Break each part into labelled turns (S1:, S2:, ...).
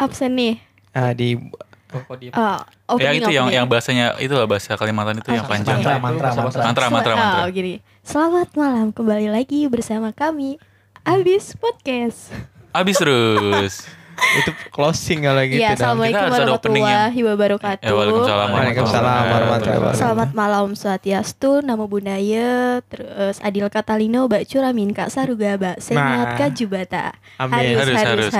S1: absen nih.
S2: Ah, di
S1: Eh,
S3: yang
S1: opening,
S3: itu yang
S1: opening.
S3: yang bahasanya itu lah ya? bahasa Kalimantan itu yang panjang.
S4: Mantra,
S2: Itu
S4: mantra,
S2: bahasa
S4: mantra.
S2: bahasa.
S3: Mantra mantra
S1: Sel-
S3: mantra.
S1: Oh, gini. Selamat malam kembali lagi bersama kami Abis Podcast.
S3: Abis terus.
S2: itu closing kalau gitu.
S1: Iya,
S2: dong.
S1: Assalamualaikum
S3: Kita harus ada openingnya.
S1: warahmatullahi wabarakatuh.
S3: Eh, waalaikumsalam
S2: Waalaikumsalam warahmatullahi wabarakatuh.
S1: Selamat malam Swatiastu, Namo Buddhaya, terus Adil Katalino, Mbak Curamin, Kak Saruga, Mbak Sengat,
S2: Nah.
S1: Kak Jubata.
S2: Amin.
S1: Harus,
S3: Harus
S1: harus, Iya,
S3: harus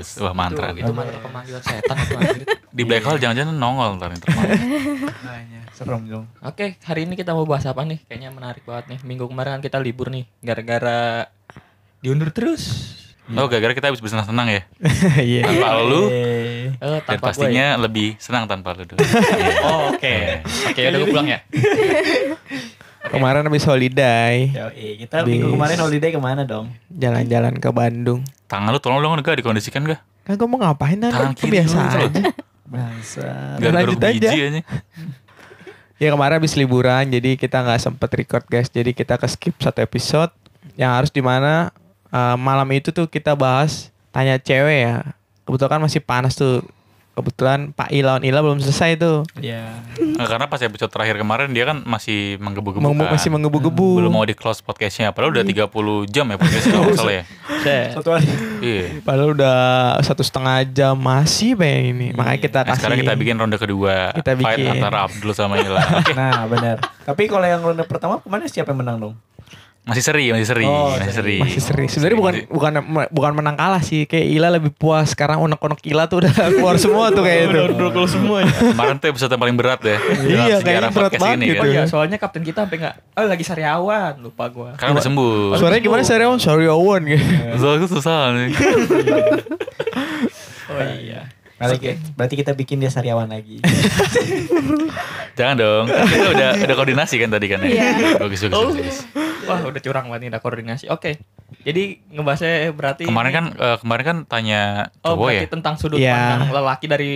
S3: harus. Wah mantra
S4: Itu-
S3: gitu.
S4: Itu mantra pemanggilan setan itu anjir.
S3: Di black hole jangan-jangan nongol ntar ntar malam.
S2: Serem dong.
S4: Oke, hari ini kita mau bahas apa nih? Kayaknya menarik banget nih. Minggu kemarin kan kita libur nih gara-gara diundur terus.
S3: Oh gara-gara kita habis bersenang-senang ya.
S2: Iya. ya.
S3: Tanpa lu
S4: Eh,
S3: dan
S4: tanpa gue.
S3: pastinya lebih senang tanpa lu dulu. Eh,
S4: Oh, oke. Oke, udah gue pulang ya.
S2: Kemarin habis holiday,
S3: Iya.
S5: Yoi, kita minggu
S2: Bis.
S5: kemarin holiday kemana dong?
S2: jalan-jalan ke Bandung.
S3: Tangan lu tolong dong gak dikondisikan gak?
S2: Kan gue mau ngapain
S3: Tangan
S2: nanti
S3: kiri
S2: kebiasaan
S3: dulu,
S2: aja.
S5: Bangsa.
S3: Gak
S2: Lanjut
S3: biji
S2: aja.
S3: aja.
S2: Ya kemarin habis liburan jadi kita nggak sempet record guys. Jadi kita ke skip satu episode yang harus dimana eh, malam itu tuh kita bahas tanya cewek ya. Kebetulan kan masih panas tuh. Kebetulan Pak I lawan Ila belum selesai tuh.
S5: Ya.
S3: Nah, karena pas episode terakhir kemarin dia kan masih menggebu-gebu
S2: Mau
S3: kan.
S2: masih Iya. menggebu-gebu.
S3: belum mau di close podcastnya padahal udah 30 jam ya podcastnya kalau nggak salah ya
S5: Satu hari.
S3: iya
S2: Padahal udah satu setengah jam masih pengen ini. Makanya kita
S3: nah,
S2: kasih.
S3: sekarang kita bikin ronde kedua
S2: Kita
S3: fight
S2: bikin.
S3: antara Abdul sama Ila Oke,
S5: Nah, benar. Tapi kalau yang ronde pertama kemana siapa yang menang dong?
S3: masih seri masih seri
S5: Oh,
S3: masih seri
S2: masih seri. Sebenarnya bukan
S3: Jadi-
S2: bukan bukan menang kalah sih. Kayak Ila lebih puas. Sekarang unek-unek Ila tuh udah keluar semua tuh kayak itu.
S5: semua
S3: kemarin tuh episode yang paling berat ya
S2: ya.
S3: dalam
S2: Iya,
S3: sejarah
S2: kayaknya berat
S3: podcast
S2: banget
S3: ini
S2: gitu.
S4: Oh
S3: kan.
S4: iya, soalnya kapten kita sampai nggak, oh lagi sariawan, lupa gue.
S3: karena udah sembuh
S2: Suaranya gimana sih Rewan? Sorry Owen. gitu.
S3: soalnya susah nih
S4: Oh iya.
S5: Oke, ya. berarti kita bikin dia sariawan lagi.
S3: jangan dong kita udah udah koordinasi kan tadi kan ya bagus bagus,
S2: Oh.
S3: bagus.
S4: Wah, udah curang banget nih udah koordinasi. Oke. Jadi ngebahasnya berarti
S3: kemarin kan eh, kemarin kan tanya
S4: Oh,
S3: cowok ya
S4: berarti tentang sudut
S2: Iya.
S4: pandang lelaki dari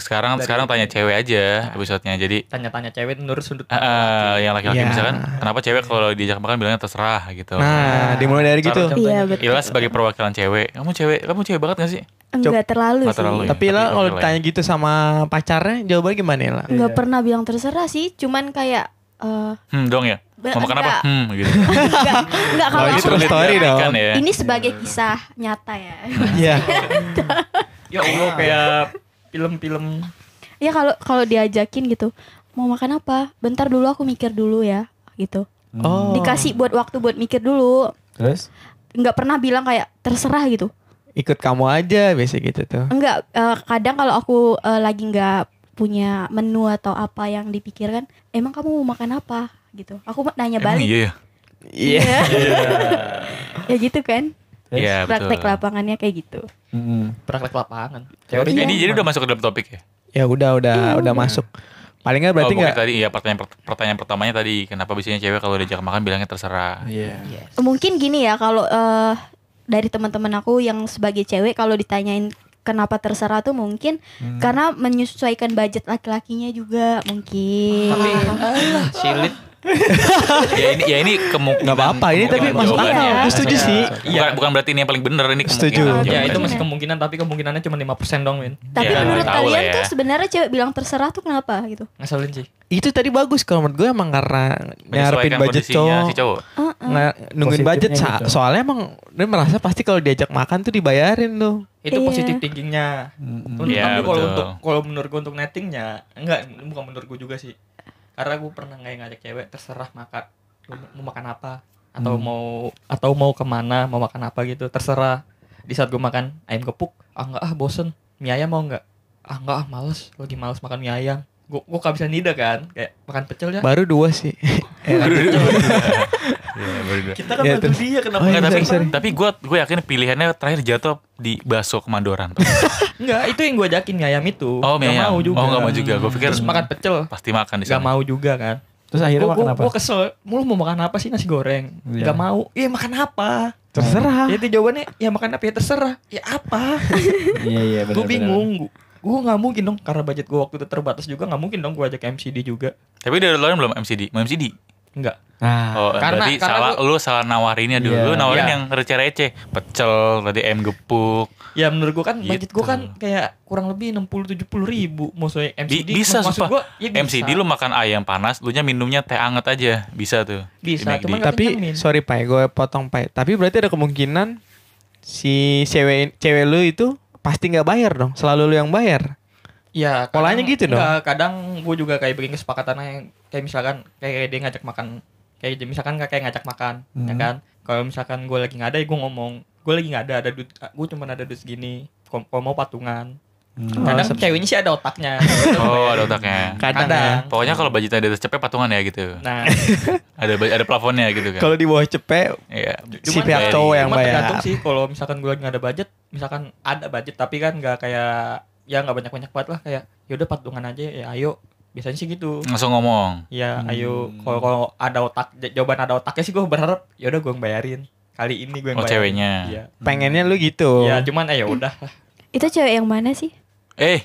S3: sekarang
S4: dari-
S3: sekarang tanya cewek aja episode-nya jadi
S4: tanya-tanya cewek menurut sudut
S3: eh,
S4: pandang
S3: eh, yang laki-laki
S2: Iya.
S3: misalkan kenapa cewek kalau diajak makan bilangnya terserah gitu
S2: Nah, dimulai dari gitu.
S4: Cara-
S1: Iya,
S4: Contohnya
S1: betul.
S3: Ila sebagai perwakilan cewek, kamu cewek, kamu cewek banget gak sih?
S1: Enggak terlalu
S3: Nggak
S1: sih.
S3: terlalu ya?
S2: Tapi Ila kalau ditanya gitu sama pacarnya jawabannya gimana Ila?
S1: Enggak pernah bilang terserah sih, cuman kayak eh,
S3: Hmm, dong ya.
S1: Ba-
S3: Mau makan
S1: enggak.
S3: apa? Hmm, gitu.
S1: enggak enggak kalau
S2: Oh, ini
S1: aku-
S2: true story dong.
S3: Kan ya.
S1: ini sebagai kisah nyata ya.
S2: Iya.
S4: Ya Allah
S3: iya.
S4: kayak film-film
S1: Ya kalau kalau diajakin gitu, mau makan apa? Bentar dulu aku mikir dulu ya, gitu.
S2: Oh.
S1: Dikasih buat waktu buat mikir dulu.
S5: Hmm. Terus?
S1: Nggak pernah bilang kayak terserah gitu.
S2: Ikut kamu aja biasa gitu tuh.
S1: Enggak, eh, kadang kalau aku eh, lagi nggak punya menu atau apa yang dipikirkan, emang kamu mau makan apa? gitu. Aku mau nanya
S3: Emang
S1: balik.
S3: iya ya?
S1: Iya. ya gitu kan.
S5: Yes.
S3: Iya, betul.
S1: Praktek lapangannya kayak gitu.
S5: Mm-mm.
S4: praktek lapangan.
S3: Jadi,
S1: Iya.
S3: ini jadi udah masuk ke dalam topik ya?
S2: Ya udah udah udah masuk. Paling nggak berarti
S3: oh, mungkin
S2: nggak
S3: tadi ya pertanyaan pertanyaan pertamanya tadi kenapa biasanya cewek kalau diajak makan bilangnya terserah.
S5: Iya.
S1: Mungkin gini ya kalau eh, dari teman-teman aku yang sebagai cewek kalau ditanyain kenapa terserah tuh mungkin karena menyesuaikan budget laki-lakinya juga mungkin.
S4: Tapi alah, silit.
S3: ya ini ya ini kemungkinan.
S2: nggak apa-apa. Ini tapi
S3: kemungkinan
S2: masuk akal.
S3: jawabannya.
S2: Aku setuju
S4: Iya.
S2: sih.
S3: Bukan, bukan berarti ini yang paling benar ini kemungkinan.
S2: Setuju.
S3: jawabannya.
S4: Ya,
S1: Iya,
S4: itu
S1: bener.
S4: masih kemungkinan tapi kemungkinannya cuma 5% dong, Win.
S1: Tapi
S3: Ya,
S1: menurut
S3: tahu lah
S1: kalian
S3: ya.
S1: tuh sebenarnya cewek bilang terserah tuh kenapa gitu?
S4: Ngeselin sih.
S2: Itu tadi bagus kalau menurut gue emang karena nyarepin
S3: Menyesuaikan
S2: budget
S3: kondisinya
S2: cowok.
S3: si cowok.
S1: Heeh.
S2: Nga- Nah, nungguin
S5: Positifnya
S2: budget Sa.
S5: gitu.
S2: soalnya emang dia merasa pasti kalau diajak makan tuh dibayarin tuh
S4: Itu
S1: Iya.
S4: positif thinkingnya.
S5: Mm-mm.
S4: Untuk
S3: Iya,
S4: tapi kalau
S3: betul.
S4: untuk kalau menurut gue untuk nettingnya enggak bukan menurut gue juga sih. Karena gue pernah kayak ngajak cewek terserah makan lu mau makan apa atau
S5: Hmm.
S4: mau atau mau kemana mau makan apa gitu terserah. Di saat gue makan ayam gepuk, ah enggak ah bosen mie ayam mau enggak? Ah enggak ah males lagi males makan mie ayam. Gue gue kehabisan lidah kan kayak makan pecel ya.
S2: baru dua sih
S3: Iya, bener.
S5: Kita kan
S2: Ya,
S5: bantu
S2: terus.
S5: dia kenapa?
S2: Oh, iya,
S3: Nggak, tapi
S2: sorry.
S3: tapi gue gue yakin pilihannya terakhir jatuh di bakso Kemadoran. tuh.
S4: Enggak, itu yang gue ajakin mie ayam itu.
S3: Oh, mie
S4: Nggak
S3: ayam.
S4: mau juga.
S3: Oh, nggak mau juga. Gua pikir-
S4: terus makan pecel.
S3: Pasti makan di
S4: Gak
S3: sana.
S4: mau juga kan.
S5: Terus akhirnya makan apa?
S4: Gue kesel, lu mau makan apa sih nasi goreng?
S5: Iya.
S4: Gak mau, iya makan apa?
S2: terserah
S4: Jadi jawabannya, ya makan apa ya terserah Ya apa?
S5: Iya, iya,
S4: gue bingung Gue gak mungkin dong, karena budget gue waktu itu terbatas juga Gak mungkin dong gue ajak MCD juga
S3: Tapi dari luar belum MCD, mau MCD.
S4: Enggak
S5: Nah,
S3: Oh,
S4: Karena-
S3: berarti
S4: karena
S3: salah lu salah nawarinnya dulu.
S5: Iya.
S3: Lu nawarin
S4: Iya.
S3: yang receh-receh, pecel, tadi ayam gepuk.
S4: Ya menurut gua kan budget gua
S3: Gitu.
S4: kan kayak kurang lebih 60 70 ribu maksudnya
S3: Bi-
S4: MCD.
S3: bisa,
S4: maksud
S3: sumpah.
S4: gua ya bisa.
S3: MCD lu makan ayam panas, lu nya minumnya teh anget aja. Bisa tuh.
S4: Bisa,
S3: Di McD.
S4: cuman- Nggak
S2: Tapi
S4: kenyang, Min.
S2: sorry Pak, gue potong Pak. Tapi berarti ada kemungkinan si cewek cewek lu itu pasti nggak bayar dong. Selalu lu yang bayar.
S4: Ya,
S2: Polanya gitu dong.
S4: enggak, kadang gue juga kayak bikin kesepakatan yang kayak misalkan kayak dia ngajak makan, kayak dia- misalkan kayak ngajak makan, ya
S5: Hmm.
S4: kan? Kalau misalkan gue lagi nggak ada, ya gue ngomong, gue lagi nggak ada, ada duit, gue cuma ada duit segini, kalau kalau mau patungan.
S5: Hmm.
S2: Oh,
S4: Kadang
S2: sep-
S4: ceweknya sih ada otaknya.
S3: Oh, ada otaknya.
S2: Kadang, ya.
S3: Pokoknya kalau budgetnya di atas cepet patungan ya gitu.
S4: Nah,
S3: Ada ba- ada plafonnya gitu kan.
S2: Kalau di bawah cepet
S3: Iya.
S2: si
S4: Cuman
S2: pihak
S3: kayak-
S2: cowok yang
S4: cuma
S2: bayar.
S4: tergantung sih kalau misalkan gue lagi nggak ada budget, misalkan ada budget tapi kan nggak kayak ya nggak banyak-banyak banget lah kayak yaudah patungan aja ya ayo biasanya sih gitu
S3: Langsung ngomong.
S4: Ya,
S5: Hmm.
S4: ayo kalau kalau ada otak j- jawaban ada otaknya sih gue berharap ya udah gue bayarin. Kali ini gue yang
S3: Oh,
S4: bayarin.
S3: ceweknya.
S4: Iya.
S2: Pengennya lu gitu.
S4: Ya, cuman eh ya udah.
S6: Itu cewek yang mana sih?
S3: Eh,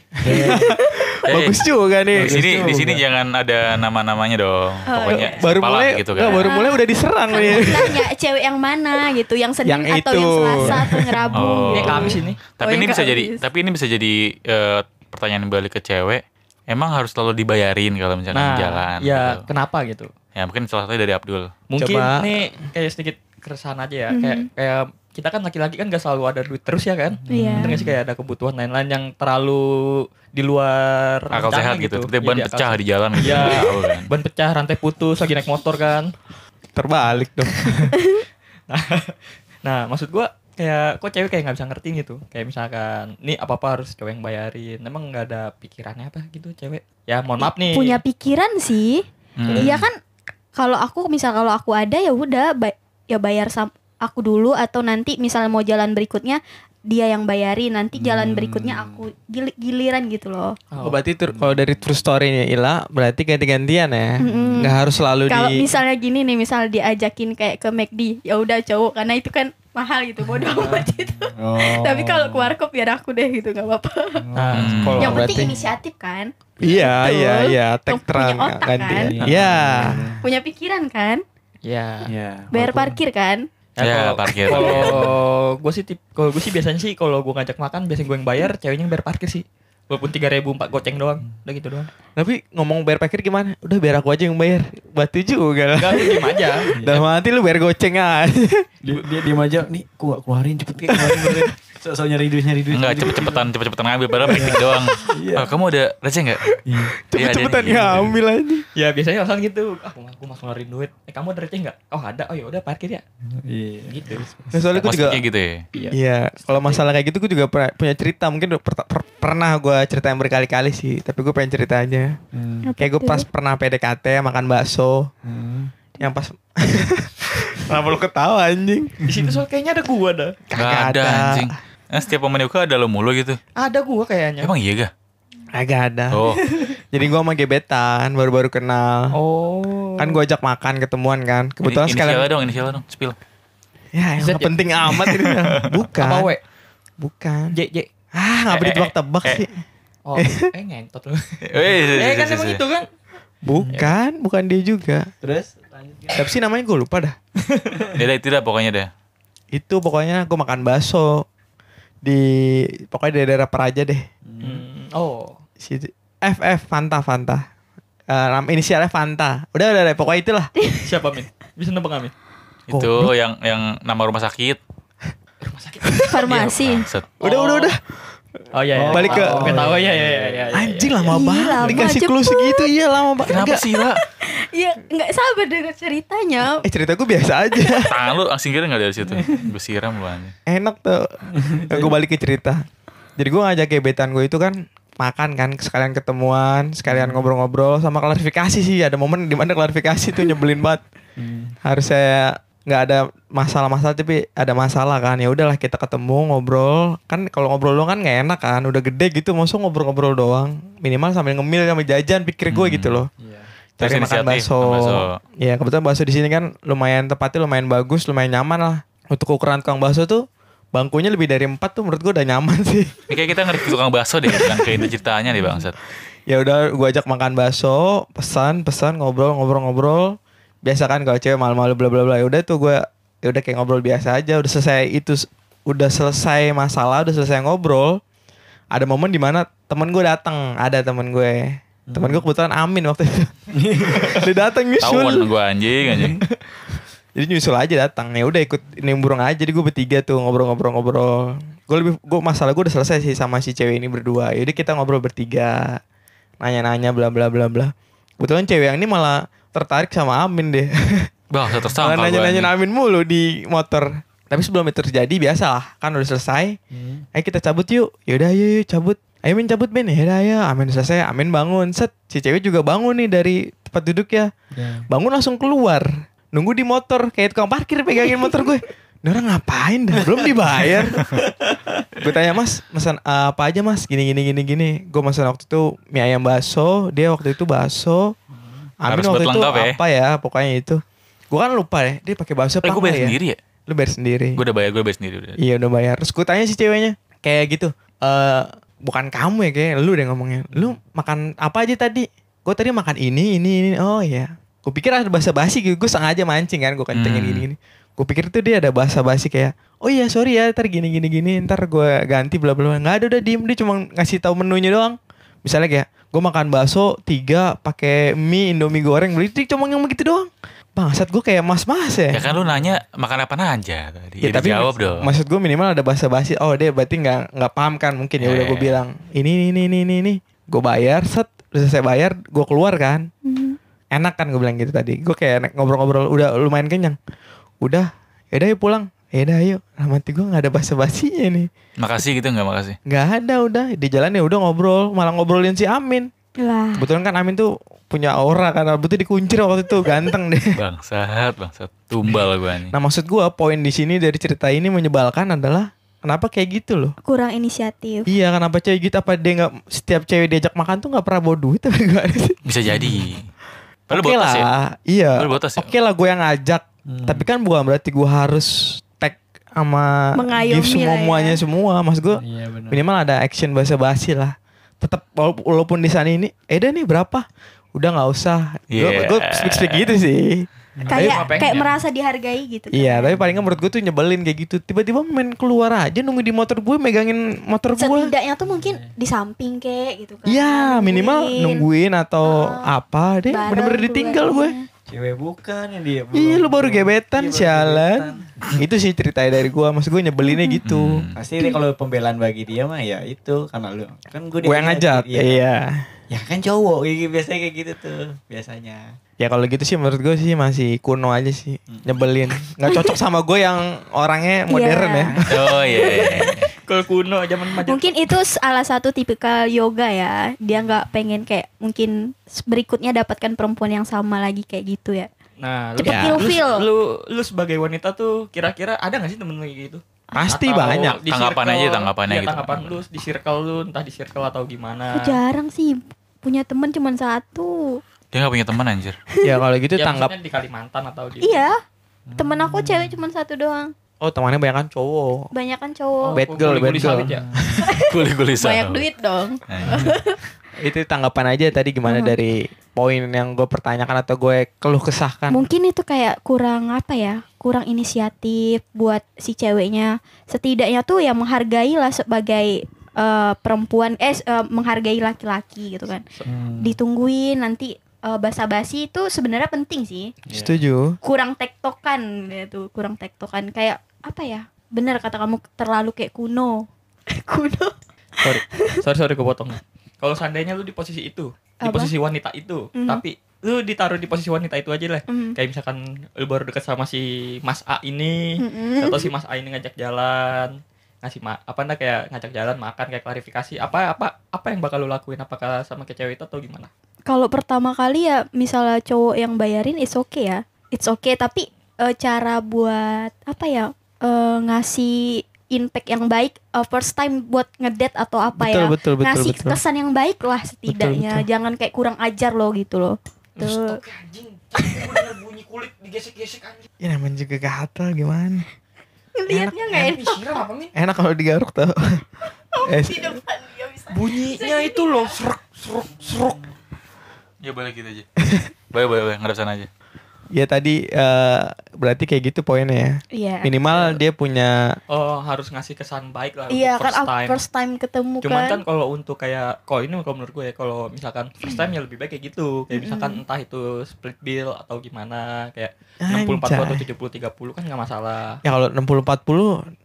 S3: eh,
S2: Bagus juga nih.
S3: Di sini
S5: Bagus
S3: di sini
S5: juga.
S3: jangan ada nama-namanya dong. Pokoknya
S2: baru
S3: kepala
S2: mulai
S3: gitu kan.
S2: nggak, baru mulai udah diserang nih.
S6: Nanya cewek yang mana gitu, yang Senin
S2: Yang
S6: atau
S2: itu.
S6: yang Selasa atau yang Rabu.
S3: Oh.
S4: Ini
S6: gitu.
S4: Kamis ini.
S3: Tapi
S6: Oh,
S3: ini
S6: yang
S3: bisa
S6: ke
S3: jadi
S6: abis.
S3: tapi ini bisa jadi eh, pertanyaan balik ke cewek. Emang harus selalu dibayarin kalau misalkan
S4: Nah,
S3: jalan
S4: ya
S3: gitu.
S4: kenapa gitu?
S3: Ya mungkin salah satunya dari Abdul.
S4: Mungkin
S2: Coba.
S4: nih kayak sedikit keresahan aja ya.
S6: Mhm.
S4: Kayak kayak kita kan laki-laki kan gak selalu ada duit terus ya kan?
S6: Iya.
S4: Bener nggak sih kayak ada kebutuhan lain-lain yang terlalu di luar
S3: Akal
S4: rencana
S3: sehat gitu. Seperti
S4: Iya,
S3: ban
S4: di akal
S3: pecah
S4: sehat.
S3: di jalan gitu.
S4: Iya.
S3: nggak tahu kan.
S4: Ban pecah, rantai putus lagi naik motor kan.
S2: Terbalik dong.
S4: Nah, maksud gua kayak kok cewek kayak nggak bisa ngertiin gitu. Kayak misalkan, nih apa-apa harus cowok yang bayarin. Emang nggak ada pikirannya apa gitu cewek. Ya, mohon maaf nih.
S6: Punya pikiran sih.
S3: Hmm.
S6: Iya kan kalau aku misal kalau aku ada ya udah ba- ya bayar sam- aku dulu atau nanti misal mau jalan berikutnya dia yang bayarin nanti jalan
S5: Hmm.
S6: berikutnya aku gili- giliran gitu loh.
S2: Oh,
S4: Oh,
S2: berarti tur- kalau dari true story-nya Ila berarti ganti-gantian ya.
S6: Mm-mm.
S2: Nggak harus selalu
S6: Kalau
S2: di
S6: misalnya gini nih misal diajakin kayak ke McD ya udah cowok karena itu kan mahal gitu bodoh amat gitu.
S5: Oh.
S6: Tapi kalau ke warkop biar aku deh gitu nggak apa-apa.
S4: Nah,
S3: Hmm.
S4: kalau
S6: Yang
S2: berarti-
S6: penting inisiatif kan,
S2: Iya,
S6: Betul.
S2: iya, iya,
S6: Yang
S2: tek
S6: punya
S2: terang
S6: otak,
S2: ganti.
S6: kan?
S2: Iya.
S6: punya pikiran kan,
S4: ya.
S5: Iya.
S6: bayar
S5: walaupun-
S6: parkir kan.
S3: Ya,
S4: kalau-
S3: parkir.
S4: Kalau gue sih tip, kalau gue sih biasanya sih kalau gue ngajak makan biasanya gue yang bayar, ceweknya yang bayar parkir sih. Walaupun tiga ribu empat goceng doang, udah gitu doang.
S2: Tapi ngomong bayar parkir gimana? Udah biar aku aja yang bayar. Batu juga lah.
S4: Enggak, lu diem aja.
S2: Dalam hati lu bayar goceng aja.
S3: Iya,
S5: Dia, dia diem aja, nih aku gak keluarin cepet kayak keluarin. keluarin." Sok-sok nyari duit, nyari
S3: Enggak
S5: duit. nyari duit.
S3: cepet-cepetan, cepet-cepetan ngambil padahal piknik doang.
S5: Iya.
S3: Ah, kamu ada receh enggak?
S5: Iya.
S2: Cepet-cepetan
S3: gitu.
S2: ngambil aja.
S4: Ya biasanya alasan gitu. Ah, gue gue mau ngeluarin duit. Eh kamu ada receh nggak? Oh ada. Oh ya udah parkir ya.
S5: Iya.
S4: Gitu.
S2: Nah, soalnya gue juga
S3: Maksudnya gitu ya.
S4: Iya.
S2: Iya, kalau masalah kayak gitu gue juga pernah- punya cerita. Mungkin udah per- per- pernah gue ceritain berkali-kali sih, tapi gue pengen cerita aja.
S5: Hmm.
S2: Kayak gue pas pernah PDKT makan bakso,
S5: Hmm.
S2: yang pas Kenapa lu ketawa anjing?
S4: Di situ soal kayaknya ada gua ada.
S3: Enggak
S2: Kagak
S3: ada
S2: ada.
S3: anjing. Nah, setiap pemain UK ada lo mulu gitu.
S4: Ada gua kayaknya.
S3: Emang iya gak?
S2: Agak ada.
S3: Oh,
S2: Jadi gue sama gebetan baru-baru kenal.
S4: Oh.
S2: Kan gue ajak makan ketemuan kan. Kebetulan
S3: ini-
S2: sekalian
S3: inisialnya dong, inisialnya dong, spill.
S2: Ya, yang
S4: Z ya?
S2: nggak penting amat ini. Bukan.
S4: Apa we?
S2: Bukan.
S4: J J.
S2: Ah, ngapain
S3: Eh, eh,
S2: ditebak-tebak
S3: eh.
S2: sih?
S4: Oh, eh ngentot lu.
S2: Iya,
S4: eh kan emang itu kan.
S2: Bukan, bukan dia juga.
S5: Terus lanjut.
S2: Tapi sih namanya gue lupa dah.
S3: Tidak, tidak pokoknya deh.
S2: Itu pokoknya gue makan bakso di pokoknya di daerah Praja deh.
S4: Hmm. Oh.
S2: Situ. FF Fanta Fanta. Eh, nama inisialnya Fanta. Udah, udah, udah, pokoknya itulah.
S4: Siapa Min? Bisa nebak nggak Min?
S3: Itu yang yang nama rumah sakit. Iya,
S4: Rumah sakit.
S6: Farmasi.
S3: Set.
S2: Udah,
S4: Oh.
S2: udah, udah.
S4: Oh iya. iya.
S2: Balik ke-
S4: Oh, Gua tahu ya ya ya
S3: Eh,
S4: ya.
S2: Anjing
S4: lah.
S2: lama
S6: Ih,
S2: banget
S6: lama,
S2: dikasih clue
S6: cepet.
S2: segitu. Iya, lama banget.
S3: Kenapa
S2: Enggak.
S3: sih, La?
S6: Iya, nggak sabar dengar ceritanya.
S2: Eh, cerita gue biasa aja.
S3: Tangan lu singkirin enggak dari situ? Gue siram lu anjing.
S2: enak tuh gue balik ke cerita jadi gue ngajak gebetan gue itu kan makan kan sekalian ketemuan sekalian ngobrol-ngobrol sama klarifikasi sih ada momen dimana klarifikasi tuh nyebelin banget harus saya nggak ada masalah-masalah tapi ada masalah kan ya udahlah kita ketemu ngobrol kan kalau ngobrol doang kan nggak enak kan udah gede gitu maksud ngobrol-ngobrol doang minimal sambil ngemil sambil jajan pikir gue gitu loh
S5: Iya.
S2: cari makan
S3: Hmm. Terus inisiatif,
S2: bakso.
S3: makan bakso.
S2: Iya kebetulan bakso di sini kan lumayan tempatnya lumayan bagus, lumayan nyaman lah. Untuk ukuran tukang bakso tuh bangkunya lebih dari empat tuh menurut gua udah nyaman sih.
S3: Ini kayak kita ngerti tukang bakso deh, kan kayak itu ceritanya nih bangsat.
S2: ya udah gua ajak makan bakso, pesan pesan ngobrol ngobrol ngobrol. Biasa kan kalau cewek malu-malu bla bla bla. Ya udah tuh gua ya udah kayak ngobrol biasa aja. Udah selesai itu udah selesai masalah, udah selesai ngobrol, ada momen dimana temen gue datang, ada temen gue, temen gue kebetulan Amin waktu itu, dia datang
S3: Tauan
S2: nyusul,
S3: gue anjing anjing.
S2: jadi nyusul aja datang, ya udah ikut nimbrung aja, jadi gue bertiga tuh ngobrol-ngobrol-ngobrol, gue lebih gue masalah gue udah selesai sih sama si cewek ini berdua, yaudah kita ngobrol bertiga, nanya-nanya bla bla bla bla, kebetulan cewek yang ini malah tertarik sama Amin deh.
S3: Bang, satu
S2: Malah
S3: tersangka gue.
S2: nanya-nanyain Amin mulu di motor. Tapi sebelum itu terjadi biasa lah, kan udah selesai. Ayo kita cabut yuk. Yaudah ayo yuk cabut. Ayo Min cabut Ben. Yaudah ayo. Amin udah selesai. Amin bangun. Set. Si cewek juga bangun nih dari tempat duduk ya.
S5: iya,
S2: Bangun langsung keluar. Nunggu di motor. Kayak tukang parkir pegangin motor gue. Ini orang ngapain dah? Belum dibayar. gue tanya mas, pesan eh, apa aja mas? Gini gini gini gini. Gue pesan waktu itu mie ayam bakso. Dia waktu itu bakso. Amin
S3: Harus
S2: waktu
S3: buat
S2: itu
S3: lengkap ya.
S2: apa ya? Pokoknya itu. Gue kan lupa ya. Dia pakai bakso
S3: Eh,
S2: apa
S3: gue bayar
S2: enggak ya?
S3: sendiri ya?
S2: Lu bayar sendiri.
S3: Gue udah bayar, gue bayar sendiri udah.
S2: Iya udah bayar. Terus gue tanya si ceweknya kayak gitu. Eh bukan kamu ya kayak lu deh ngomongnya. Lu makan apa aja tadi? Gue tadi makan ini ini ini. Oh iya. Gue pikir ada bahasa basi gitu. Gue sengaja mancing kan. Gue kencengin
S3: Hmm.
S2: gini gini. Gue pikir tuh dia ada bahasa basi kayak. Oh iya sorry ya ntar gini gini gini. Ntar gue ganti bla bla. bla." Nggak ada udah diem dia cuma ngasih tahu menunya doang. Misalnya kayak gue makan bakso tiga pakai mie indomie goreng beli dia cuma yang begitu doang. Bangsat gue kayak mas-mas
S3: Ya kan lu nanya makan apa aja tadi. Ya, jawab
S2: mak-
S3: dong.
S2: Maksud gue minimal ada bahasa basi. Oh, dia berarti nggak nggak paham kan mungkin ya
S3: Ya,
S2: udah
S3: ya,
S2: gue
S3: ya.
S2: bilang ini ini ini ini ini. Gue bayar set udah selesai bayar gue keluar kan.
S6: Hmm.
S2: Enak kan gue bilang gitu tadi. Gue kayak enak ngobrol-ngobrol udah lumayan kenyang. Udah, ya udah yuk pulang. Ya udah yuk. Nah, mati gue nggak ada bahasa basinya nih.
S3: Makasih gitu nggak makasih.
S2: Nggak ada udah di jalan ya udah ngobrol malah ngobrolin si Amin.
S6: Lah.
S2: Kebetulan kan Amin tuh punya aura kan butuh dikuncir waktu itu ganteng deh.
S3: Bangsat, bangsat. Tumbal gue anjing.
S2: Nah maksud gua poin di sini dari cerita ini menyebalkan adalah kenapa kayak gitu loh.
S6: Kurang inisiatif.
S2: Iya kenapa cewek gitu apa dia nggak setiap cewek diajak makan tuh nggak pernah bawa duit apa gimana sih?
S3: Bisa jadi. Padahal
S2: Oke
S3: botas ya.
S2: lah, iya.
S3: Lu botas ya? Hmm.
S2: Oke lah gue yang ngajak, tapi kan bukan berarti gue harus tag sama
S6: Mengayomi
S2: give semua
S6: lah ya.
S2: muanya semua, mas gue
S5: Iya benar.
S2: minimal ada action basa basi lah. Tetap walaupun- walaupun di sana ini, eh dah nih berapa? Udah nggak usah.
S3: Iya.
S2: Gue speak speak gitu sih.
S6: Kayak
S4: ngapain
S6: kayak
S4: ya?
S6: merasa dihargai gitu. kan.
S2: Iya, tapi paling nggak menurut gue tuh nyebelin kayak gitu. Tiba-tiba main keluar aja nunggu di motor gue, megangin motor gue.
S6: Setidaknya tuh mungkin di samping kek gitu kan.
S2: Iya, minimal nungguin atau
S6: Ah,
S2: apa deh.
S6: bareng
S2: Bener-bener ditinggal gue.
S6: keluarnya.
S5: Cewek bukan yang dia.
S2: Iya, lu baru
S5: Iya,
S2: gebetan,
S5: baru
S2: sialan. Itu sih ceritanya dari gue. Maksud gue nyebelinnya gitu.
S3: Hmm.
S5: Pasti deh kalau pembelaan bagi dia mah ya itu karena lu kan gue
S2: Gue yang ngajak,
S5: Iya.
S2: iya.
S5: Ya kan cowok kayak gitu, biasanya kayak gitu tuh biasanya.
S2: Ya kalau gitu sih menurut gue sih masih kuno aja sih. Nyebelin. Nggak cocok sama gue yang orangnya modern
S6: Iya.
S2: ya.
S3: Oh iya.
S4: Kalau kuno zaman majalah.
S6: Mungkin itu salah satu tipikal yoga ya. Dia nggak pengen kayak mungkin berikutnya dapatkan perempuan yang sama lagi kayak gitu ya.
S4: Nah,
S6: Cepet
S4: lu,
S6: ilfil.
S4: lu, lu, lu sebagai wanita tuh kira-kira ada gak sih temen lu kayak gitu?
S2: Pasti
S4: Atau
S2: banyak.
S4: di
S3: Tanggapan
S4: circle-
S3: aja, tanggapannya
S4: iya,
S3: gitu.
S4: Tanggapan lu di circle lu entah di circle atau gimana.
S6: Aku jarang sih punya temen cuman satu.
S3: Dia gak punya teman anjir.
S2: Ya kalau gitu
S4: Ya,
S2: tanggap.
S4: maksudnya di Kalimantan atau di
S6: Iya. Temen aku cewek cuman satu doang.
S2: Oh temannya banyak kan cowok.
S6: Banyak kan
S4: Oh,
S6: cowok.
S2: Bad girl,
S4: kulit-kulit
S2: bad girl.
S4: sawit ya?
S3: Guli-guli
S6: Banyak
S3: sawit.
S6: duit dong.
S3: Anjing.
S2: itu tanggapan aja tadi gimana dari poin yang gue pertanyakan atau gue keluh
S4: Kan.
S2: kesahkan
S6: Mungkin itu kayak kurang apa ya? Kurang inisiatif buat si ceweknya. Setidaknya tuh ya menghargai lah sebagai eh, perempuan eh s- eh, menghargai laki-laki gitu kan.
S4: Hmm.
S6: Ditungguin nanti eh, basa-basi itu sebenarnya penting sih.
S1: ya?
S2: setuju
S6: Kurang tektokan gitu, kurang tektokan kayak apa ya? Bener kata kamu terlalu kayak kuno. kuno.
S4: sorry sorry sorry gue potong kalau seandainya lu di posisi itu di
S6: Apa?
S4: posisi wanita itu
S6: Mhm.
S4: tapi lu ditaruh di posisi wanita itu aja lah
S6: Mm.
S4: kayak misalkan lu baru deket sama si Mas A ini
S6: Mm-mm.
S4: atau si Mas A ini ngajak jalan ngasih ma apa enggak kayak ngajak jalan makan kayak klarifikasi apa apa apa yang bakal lu lakuin apakah sama kayak cewek itu atau gimana
S6: kalau pertama kali ya misalnya cowok yang bayarin it's okay ya it's okay tapi eh, cara buat apa ya eh, ngasih impact yang baik eh, first time buat ngedate atau apa
S2: betul
S6: ya
S2: betul betul
S6: ngasih
S2: betul
S6: kesan yang baik lah setidaknya
S2: betul.
S6: jangan kayak kurang ajar loh gitu loh
S4: Lu
S6: Tuh.
S4: stok, anjing Bener bunyi kulit digesek-gesek anjing
S2: ya namanya juga gatal gimana
S6: ngelihatnya nggak
S4: Eh,
S6: enak
S4: disiram apa Min?
S2: enak kalau digaruk tau
S4: Oh,
S2: Eh,
S6: di
S4: iya.
S6: depan dia bisa
S4: bunyinya itu loh serak serak serak
S3: Ya balik gitu aja. Baik, baik, baik. Ngadep sana aja.
S2: ya tadi eh, berarti kayak gitu poinnya ya.
S6: Iya.
S2: Minimal dia punya
S4: Oh harus ngasih kesan baik lah
S6: Iya
S4: untuk
S6: kan
S4: first
S6: aku
S4: time.
S6: first time ketemu
S4: Cuman
S6: kan.
S4: kan kalau untuk kayak kalau ini kalau menurut gue ya kalau misalkan first time ya lebih baik kayak gitu.
S6: Mhm.
S4: Kayak misalkan entah itu split bill atau gimana kayak 64 atau
S2: Anjay.
S4: 70 30 kan nggak masalah.
S2: ya kalau 60 40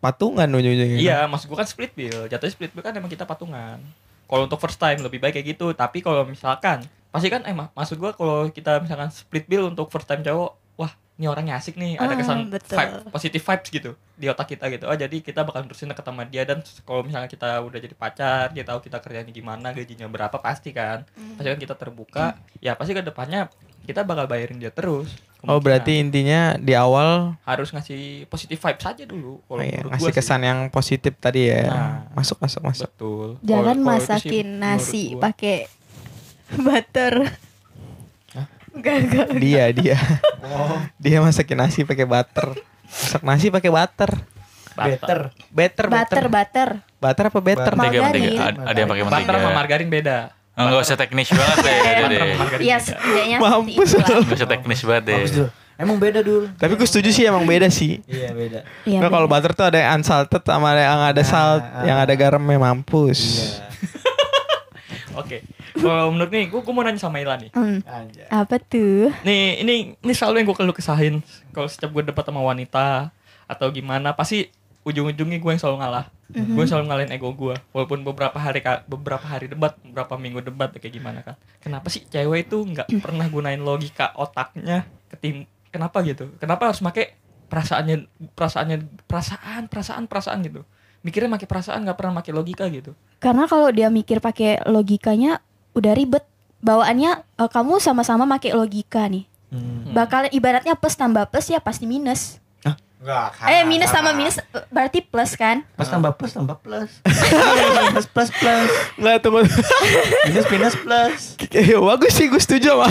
S2: patungan ujung-ujungnya.
S4: Iya, maksud gue kan split bill. Jatuhnya split bill kan emang kita patungan. Kalau untuk first time lebih baik kayak gitu. Tapi kalau misalkan, pasti kan emang maksud gue kalau kita misalkan split bill untuk first time cowok, wah ini orangnya asik nih. Ada
S6: Ah,
S4: kesan
S6: betul.
S4: vibe, positive vibes gitu di otak kita gitu. Oh jadi kita bakal terusin deket sama dia dan kalau misalnya kita udah jadi pacar, dia tahu kita kerjanya gimana, gajinya berapa pasti kan.
S2: Hmm.
S4: Pasti kan kita terbuka. Ya pasti ke depannya kita bakal bayarin dia terus.
S2: Oh berarti intinya di awal
S4: Kemungkinan. harus ngasih positive vibes aja dulu. Kalau
S2: ya,
S4: menurut
S2: ngasih
S4: gua sih.
S2: kesan yang positif tadi ya.
S4: Nah.
S2: Masuk masuk masuk.
S4: Betul. Kalau- kalau
S6: Jangan
S4: itu sih
S6: masakin
S4: menurut
S6: nasi
S4: gua.
S6: pakai butter. Enggak, enggak.
S2: Dia dia.
S4: Oh.
S2: dia masakin nasi pakai butter. Masak nasi pakai butter.
S5: Better.
S2: Better
S6: Butter, butter.
S2: Butter apa better?
S5: Butter.
S3: Mentega, mentega.
S6: Margarin.
S3: Ad- Ada yang pakai
S4: Butter
S3: mentega.
S4: sama margarin beda.
S3: Iya. Oh, Enggak usah teknis banget deh. udah deh.
S6: Ya setidaknya
S2: Mampus
S6: seperti itulah.
S3: Enggak usah teknis banget deh.
S5: Bagus dulu. Emang beda dulu.
S2: Tapi gue setuju sih emang beda sih.
S5: Iya beda.
S6: Iya,
S2: Nah, kalau
S6: bener.
S2: butter tuh ada yang unsalted sama ada yang
S4: Nah,
S2: ada salt,
S5: Ah, ah.
S2: yang ada garamnya mampus.
S5: Iya.
S4: Oke. Kalau menurut nih, gue mau nanya sama Ila nih.
S6: Hmm,
S5: Anjay.
S6: apa tuh?
S4: Nih, ini ini selalu yang gue keluh kesahin. Kalau setiap gue debat sama wanita atau gimana, pasti ujung-ujungnya gue yang selalu ngalah. Gue selalu ngalahin ego gue. Walaupun beberapa hari ka- beberapa hari debat, beberapa minggu debat kayak gimana kan. Kenapa sih cewek itu nggak pernah gunain logika otaknya ketim kenapa gitu? Kenapa harus pakai perasaannya perasaannya perasaan perasaan perasaan gitu? Mikirnya pakai perasaan nggak pernah pakai logika gitu.
S6: Karena kalau dia mikir pakai logikanya udah ribet. Bawaannya eh, kamu sama-sama pakai logika nih.
S5: Hmm.
S6: Bakal ibaratnya plus tambah plus ya pasti minus.
S5: Enggak.
S2: Ah.
S6: Eh minus sama minus eh, berarti plus kan?
S5: Pas tambah plus tambah plus. plus plus plus.
S2: Nggak tunggu.
S5: Minus minus plus.
S2: Ya, bagus sih gue setuju sama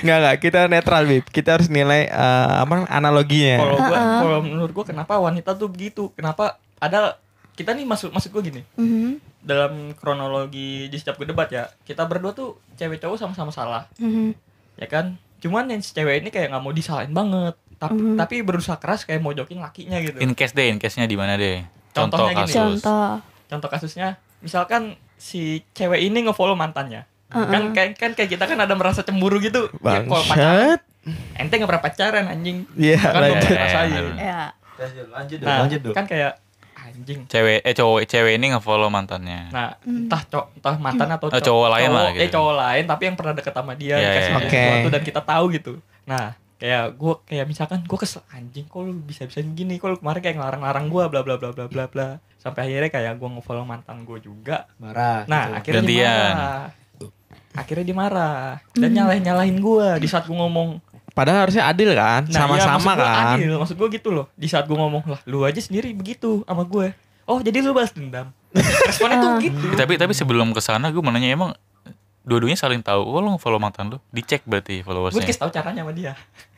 S2: Nggak nggak kita netral Bib Kita harus nilai eh, apa
S4: Kalau
S2: analoginya
S4: gua, kalau menurut gua kenapa wanita tuh begitu? Kenapa ada kita nih maksud maksud gua gini
S6: Mhm,
S4: dalam kronologi di setiap gua debat ya kita berdua tuh cewek cowok sama-sama salah
S6: mhm.
S4: ya kan cuman yang si cewek ini kayak nggak mau disalahin banget tapi
S6: Mhm.
S4: tapi berusaha keras kayak mojokin lakinya gitu
S3: In case deh, in case-nya di mana deh? Contoh
S4: Contohnya gini.
S3: kasus.
S6: Contoh.
S4: contoh kasusnya misalkan si cewek ini ngefollow mantannya
S6: Heeh.
S4: kan kayak kan kayak kita kan ada merasa cemburu gitu ya kalau
S2: Bangsat
S4: pacaran ente nggak pernah pacaran anjing
S2: Iya
S4: kan belum
S2: lanjut.
S3: iya,
S4: ngerasain.
S3: iya.
S6: Ya.
S5: Lanjut dulu.
S4: nah
S5: lanjut dulu.
S4: kan kayak anjing
S3: Cewek eh cowok cewek ini ngefollow mantantannya.
S4: Nah,
S6: Hmm.
S4: entah cowok, entah mantan atau
S3: Oh, cowok lain lah gitu.
S4: eh, cowok lain tapi yang pernah deket sama dia
S3: Iya,
S4: dikasih
S3: iya,
S4: dia
S2: iya.
S4: sesuatu
S2: Oke.
S4: dan kita tahu gitu. Nah, kayak gue kayak misalkan gue kesel anjing kok lu bisa-bisa gini kok lu kemarin kayak ngelarang-larang gue bla bla bla bla bla bla sampai akhirnya kayak gue ngefollow mantan gue juga.
S5: Marah.
S4: Nah,
S5: gitu.
S4: akhirnya dia
S3: Gantian.
S4: marah. Akhirnya dia marah dan nyalahin-nyalahin gue di saat gue ngomong
S2: Padahal harusnya adil kan
S4: Nah, iya,
S2: Sama-sama
S4: maksud gua
S2: kan
S4: adil. Maksud gue gitu loh. Di saat gue ngomong lah, lu aja sendiri begitu sama gue. Oh, jadi lu balas dendam. Responnya tuh gitu.
S3: Tapi tapi sebelum ke sana gue mau nanya emang dua-duanya saling tahu. Oh, lo follow mantan lu? Dicek
S4: gue
S3: berarti followersnya.
S4: dikasih tahu caranya sama dia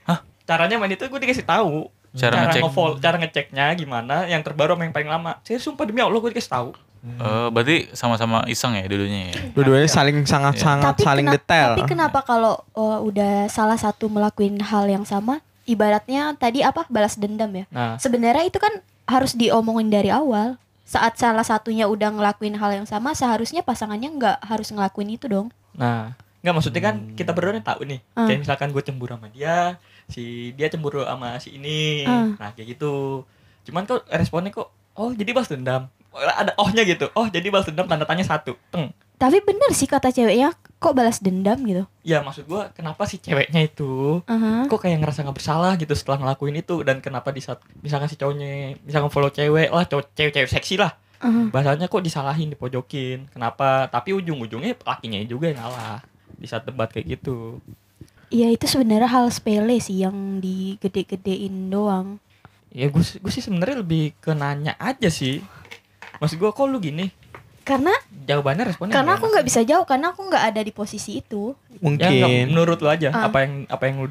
S4: Hah? caranya sama dia tuh gue dikasih tahu
S3: Cara ngecek.
S4: nge-follow- cara ngeceknya gimana yang terbaru sama yang paling lama saya sumpah demi allah gue dikasih tahu
S3: Eh, berarti sama-sama iseng ya dua-duanya ya.
S2: Dua-duanya
S4: Iya.
S2: saling sangat-sangat Hmm, saling
S6: kena-
S2: detail
S6: tapi
S4: Ya,
S6: kenapa kalau uh, udah salah satu melakukan hal yang sama, ibaratnya tadi apa balas dendam ya?
S4: nah
S6: Sebenarnya itu kan harus diomongin dari awal. Saat salah satunya udah ngelakuin hal yang sama, seharusnya pasangannya nggak harus ngelakuin itu dong.
S4: nah nggak maksudnya kan kita berdua nih tahu nih
S6: Hmm.
S4: kayak misalkan gue cemburu sama dia si dia cemburu sama si ini
S6: Hmm.
S4: nah kayak gitu cuman kok responnya kok oh jadi balas dendam ada ohnya gitu oh jadi balas dendam tanda tanya satu teng
S6: Tapi bener sih kata ceweknya, kok balas dendam gitu?
S4: ya maksud gue kenapa sih ceweknya itu
S6: Aha.
S4: kok kayak ngerasa nggak bersalah gitu setelah ngelakuin itu dan kenapa di saat misalkan si cowoknya misalkan follow cewek lah cowok cewek cewek seksi lah
S6: aha.
S4: bahasanya kok disalahin dipojokin kenapa tapi ujung ujungnya lakinya juga yang ngalah di saat debat kayak gitu
S6: Ya itu sebenarnya hal sepele sih yang digede-gedein doang.
S4: ya gue sih- gue sih sebenarnya lebih ke nanya aja sih maksud gue kok lu gini
S6: Karena
S4: jawabannya responnya
S6: karena aku nggak bisa jauh, karena aku nggak ada di posisi itu.
S4: ya, nggak,
S2: Mungkin
S4: menurut lu aja
S6: Ah.
S4: apa yang apa yang lu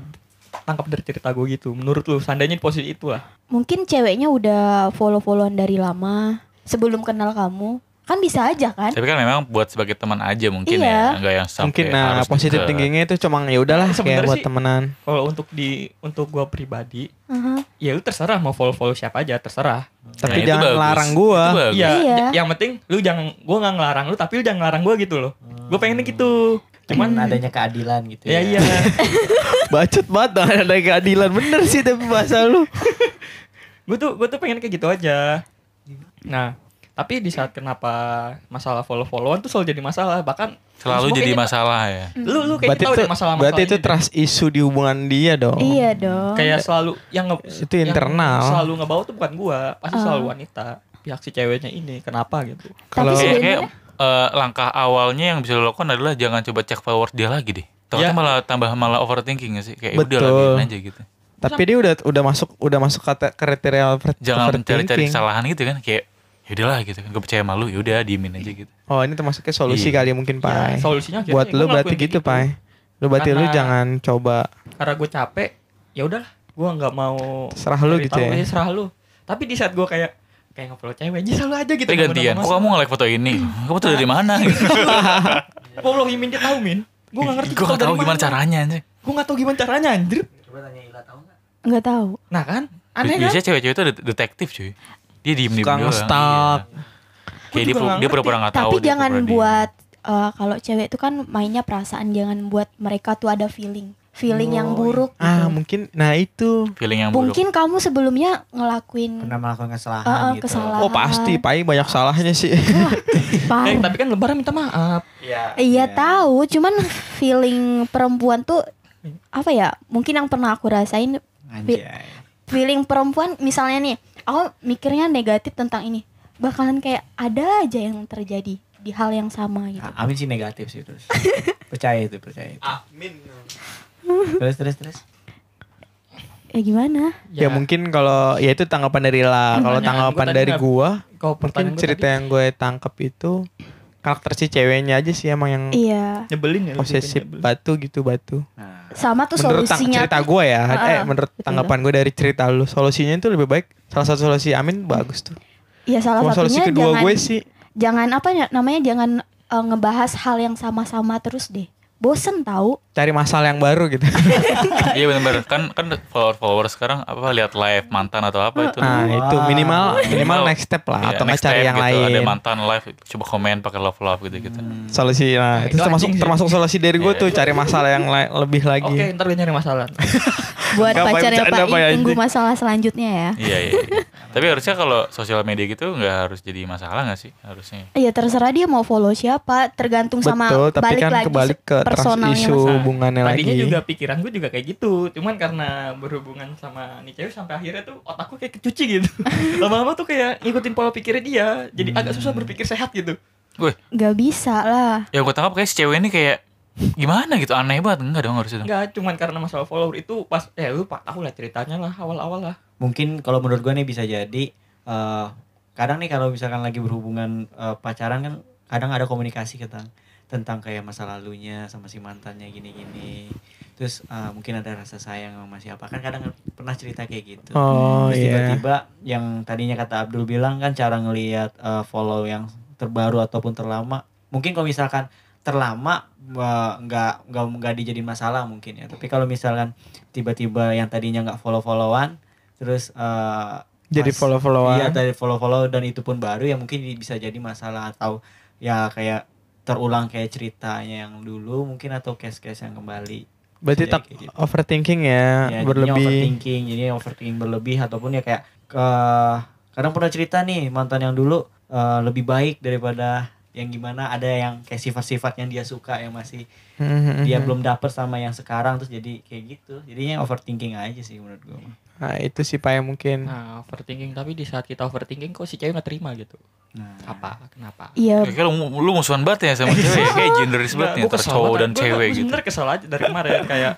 S4: tangkap dari cerita gue gitu menurut lu seandainya di posisi itu lah
S6: mungkin ceweknya udah follow-followan dari lama sebelum kenal kamu kan bisa aja kan
S3: Tapi kan memang buat sebagai teman aja mungkin ya,
S6: Iya.
S3: enggak yang sampai
S2: mungkin nah
S3: harus
S2: positif
S3: deket.
S2: tingginya itu cuma ya udahlah kayak
S4: Sebenarnya
S2: buat
S4: sih-
S2: temenan
S4: Kalau untuk di untuk gua pribadi,
S6: Aha.
S4: ya lu terserah mau follow follow siapa aja terserah.
S2: tapi
S3: Ya, itu
S2: jangan
S3: bagus.
S2: larang gua
S3: Itu bagus.
S4: Iya.
S6: Iya.
S4: j- Yang penting lu jangan gua nggak ngelarang lu tapi lu jangan ngelarang gua gitu loh. Gua pengennya gitu.
S5: Cuman
S4: Cuman
S5: adanya keadilan gitu
S4: Ya iya.
S2: bacot banget dong, ada keadilan bener sih tapi bahasa lu
S4: gue tuh gue tuh pengen kayak gitu aja nah tapi di saat kenapa masalah follow followan tuh selalu jadi masalah bahkan Semua
S3: Selalu jadi
S4: kayaknya-
S3: masalah ya.
S4: lu lu kayak
S2: berarti itu
S4: tahu deh masalah masalah
S2: berarti itu trust issue di hubungan dia dong
S6: iya dong
S4: kayak selalu yang nge,
S2: Itu internal.
S4: yang selalu ngebawa tuh bukan gua pasti
S6: Ah.
S4: selalu wanita pihak si ceweknya ini kenapa gitu
S6: tapi
S2: kalau-
S3: Kayak,
S6: sebenarnya
S3: kayak eh, langkah awalnya yang bisa lo lakukan adalah jangan coba cek forward dia lagi deh. Ternyata
S4: Ya.
S3: malah tambah malah overthinking gak sih? Kayak "Ya udah
S2: Betul.
S3: lagiin aja gitu.
S2: tapi dia udah udah masuk udah masuk kata kriteria over-
S3: Jangan mencari-cari
S2: overthinking.
S3: kesalahan gitu kan kayak ya udahlah gitu kan gue percaya malu ya udah diemin aja gitu.
S2: oh ini termasuknya solusi
S3: Iya.
S2: kali mungkin pai
S4: Ya, solusinya akhirnya
S2: buat
S4: gua
S2: lu berarti
S4: ngelakuin
S2: gitu
S4: kayak
S2: pai lu berarti lu
S4: Karena-
S2: jangan coba
S4: karena gue capek ya udahlah gue nggak mau
S2: Serah lu
S4: cari
S2: gitu
S4: Iya, tahu, eh,
S2: ya?
S4: serah lu tapi di saat gue kayak kayak nge-follow cewek aja selalu aja gitu
S3: Tapi gantian, kok kamu nge-like foto ini? Kamu tuh dari mana? Gitu.
S4: gue belum imin dia tahu min gue gak ngerti
S3: Gue gak tau gimana caranya anjir.
S4: gue gak tahu gimana caranya anjir
S5: Coba tanya Ila tahu enggak?
S6: nggak tahu
S4: Nah kan? Aneh kan?
S3: Biasanya cewek-cewek itu ada detektif cuy. Dia diem diem
S2: Suka
S3: doang.
S2: ngestalk.
S3: Iya.
S4: Gua
S3: Kayak dia,
S4: juga
S3: pu-
S4: nggak
S3: dia pura-pura gak tahu.
S6: tapi
S3: dia
S6: jangan
S3: pura-pura diem.
S6: buat eh, kalau cewek itu kan mainnya perasaan jangan buat mereka tuh ada feeling feeling yang buruk gitu.
S2: ah mungkin nah itu
S3: feeling yang buruk.
S6: mungkin kamu sebelumnya ngelakuin
S5: Pernah melakukan kesalahan
S6: Eh, eh,
S5: gitu.
S6: kesalahan.
S2: oh pasti pai banyak salahnya sih
S4: Eh,
S6: paham
S4: tapi kan lebaran minta maaf.
S5: Iya.
S6: Iya tahu, cuman feeling perempuan tuh apa ya? Mungkin yang pernah aku rasain
S5: Anjay.
S6: feeling perempuan misalnya nih, aku mikirnya negatif tentang ini. Bakalan kayak ada aja yang terjadi di hal yang sama gitu.
S5: Ah, Amin sih negatif sih terus. percaya itu, percaya itu. Terus terus terus.
S6: Ya gimana?
S2: ya
S4: Iya.
S2: mungkin kalau ya itu tanggapan dari lah kalau
S4: Pertanyaan
S2: tanggapan
S4: gua tadi
S2: dari
S4: nggak-
S2: gua
S4: Kalau
S2: mungkin
S4: pertanyaan gua
S2: cerita
S4: tadi,
S2: yang gue tangkep itu karakter si ceweknya aja sih emang yang
S6: Iya.
S4: nyebelin ya. lu
S2: posesif
S4: bikin nyebelin.
S2: batu gitu batu
S5: Nah,
S6: Sama tuh
S2: menurut tang-
S6: solusinya.
S2: cerita gue ya
S6: Ah,
S2: eh menurut
S6: betul.
S2: tanggapan gue dari cerita lu solusinya itu lebih baik salah satu solusi Amin bagus tuh
S6: Ya salah
S2: Cuma solusi
S6: satunya
S2: kedua
S6: jangan
S2: gue sih
S6: jangan apa ya, namanya jangan eh, ngebahas hal yang sama-sama terus deh. Bosen tahu.
S2: cari masalah yang baru gitu
S3: Iya benar-benar kan kan follower follower sekarang apa lihat live mantan atau apa itu.
S2: nah itu minimal minimal
S3: Minimal,
S2: next step lah
S3: Iya,
S2: atau nggak
S3: next
S2: cari
S3: time
S2: yang
S3: gitu,
S2: lain
S3: Ada mantan live coba komen pakai love love gitu gitu.
S2: solusi nah,
S4: Nah,
S2: itu
S4: itu
S2: termasuk
S4: anjing sih.
S2: termasuk solusi dari gue
S3: Iya.
S2: tuh cari masalah yang la- lebih lagi
S4: Oke, ntar gue nyari masalah.
S6: Buat
S2: Nggak, Pak,
S6: pacarnya
S2: bercanda, Pak,
S6: Pak
S2: ya,
S6: I,
S2: anjing.
S6: tunggu masalah selanjutnya ya.
S3: Iya iya. iya. Tapi harusnya kalau sosial media gitu nggak harus jadi masalah nggak sih harusnya.
S6: Ya terserah dia mau follow siapa, tergantung sama
S2: betul tapi
S6: balik
S2: kan
S6: lagi
S2: kebalik ke trust
S6: personalnya
S2: isu
S6: mas-
S2: hubungannya
S4: Tadinya
S2: lagi
S4: juga pikiran gue juga kayak gitu. Cuman karena berhubungan sama nih cewek sampai akhirnya tuh otak gue kayak kecuci gitu. Lama-lama tuh kayak ngikutin pola pikirnya dia.
S2: Hmm.
S4: Jadi agak susah berpikir sehat gitu.
S3: Wih,
S6: Gak bisa lah.
S3: ya gue tangkap kayak si cewek ini kayak gimana gitu aneh banget enggak dong harusnya dong.
S4: Enggak, cuman karena masalah follower itu pas eh lu pak tahu lah ceritanya lah awal-awal lah.
S5: mungkin kalau menurut gue nih bisa jadi eh, kadang nih kalau misalkan lagi berhubungan eh, pacaran kan kadang ada komunikasi tentang tentang kayak masa lalunya sama si mantannya gini-gini terus eh, mungkin ada rasa sayang sama siapa kan kadang pernah cerita kayak gitu
S2: oh
S5: terus
S2: iya
S5: tiba-tiba yang tadinya kata Abdul bilang kan cara ngelihat eh, follow yang terbaru ataupun terlama mungkin kalau misalkan terlama eh, nggak nggak nggak dijadiin masalah mungkin ya tapi kalau misalkan tiba-tiba yang tadinya nggak follow followan terus eh,
S2: jadi
S5: pas-
S2: follow followan
S5: Iya dari follow-follow dan itu pun baru ya mungkin bisa jadi masalah atau ya kayak terulang kayak ceritanya yang dulu mungkin atau case-case yang kembali.
S2: berarti
S5: Iya,
S2: tak
S5: kayak gitu.
S2: overthinking ya,
S5: Ya, jadinya
S2: berlebih
S5: overthinking, jadi overthinking berlebih ataupun ya kayak ke kadang pernah cerita nih mantan yang dulu eh, lebih baik daripada yang gimana ada yang kayak sifat-sifat yang dia suka yang masih
S2: Mhm.
S5: dia belum dapet sama yang sekarang terus jadi kayak gitu. Jadinya overthinking aja sih menurut gua. mah.
S2: nah itu sih pak yang
S3: Hmm.
S2: mungkin
S4: Nah, overthinking tapi di saat kita overthinking kok si cewek nggak terima gitu.
S5: Nah,
S4: Apa? Kenapa?
S6: Iya,
S3: Kayak lu, lu musuhan banget ya sama cewek
S2: Iya.
S3: ya? kayak genderis banget ya
S4: Gue
S3: antara cowok dan cewek
S4: Gue
S3: gitu.
S4: sebenernya kesel aja dari kemarin kayak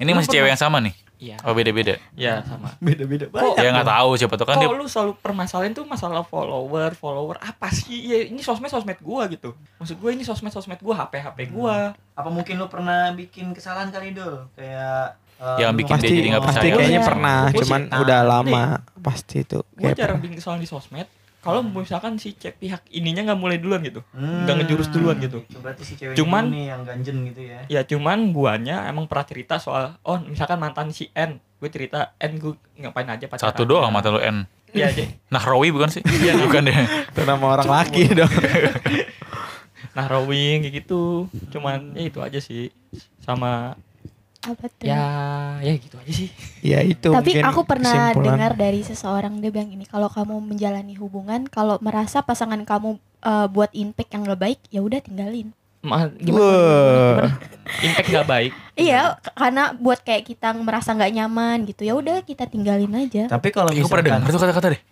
S3: Ini masih cewek yang sama nih?
S4: Iya
S3: Oh beda-beda.
S4: Iya sama
S5: Beda-beda
S2: Oh,
S5: banget.
S2: iya.
S3: Ya nggak tahu siapa tuh kan dia
S4: Kok lu selalu permasalahin tuh masalah follower Follower apa sih Ya ini sosmed-sosmed gua gitu Maksud gua ini sosmed-sosmed gua
S3: Hmm.
S4: HP-HP gua
S5: Apa mungkin lu pernah bikin kesalahan kali dul? Kayak eh,
S3: Yang
S5: lu
S3: bikin dia
S2: pasti
S3: jadi nggak
S2: pasti
S3: percaya.
S2: kayaknya
S6: Iya.
S2: pernah
S4: Gua sih
S2: cuman
S5: tahu.
S2: udah lama pasti itu
S4: Gua
S2: kayak
S4: jarang bikin kesalahan di sosmed kalau
S3: Hmm.
S4: misalkan si cewek pihak ininya nggak mulai duluan gitu
S5: Hmm.
S4: Nggak ngejurus duluan gitu.
S5: Berarti si cewek
S4: Cuman-
S5: ini yang ganjen gitu ya.
S4: ya cuman guanya emang pernah cerita soal oh misalkan mantan si N gue cerita N gue ngapain aja pacaran
S3: Satu doang mata lu N.
S4: ya aja
S3: Nahrawi bukan sih? Iya, bukan deh.
S2: Itu nama orang laki dong.
S4: nah rowing kayak gitu cuman ya itu aja sih sama
S2: Hmm.
S1: apa tuh?
S4: ya ya gitu aja sih
S2: ya itu
S1: Tapi
S2: mungkin
S1: aku pernah
S2: kesimpulan.
S1: dengar dari seseorang dia bilang ini kalau kamu menjalani hubungan kalau merasa pasangan kamu eh, buat impact yang gak baik ya udah tinggalin.
S2: Wah.
S4: Ma, gimana? impact nggak baik
S1: Iya, k- karena buat kayak kita merasa nggak nyaman gitu ya udah kita tinggalin aja.
S5: Tapi kalau
S3: Aku Iya, pernah
S5: misalkan
S3: dengar tuh kata-kata deh.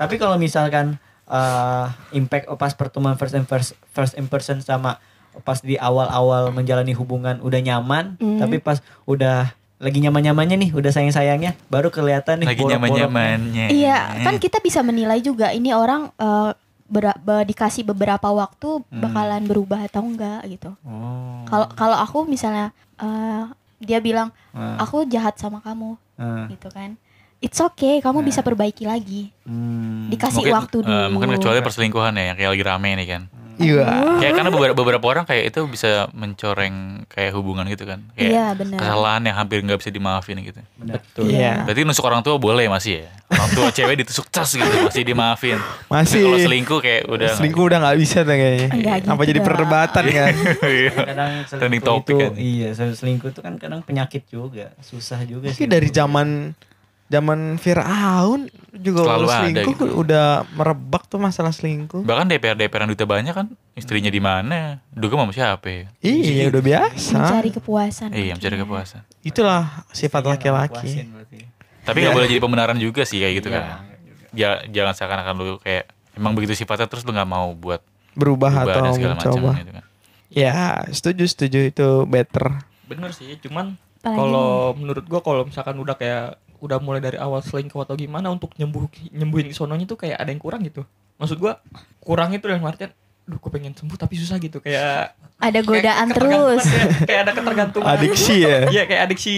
S5: Tapi kalau misalkan eh, impact pas pertemuan first and first first impression sama pas di awal-awal menjalani hubungan udah nyaman,
S2: Mhm.
S1: Hmm.
S5: tapi pas udah lagi nyaman-nyamannya nih, udah sayang-sayangnya, baru kelihatan nih
S3: Lagi
S5: bolak-bolak.
S3: nyaman-nyamannya.
S1: Iya, kan kita bisa menilai juga ini orang eh, bera- be- dikasih beberapa waktu
S5: Hmm.
S1: bakalan berubah atau enggak gitu.
S3: Hmm.
S5: Oh.
S1: Kalau kalau aku misalnya eh, dia bilang
S5: Nah,
S1: aku jahat sama kamu
S5: nah,
S1: gitu kan. It's okay, kamu bisa perbaiki lagi.
S5: hmm.
S1: Dikasih
S3: Mungkin,
S1: waktu dulu.
S3: eh, mungkin kecuali perselingkuhan ya, yang kayak lagi rame nih kan.
S2: Iya.
S3: Kayak karena beberapa, beberapa orang kayak itu bisa mencoreng kayak hubungan gitu kan. Kayak
S1: Iya, benar.
S3: kesalahan yang hampir nggak bisa dimaafin gitu.
S4: betul
S2: Iya.
S3: Berarti nusuk orang tua boleh masih ya. Orang tua cewek ditusuk cas gitu masih dimaafin. Tapi
S2: Masih.
S3: Kalau selingkuh kayak udah nggak-
S2: selingkuh udah nggak bisa deh kayaknya.
S1: Nggak gitu
S2: Apa jadi
S1: dong.
S2: perdebatan kan?
S3: Iya.
S5: Kadang
S3: Trending
S5: selingkuh
S3: topic
S5: itu,
S3: kan.
S5: iya, selingkuh itu kan kadang penyakit juga, susah juga
S2: Mungkin
S5: sih.
S2: dari zaman zaman Firaun juga
S3: Selalu
S2: kalau
S3: ada
S2: selingkuh
S3: gitu.
S2: udah merebak tuh masalah selingkuh.
S3: Bahkan DPR DPR yang duta banyak kan istrinya di mana? Duga sama siapa? ya?
S2: Iya, udah biasa.
S1: mencari kepuasan.
S3: Iya, mencari
S1: akhirnya.
S3: kepuasan.
S2: Itulah sifat
S5: Iya,
S2: laki-laki.
S5: puasin berarti.
S3: Tapi nggak boleh jadi pembenaran juga sih kayak gitu
S5: Iya,
S3: kan. Ja- jangan seakan-akan lu kayak emang begitu sifatnya terus lu nggak mau buat
S2: Berubah atau
S3: perubahan dan segala macam
S2: mencoba.
S3: gitu kan.
S2: Ya, setuju setuju itu better.
S4: bener sih cuman
S1: Apalagi
S4: kalau menurut gua kalau misalkan udah kayak udah mulai dari awal selingkuh atau gimana untuk nyembuh nyembuhin sononya tuh kayak ada yang kurang gitu maksud gua kurang itu dalam artian duh gue pengen sembuh tapi susah gitu kayak
S1: ada godaan
S4: kayak
S1: terus.
S4: ketergantungan, kayak, kayak ada ketergantungan
S2: Adiksi ya.
S4: Iya kayak adiksi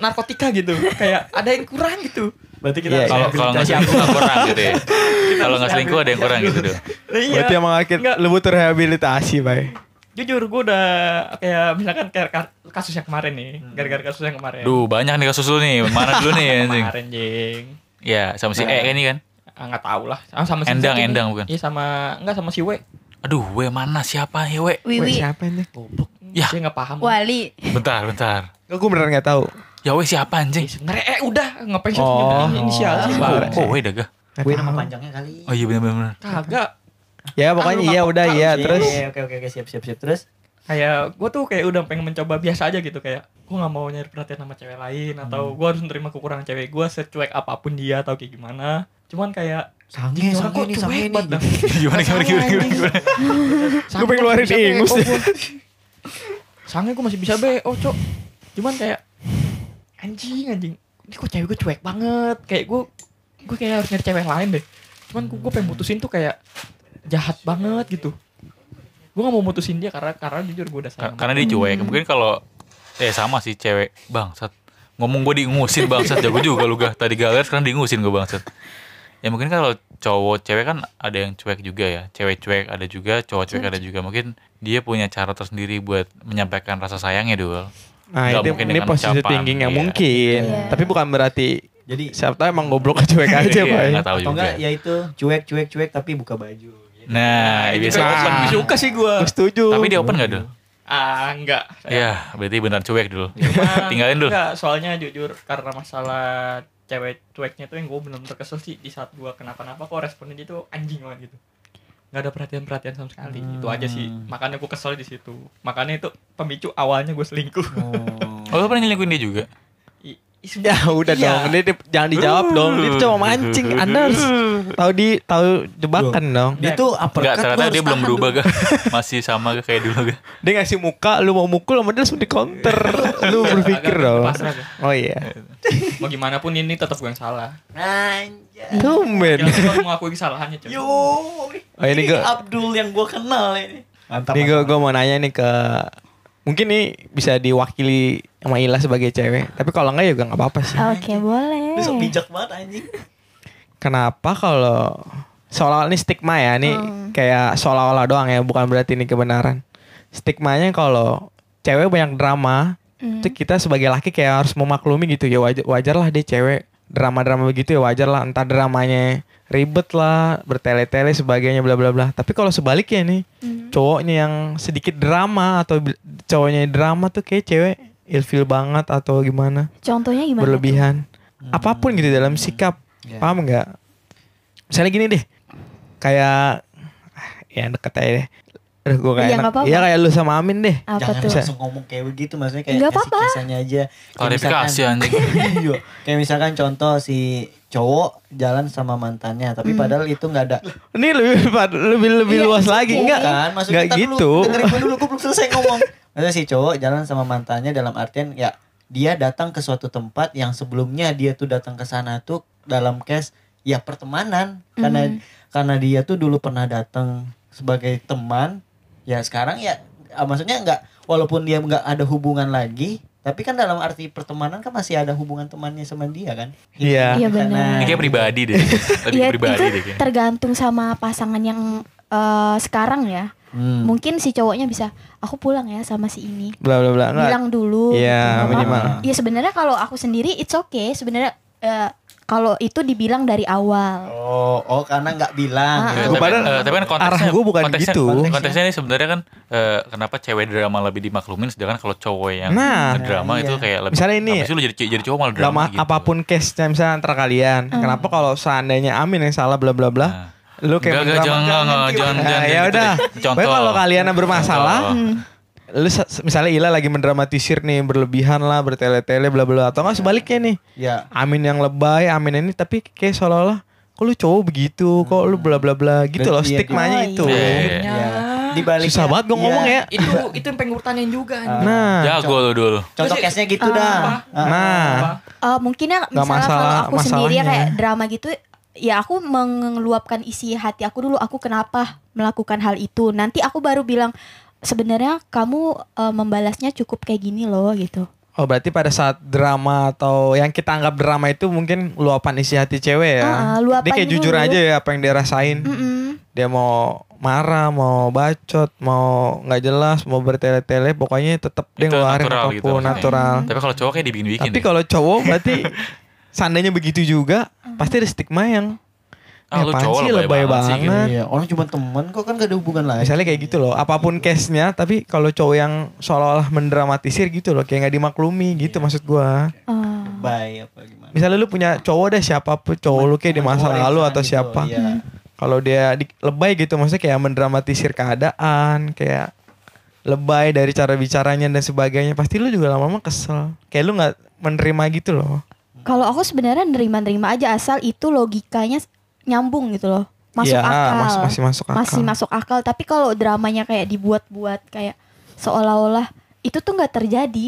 S4: narkotika gitu. kayak ada yang kurang gitu.
S5: Berarti kita
S2: Iya,
S3: Kalau
S5: harus
S3: kalau nggak
S5: rehabilitasi.
S3: selingkuh nggak kurang gitu ya. Kalau nggak selingkuh ada yang kurang gitu dong.
S4: Nah, iya.
S2: Berarti emang akhir
S4: Nggak.
S2: lu butuh rehabilitasi, Bay.
S4: Jujur gue udah kayak misalkan kayak ka- kasus yang kemarin nih, gara-gara kasus yang kemarin.
S3: Duh banyak nih kasus lu nih. Mana dulu nih anjing?
S4: Kemarin jeng.
S3: Ya sama si E ini kan.
S4: Ah, nggak tahu lah. Sama, sama si
S3: Endang,
S4: Zaki nih.
S3: Endang bukan?
S4: Iya sama enggak sama si We.
S3: Aduh, we mana siapa ya we?
S2: Wih,
S6: Wiwi,
S2: siapa ini?
S4: Goblok.
S3: Yah.
S4: Dia nggak paham.
S6: Wali,
S3: Bentar, bentar.
S2: Gue beneran nggak tahu.
S3: Ya we siapa
S4: Eh,
S3: anjing?
S4: sebenarnya eh udah ngapain sih
S2: Oh.
S4: nyebutin inisial sih
S2: Oh.
S4: Bang?
S3: Oh, we daga.
S2: Nggak
S5: Wih,
S2: tahu.
S5: nama panjangnya kali.
S3: Oh iya benar-benar.
S4: Kagak.
S2: Ya
S4: Ah,
S2: pokoknya
S4: lu
S2: iya
S4: nggak
S2: udah
S4: peka
S2: iya
S5: Iya,
S2: terus
S5: iya, oke oke oke, siap siap siap terus.
S4: kayak gue tuh kayak udah pengen mencoba biasa aja gitu kayak gue nggak mau nyari perhatian sama cewek lain atau gue harus menerima kekurangan cewek gue secuek apapun dia atau kayak gimana cuman kayak
S5: Sange,
S4: orang
S5: sange
S4: kok
S5: ini,
S4: cuek
S5: sange
S4: banget,
S5: ini.
S4: Bang.
S3: Gimana gimana gimana gimana. gimana?
S4: Sange
S2: pengen
S4: gua
S2: ngeluarin
S4: masih bisa
S2: ingus.
S4: BO gua. sange gue masih bisa BO cok cuman kayak anjing anjing ini kok cewek gue cuek banget kayak gue gue kayak harus nyari cewek lain deh cuman gue pengen mutusin tuh kayak jahat banget gitu gue gak mau mutusin dia karena karena jujur gue udah
S3: Kar-
S4: sayang
S3: Karena dia cuek. Mungkin kalau eh sama sih cewek bangsat. Ngomong gue diingusin bangsat. Jago juga lu gah. Tadi galer sekarang diingusin gue bangsat. Ya mungkin kalau cowok cewek kan ada yang cuek juga ya. Cewek cuek ada juga, cowok cuek ada juga. Mungkin dia punya cara tersendiri buat menyampaikan rasa sayangnya dulu.
S2: Nah
S3: Nggak
S2: itu
S3: mungkin
S2: ini
S3: dengan
S2: positif
S3: ucapan,
S2: thinking yang
S3: iya.
S2: mungkin
S1: Iya.
S2: Tapi bukan berarti
S5: Jadi
S2: Siapa tau emang goblok cuek aja gitu,
S3: Iya,
S2: Bay
S3: nggak tahu
S5: atau
S3: juga.
S5: enggak ya itu cuek cuek cuek tapi buka baju. Gitu.
S3: Nah,
S4: Itu
S3: biasa
S4: kayak
S2: Ah.
S4: open, suka sih gue
S2: Gua setuju
S3: Tapi dia open gak dulu?
S4: ah enggak
S3: Ya, berarti benar cuek dulu.
S4: Cuman,
S3: Tinggalin dulu.
S4: Nah, Enggak, soalnya jujur karena masalah cewek cueknya tuh yang gue bener-bener kesel sih di saat gue kenapa-napa kok responnya dia tuh anjing banget gitu. Nggak ada perhatian-perhatian sama sekali.
S5: Hmm.
S4: Itu aja sih. Makanya gue kesel di situ. Makanya itu pemicu awalnya gue selingkuh.
S3: Oh, lu pernah nyelingkuhin dia juga?
S4: I- i-
S2: Ya udah
S4: Iya.
S2: dong Ini di- jangan dijawab dong Dia tuh cuma mancing Anda harus tahu di tahu jebakan dong
S5: Dia tuh
S3: Nah, Enggak,
S5: uppercut
S3: ternyata
S5: lu
S3: dia
S5: harus
S3: belum
S5: tahan
S3: berubah gak? Masih sama gak kayak dulu gak?
S2: Dia ngasih muka Lu mau mukul sama dia langsung di counter Lu berpikir
S4: Agak
S2: dong
S4: pasrah gua.
S2: Oh iya
S4: Mau gimana pun ini tetap gue yang salah.
S5: dulu. Anjay.
S2: Tumben
S4: Yang gue mengakui kesalahannya cuy.
S5: Yo,
S2: Oh, ini gua-
S5: Abdul yang gue kenal ini. Mantap.
S2: Nih gue mau nanya nih ke Mungkin nih bisa diwakili sama Ila sebagai cewek Tapi kalau enggak ya juga
S6: Oh, Ah,
S2: nggak apa-apa sih
S1: Oke, boleh.
S5: Besok bijak banget anjing.
S2: Kenapa kalau seolah-olah ini stigma ya ini
S6: Hmm.
S2: kayak seolah-olah doang ya bukan berarti ini kebenaran stigmanya kalau cewek banyak drama
S6: Hmm.
S2: itu kita sebagai laki kayak harus memaklumi gitu ya wajar wajar lah dia cewek drama-drama begitu ya wajar lah entah dramanya ribet lah bertele-tele sebagainya bla bla bla tapi kalau sebaliknya nih
S6: Hmm.
S2: cowoknya yang sedikit drama atau bi- cowoknya drama tuh kayak cewek ilfil banget atau gimana,
S6: Contohnya gimana? Hmm.
S2: berlebihan apapun gitu dalam sikap
S5: Ya.
S2: paham nggak misalnya gini deh kayak ah, ya deket aja deh Aduh, gua kayak
S6: Iya,
S2: enak.
S6: nggak apa-apa.
S2: Iya, kayak lu sama Amin deh
S6: Apa
S5: Jangan
S6: tuh?
S5: langsung ngomong kayak begitu maksudnya kayak
S6: Nggak
S5: kasih
S6: apa-apa.
S5: kisahnya aja. Kayak
S3: Klarifikasi,
S5: misalkan-
S3: anjing.
S5: Iya. Kayak misalkan contoh si cowok jalan sama mantannya tapi
S6: Hmm.
S5: padahal itu nggak ada
S2: ini lebih lebih lebih
S6: Iya,
S2: luas
S6: it's
S2: lagi
S6: okay.
S2: enggak
S5: kan maksud
S2: nggak
S5: kita
S2: gitu
S5: dulu dengerin gue dulu gue belum selesai ngomong maksudnya si cowok jalan sama mantannya dalam artian ya dia datang ke suatu tempat yang sebelumnya dia tuh datang ke sana tuh dalam case ya pertemanan karena
S6: Mhm.
S5: karena dia tuh dulu pernah datang sebagai teman ya sekarang ya ah, maksudnya nggak walaupun dia nggak ada hubungan lagi tapi kan dalam arti pertemanan kan masih ada hubungan temannya sama dia kan
S2: Iya.
S6: Iya,
S5: Karena-
S6: benar.
S3: Ini kayak pribadi deh. Lebih
S6: Iya,
S3: pribadi
S6: itu
S3: deh kayaknya.
S6: tergantung sama pasangan yang eh, sekarang ya.
S5: Hmm.
S6: Mungkin si cowoknya bisa aku pulang ya sama si ini.
S2: bla bla bla enggak
S6: Bilang dulu.
S2: Iya,
S6: gitu.
S2: minimal.
S6: Iya, sebenarnya kalau aku sendiri it's okay. Sebenarnya eh, kalau itu dibilang dari awal.
S5: oh oh karena nggak bilang gitu.
S6: Ah,
S3: Ya,
S2: Gua
S3: tapi,
S2: padahal
S3: eh, tapi kan konteksnya,
S2: arah gua bukan
S3: konteksnya,
S2: gitu.
S3: Konteksnya ini sebenarnya kan eh, kenapa cewek drama lebih dimaklumin sedangkan kalau cowok yang
S2: Nah.
S3: drama
S5: Nah,
S3: itu
S5: iya.
S3: kayak lebih
S2: Misalnya ini-
S3: apa sih lu jadi jadi cowok malah drama
S2: drama
S3: gitu.
S2: apapun case nya misalnya antara kalian
S6: Hmm.
S2: kenapa kalau seandainya Amin yang salah bla bla bla
S3: Nah.
S2: lu kayak
S3: Enggak, enggak,
S2: mendrama-
S3: jangan, jangan, jangan,
S2: Nah, ya
S3: jangan gitu
S2: udah
S3: deh. Contoh.
S2: Pokoknya kalau hmm, kalian bermasalah
S3: Contoh.
S2: lu sa- misalnya Ila lagi mendramatisir nih berlebihan lah bertele-tele bla bla atau nggak sebaliknya nih
S5: ya
S2: Amin yang lebay Amin ini tapi kayak seolah-olah kok lu cowok begitu kok lu bla bla bla gitu
S5: Dan
S2: loh
S5: iya,
S2: stigmanya
S6: iya.
S2: itu
S3: Iya, iya, iya.
S4: Ya.
S5: Ya. Di baliknya-
S2: susah banget gue
S5: Iya. Ah.
S2: ngomong ya
S4: itu itu yang pengen gue tanyain juga anjing.
S2: nah
S3: Jago lu dulu.
S5: Contoh
S4: Terus-
S5: case-nya gitu dah. Ah.
S2: nah
S4: Apa?
S6: Eh, mungkin ya
S2: Nggak
S6: misalnya kalau
S2: masalah-
S6: aku sendiri ya
S2: masalahnya.
S6: kayak drama gitu ya aku mengeluapkan isi hati aku dulu aku kenapa melakukan hal itu nanti aku baru bilang sebenarnya kamu eh, membalasnya cukup kayak gini loh gitu
S2: oh berarti pada saat drama atau yang kita anggap drama itu mungkin luapan isi hati cewek ya
S6: Ah, ah, luapan
S2: dia kayak jujur
S6: dulu.
S2: aja ya apa yang dia rasain
S6: Mm-mm.
S2: dia mau marah, mau bacot, mau nggak jelas, mau bertele-tele, pokoknya tetap dia
S3: Itu
S2: ngeluarin
S3: natural
S2: apapun
S3: gitu maksudnya.
S2: natural.
S3: Tapi kalau cowok kayak dibikin-bikin.
S2: Tapi
S3: deh.
S2: kalau cowok berarti seandainya begitu juga, pasti ada stigma yang
S3: Ah,
S2: "Eh,
S3: lu
S2: apaan
S3: cowok
S2: sih,
S3: lebay banget sih," gitu.
S2: banget.
S5: Iya, orang cuma temen kok kan gak ada hubungan lagi.
S2: Nah. Misalnya kayak gitu loh, apapun case-nya, tapi kalau cowok yang seolah-olah mendramatisir gitu loh, kayak nggak dimaklumi gitu maksud gua.
S6: Eh,
S5: Bye apa gimana.
S2: Misalnya lu punya cowok deh siapapun, cowok lu kayak di masa
S5: Orang
S2: lalu
S5: sana
S2: atau
S5: gitu,
S2: siapa.
S5: Iya.
S2: kalau dia di- lebay gitu maksudnya kayak mendramatisir keadaan kayak lebay dari cara bicaranya dan sebagainya pasti lu juga lama-lama kesel kayak lu nggak menerima gitu loh
S6: kalau aku sebenarnya nerima-nerima aja asal itu logikanya s- nyambung gitu loh masuk
S2: Iya,
S6: akal
S2: mas- masih masuk akal
S6: masih masuk akal tapi kalau dramanya kayak dibuat-buat kayak seolah-olah itu tuh nggak terjadi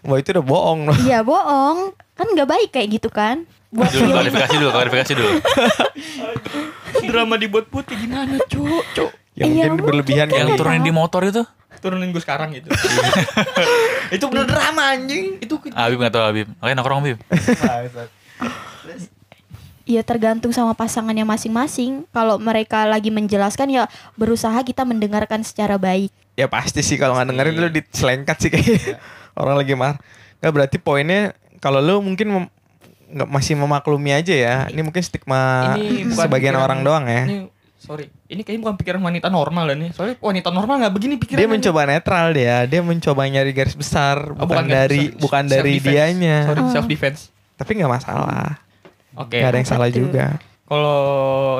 S2: wah itu udah bohong loh
S6: Iya bohong Kan gak baik kayak gitu kan
S3: Dulu
S6: Buat feeling
S3: klarifikasi dulu, klarifikasi dulu.
S4: drama dibuat putih gimana cuk cuk
S2: ya
S6: Iya,
S2: mungkin
S6: mungkin
S2: berlebihan
S6: kan
S3: Yang
S2: kali
S3: turunin di motor itu?
S4: turunin gue sekarang gitu itu bener drama anjing itu ke-
S3: Habib enggak tahu Habib. Oke, nongkrong Habib.
S6: Ya tergantung sama pasangannya masing-masing Kalau mereka lagi menjelaskan ya Berusaha kita mendengarkan secara baik
S2: ya pasti sih kalau nggak dengerin lu diselengkat sih
S4: Iya.
S2: kayak orang lagi marah nggak berarti poinnya kalau lu mungkin mem- nggak masih memaklumi aja ya ini mungkin stigma
S4: bukan
S2: sebagian
S4: pikiran-
S2: orang doang ya
S4: ini, sorry ini kayaknya bukan pikiran wanita normal ya nih soalnya wanita normal nggak begini pikirannya
S2: dia mencoba netral dia dia mencoba nyari garis besar
S4: Oh,
S2: bukan
S4: garis
S2: dari
S4: besar.
S2: bukan
S4: Self
S2: dari
S4: defense.
S2: dianya
S4: sorry self defense
S2: tapi nggak masalah
S4: oke
S2: nggak ada yang
S6: Apa
S2: salah
S6: tuh?
S2: juga
S4: kalau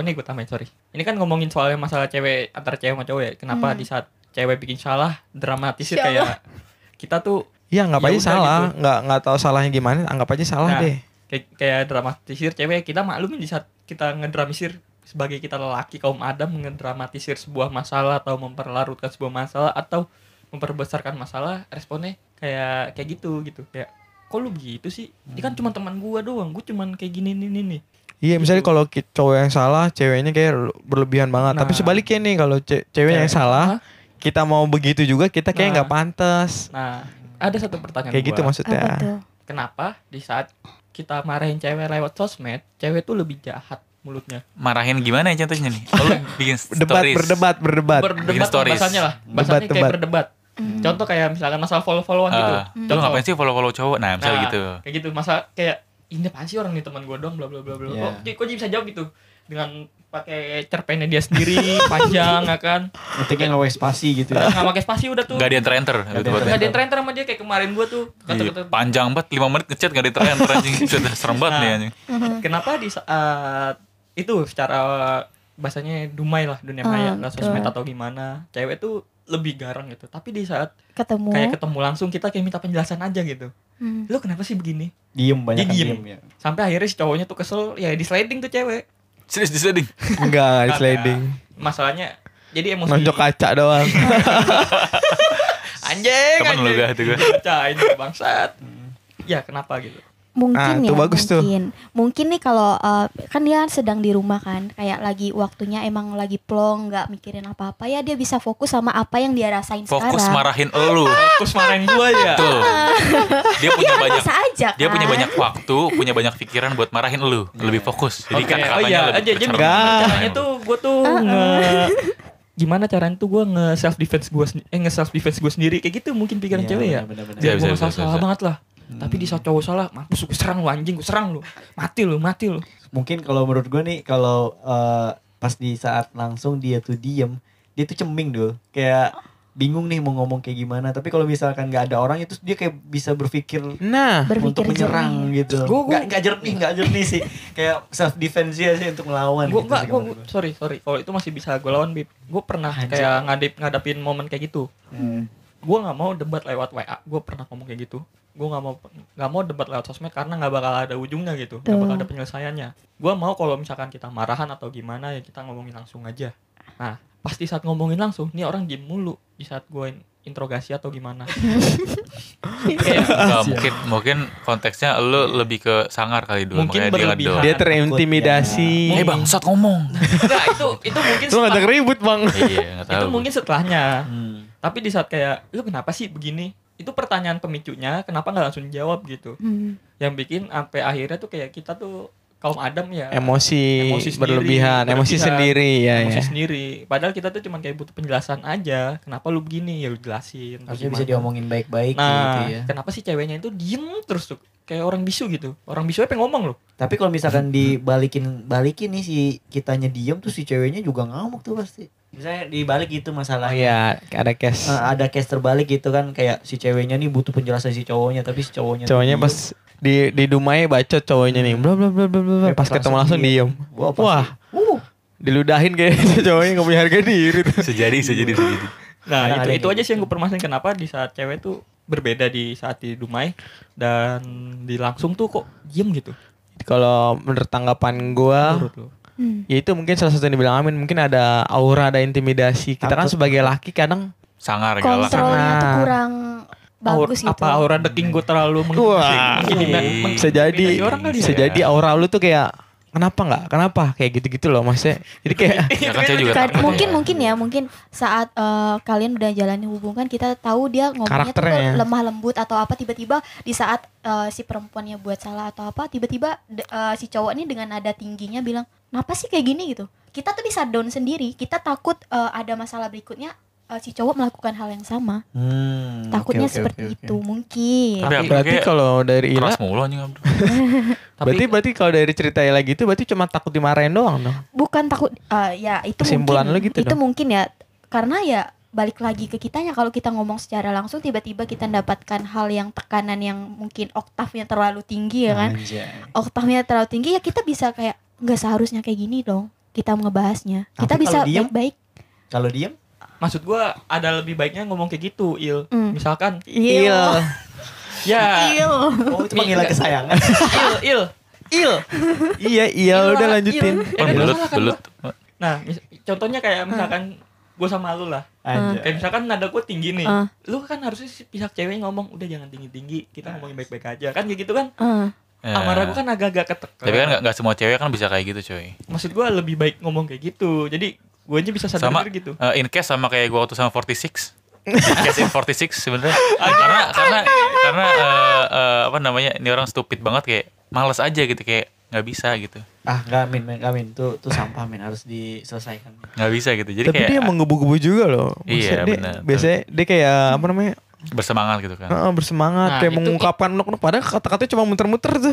S4: ini gue tambahin sorry ini kan ngomongin soal masalah cewek antara cewek sama cowok ya kenapa di saat cewek bikin salah dramatisir kayak kita tuh
S2: Iya nggak
S4: Ya
S2: aja
S4: udah
S2: salah
S4: gitu.
S2: nggak nggak tahu salahnya gimana anggap aja salah
S4: Nah.
S2: deh
S4: kayak, kayak dramatisir cewek kita maklumin di saat kita ngedramatisir sebagai kita lelaki kaum Adam ngedramatisir sebuah masalah atau memperlarutkan sebuah masalah atau memperbesarkan masalah responnya kayak kayak gitu gitu kayak kok lu begitu sih ini
S2: Hmm.
S4: kan cuma teman gua doang gua cuman kayak gini nih nih nih
S2: iya misalnya
S4: gitu.
S2: kalau ki- cowok yang salah ceweknya kayak berlebihan banget tapi
S4: Nah.
S2: sebaliknya nih kalau ce- cewek yang
S4: Cewek-
S2: salah
S4: Hah?
S2: kita mau begitu juga kita kayak
S4: Nah.
S2: nggak pantas
S4: nah ada satu pertanyaan
S2: kayak gitu
S4: gua.
S6: Apa
S2: maksudnya
S6: tuh
S4: kenapa di saat kita marahin cewek lewat sosmed cewek tuh lebih jahat mulutnya.
S3: Marahin gimana ya contohnya nih? Kalau bikin
S2: Debat,
S3: stories.
S2: berdebat, berdebat.
S3: Bikin
S4: Berdebat
S3: stories.
S4: bahasanya lah. Bahasanya
S2: Debat,
S4: kayak
S2: debat.
S4: berdebat.
S1: Hmm.
S4: Contoh kayak misalkan masalah follow-followan gitu.
S3: Ah, lu
S4: Contoh.
S3: ngapain sih follow-follow cowok? Nah, misal
S4: Nah,
S3: gitu.
S4: Kayak gitu, masa kayak ini apaan sih orang nih teman gue dong bla bla bla bla.
S5: Iya.
S4: Oh, kok dia bisa jawab gitu dengan pakai cerpennya dia sendiri panjang ya kan
S5: Ngetiknya nggak pakai spasi gitu ya.
S4: nggak pakai spasi udah tuh
S3: Gak di enter-enter.
S5: Nggak
S3: gitu,
S5: di
S4: nggak
S3: buatnya.
S4: ada yang terenter sama dia kayak kemarin gue tuh Kan kata
S3: Iya,
S4: kata
S3: Panjang banget, 5 menit ngechat gak di enter-enter anjing. Sudah serem banget nih anjing.
S4: kenapa di saat itu secara eh, bahasanya dumai lah dunia
S1: Ah,
S4: maya lah
S1: betul.
S4: sosmed atau gimana cewek tuh lebih garang gitu tapi di saat
S6: ketemu
S4: kayak ketemu langsung kita kayak minta penjelasan aja gitu
S1: Hmm.
S4: lu kenapa sih begini
S5: Diem banyak
S4: Dia
S5: diem.
S4: diem.
S5: ya.
S4: sampai akhirnya si cowoknya tuh kesel ya di sliding tuh cewek
S3: Serius di sliding.
S2: Enggak, enggak di sliding.
S4: masalahnya jadi emosi
S2: Nonjok kaca doang.
S4: anjing
S3: Temen lu
S4: anjing.
S3: gak itu gue.
S4: Dibacain, bangsat ya kenapa gitu
S2: Nah,
S6: mungkin
S2: itu
S6: ya
S2: bagus tuh.
S6: mungkin mungkin nih kalau eh, kan dia sedang di rumah kan kayak lagi waktunya emang lagi plong nggak mikirin apa apa ya dia bisa fokus sama apa yang dia rasain
S3: Fokus
S6: sekarang
S3: marahin elu.
S4: terus marahin gua ya
S3: Betul. Dia punya banyak
S6: bisa aja
S3: dia
S6: kan?
S3: punya banyak waktu, punya banyak pikiran buat marahin lu, lebih fokus. Jadi
S4: Iya.
S3: kan
S4: Oke, oh
S3: kata-katanya
S4: iya, aja
S3: lebih
S4: jadi
S3: bercermin.
S2: Enggak.
S4: caranya tuh gue tuh nge gimana caranya tuh gue nge self defense gue eh nge self defense gue sendiri kayak gitu mungkin pikiran
S5: Iya,
S4: cewek ya
S5: benar-benar.
S3: Iya,
S4: jadi
S3: bisa,
S4: gue
S3: bisa,
S4: salah
S3: bisa,
S4: salah
S3: bisa.
S4: banget lah tapi di saat cowok salah mampus gue serang lu anjing gue serang lu mati lu mati lu
S5: Mungkin kalau menurut gue nih kalau eh, pas di saat langsung dia tuh diem, dia tuh ceming dulu. Kayak bingung nih mau ngomong kayak gimana. Tapi kalau misalkan nggak ada orang itu dia kayak bisa berpikir
S2: Nah,
S5: untuk
S6: berpikir jernih.
S5: menyerang gitu.
S4: Gua- gua-
S5: Nggak nggak jernih, nggak jernih sih. Kayak self defense dia sih untuk melawan.
S4: gue
S5: gitu
S4: enggak
S5: sih
S4: gue
S5: menurut gua.
S4: sorry sorry kalau itu masih bisa gue lawan bib gue pernah
S5: Anjing.
S4: kayak ngadep ngadapin momen kayak gitu
S5: Hmm.
S4: gue nggak mau debat lewat wa gue pernah ngomong kayak gitu gue nggak mau nggak mau debat lewat sosmed karena nggak bakal ada ujungnya gitu nggak
S6: Tuh.
S4: bakal ada penyelesaiannya gue mau kalau misalkan kita marahan atau gimana ya kita ngomongin langsung aja nah pasti saat ngomongin langsung nih orang diem mulu di saat gue interogasi atau gimana Kayak
S3: Enggak, mungkin mungkin konteksnya lu lebih ke sangar kali dulu
S4: Mungkin
S3: makanya dia
S4: berlebihan.
S3: ngedor.
S2: dia terintimidasi.
S3: Eh bangsat ngomong.
S4: enggak, itu itu mungkin
S2: Lu ngajak
S4: setelah-
S2: ribut, Bang.
S3: Iya, enggak tahu.
S4: itu mungkin setelahnya
S5: Hmm.
S4: tapi di saat kayak lu kenapa sih begini itu pertanyaan pemicunya kenapa nggak langsung jawab gitu
S1: Hmm.
S4: yang bikin sampai akhirnya tuh kayak kita tuh kaum adam ya
S2: Emosi,
S4: Emosi sendiri,
S2: berlebihan, emosi
S4: berlebihan.
S2: sendiri ya
S4: emosi
S2: ya.
S4: sendiri. Padahal kita tuh cuman kayak butuh penjelasan aja. Kenapa lu begini? Ya lu jelasin.
S5: Harusnya
S4: Gimana?
S5: bisa diomongin baik-baik
S4: Nah,
S5: gitu ya.
S4: kenapa sih ceweknya itu diem terus tuh? Kayak orang bisu gitu. Orang bisu pengen ngomong loh.
S5: Tapi kalau misalkan dibalikin balikin nih si kitanya diem tuh si ceweknya juga ngamuk tuh pasti. Misalnya dibalik gitu
S2: Oh
S5: masalahnya.
S2: iya, ada case.
S4: Ah.
S5: Eh, ada case terbalik gitu kan kayak si ceweknya nih butuh penjelasan si cowoknya tapi si cowoknya tuh
S2: Cowoknya
S5: diem.
S2: pas di di Dumai bacot cowoknya nih. Bla bla bla bla bla.
S5: Eh,
S2: Iya, Pas ketemu
S5: langsung
S2: langsung diem.
S5: Wah, pasti.
S2: Wah,
S5: Uh,
S2: diludahin kayak gitu, cowoknya gak punya harga diri. tuh.
S3: sejadi sejadi sejadi.
S4: Nah,
S5: Karena ada gitu.
S4: itu itu
S5: yang
S4: aja sih yang gue permasalahin kenapa di saat cewek tuh berbeda di saat di Dumai dan di langsung tuh kok diem gitu.
S2: Kalau menurut tanggapan gua,
S4: Menurut lu.
S1: Hmm.
S2: ya itu mungkin salah satu yang dibilang Amin mungkin ada aura ada intimidasi. Kita kan
S5: Takut.
S2: sebagai laki kadang
S3: Sangar galak.
S6: kontrolnya tuh
S2: Karena-
S6: kurang
S4: Aur-
S6: bagus gitu
S4: Apa aura deking gue terlalu Iya. meng-
S2: Wah.
S3: Iya.
S4: mengintimidasi-
S2: bisa jadi
S4: mengintimidasi orang kali
S2: bisa
S4: ya?
S3: ya.
S2: jadi aura lu tuh kayak kenapa nggak kenapa kayak gitu-gitu loh maksudnya. Jadi kayak
S4: Iya
S3: Ya kan saya juga
S5: Iya,
S1: Kad-
S3: takut.
S6: mungkin
S3: ya.
S6: mungkin ya mungkin saat eh, kalian udah jalani hubungan kita tahu dia ngomongnya tuh
S5: ya.
S2: Karakternya.
S6: lemah lembut atau apa tiba-tiba di saat eh, si perempuannya buat salah atau apa tiba-tiba de- eh, si cowok ini dengan nada tingginya bilang kenapa sih kayak gini gitu kita tuh bisa down sendiri kita takut eh, ada masalah berikutnya eh, si cowok melakukan hal yang sama
S5: hmm,
S6: takutnya
S5: oke, oke,
S6: seperti
S5: oke, oke.
S6: itu mungkin
S4: Iya,
S3: Tapi aku
S2: berarti
S3: kayak
S2: kalau dari Ila
S3: keras mulu anjing Abdul.
S4: Eh,
S2: berarti berarti kalau dari cerita Ila gitu berarti cuma takut dimarahin doang dong.
S6: bukan takut eh, ya itu
S2: Kesimpulan
S6: mungkin
S2: lu gitu
S6: itu
S2: dong.
S6: mungkin ya karena ya balik lagi ke kitanya kalau kita ngomong secara langsung tiba-tiba kita mendapatkan hal yang tekanan yang mungkin oktavnya terlalu tinggi ya
S2: Nah.
S6: kan
S5: Anjay.
S6: oktavnya terlalu tinggi ya kita bisa kayak nggak seharusnya kayak gini dong kita ngebahasnya
S5: Tapi
S6: kita
S5: kalau
S6: bisa
S5: diem?
S6: baik-baik
S5: Kalau diem
S4: Maksud gue ada lebih baiknya ngomong kayak gitu, Il.
S6: Hmm. Iya.
S4: Misalkan,
S2: Iya.
S4: ya
S5: Oh itu panggilan kesayangan
S4: il il il
S2: Iya, iya
S4: Iya,
S2: udah
S4: iya.
S2: lanjutin.
S4: Eh,
S3: Oh,
S4: udah
S3: belut
S4: salah kan
S3: belut.
S4: nah mis- contohnya kayak
S6: Hmm.
S4: misalkan gue sama lu lah
S5: Anjay.
S4: kayak misalkan nada gue tinggi nih
S6: Hmm.
S1: Ah.
S4: lu kan harusnya si pihak cewek ngomong udah jangan tinggi tinggi kita ngomongin baik baik aja kan kayak gitu kan
S1: Eh,
S3: Ya.
S4: amarah gue kan agak agak ketekan
S3: Tapi kan nggak nggak semua cewek kan bisa kayak gitu coy.
S4: maksud gue lebih baik ngomong kayak gitu jadi gue aja bisa sadar
S3: Sama
S4: diri gitu
S3: eh, in case sama kayak gua waktu sama 46. In case in 46 sebenarnya. karena karena karena eh, eh, apa namanya ini orang stupid banget kayak malas aja gitu kayak nggak bisa gitu
S5: ah nggak min min nggak, min tuh tuh sampah min harus diselesaikan
S3: nggak bisa gitu jadi
S2: Tapi
S3: kayak
S2: dia menggebu-gebu juga loh. Maksudnya
S3: Iya,
S2: dia,
S3: benar.
S2: Biasanya dia kayak apa namanya?
S3: bersemangat gitu kan
S2: Heeh, bersemangat
S4: Nah,
S2: kayak
S4: itu-
S2: mengungkapkan nok-nok padahal kata-katanya cuma muter-muter tuh.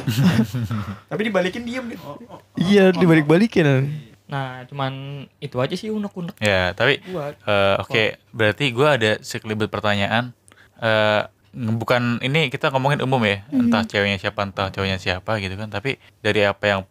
S5: tapi dibalikin diem nih
S2: iya, dibalik-balikin.
S4: Nah, cuman itu aja sih unek-unek
S3: ya tapi
S4: gua.
S3: eh, oke berarti gue ada sekelibet pertanyaan Eh, bukan ini kita ngomongin umum ya entah ceweknya siapa entah cowoknya siapa gitu kan tapi dari apa yang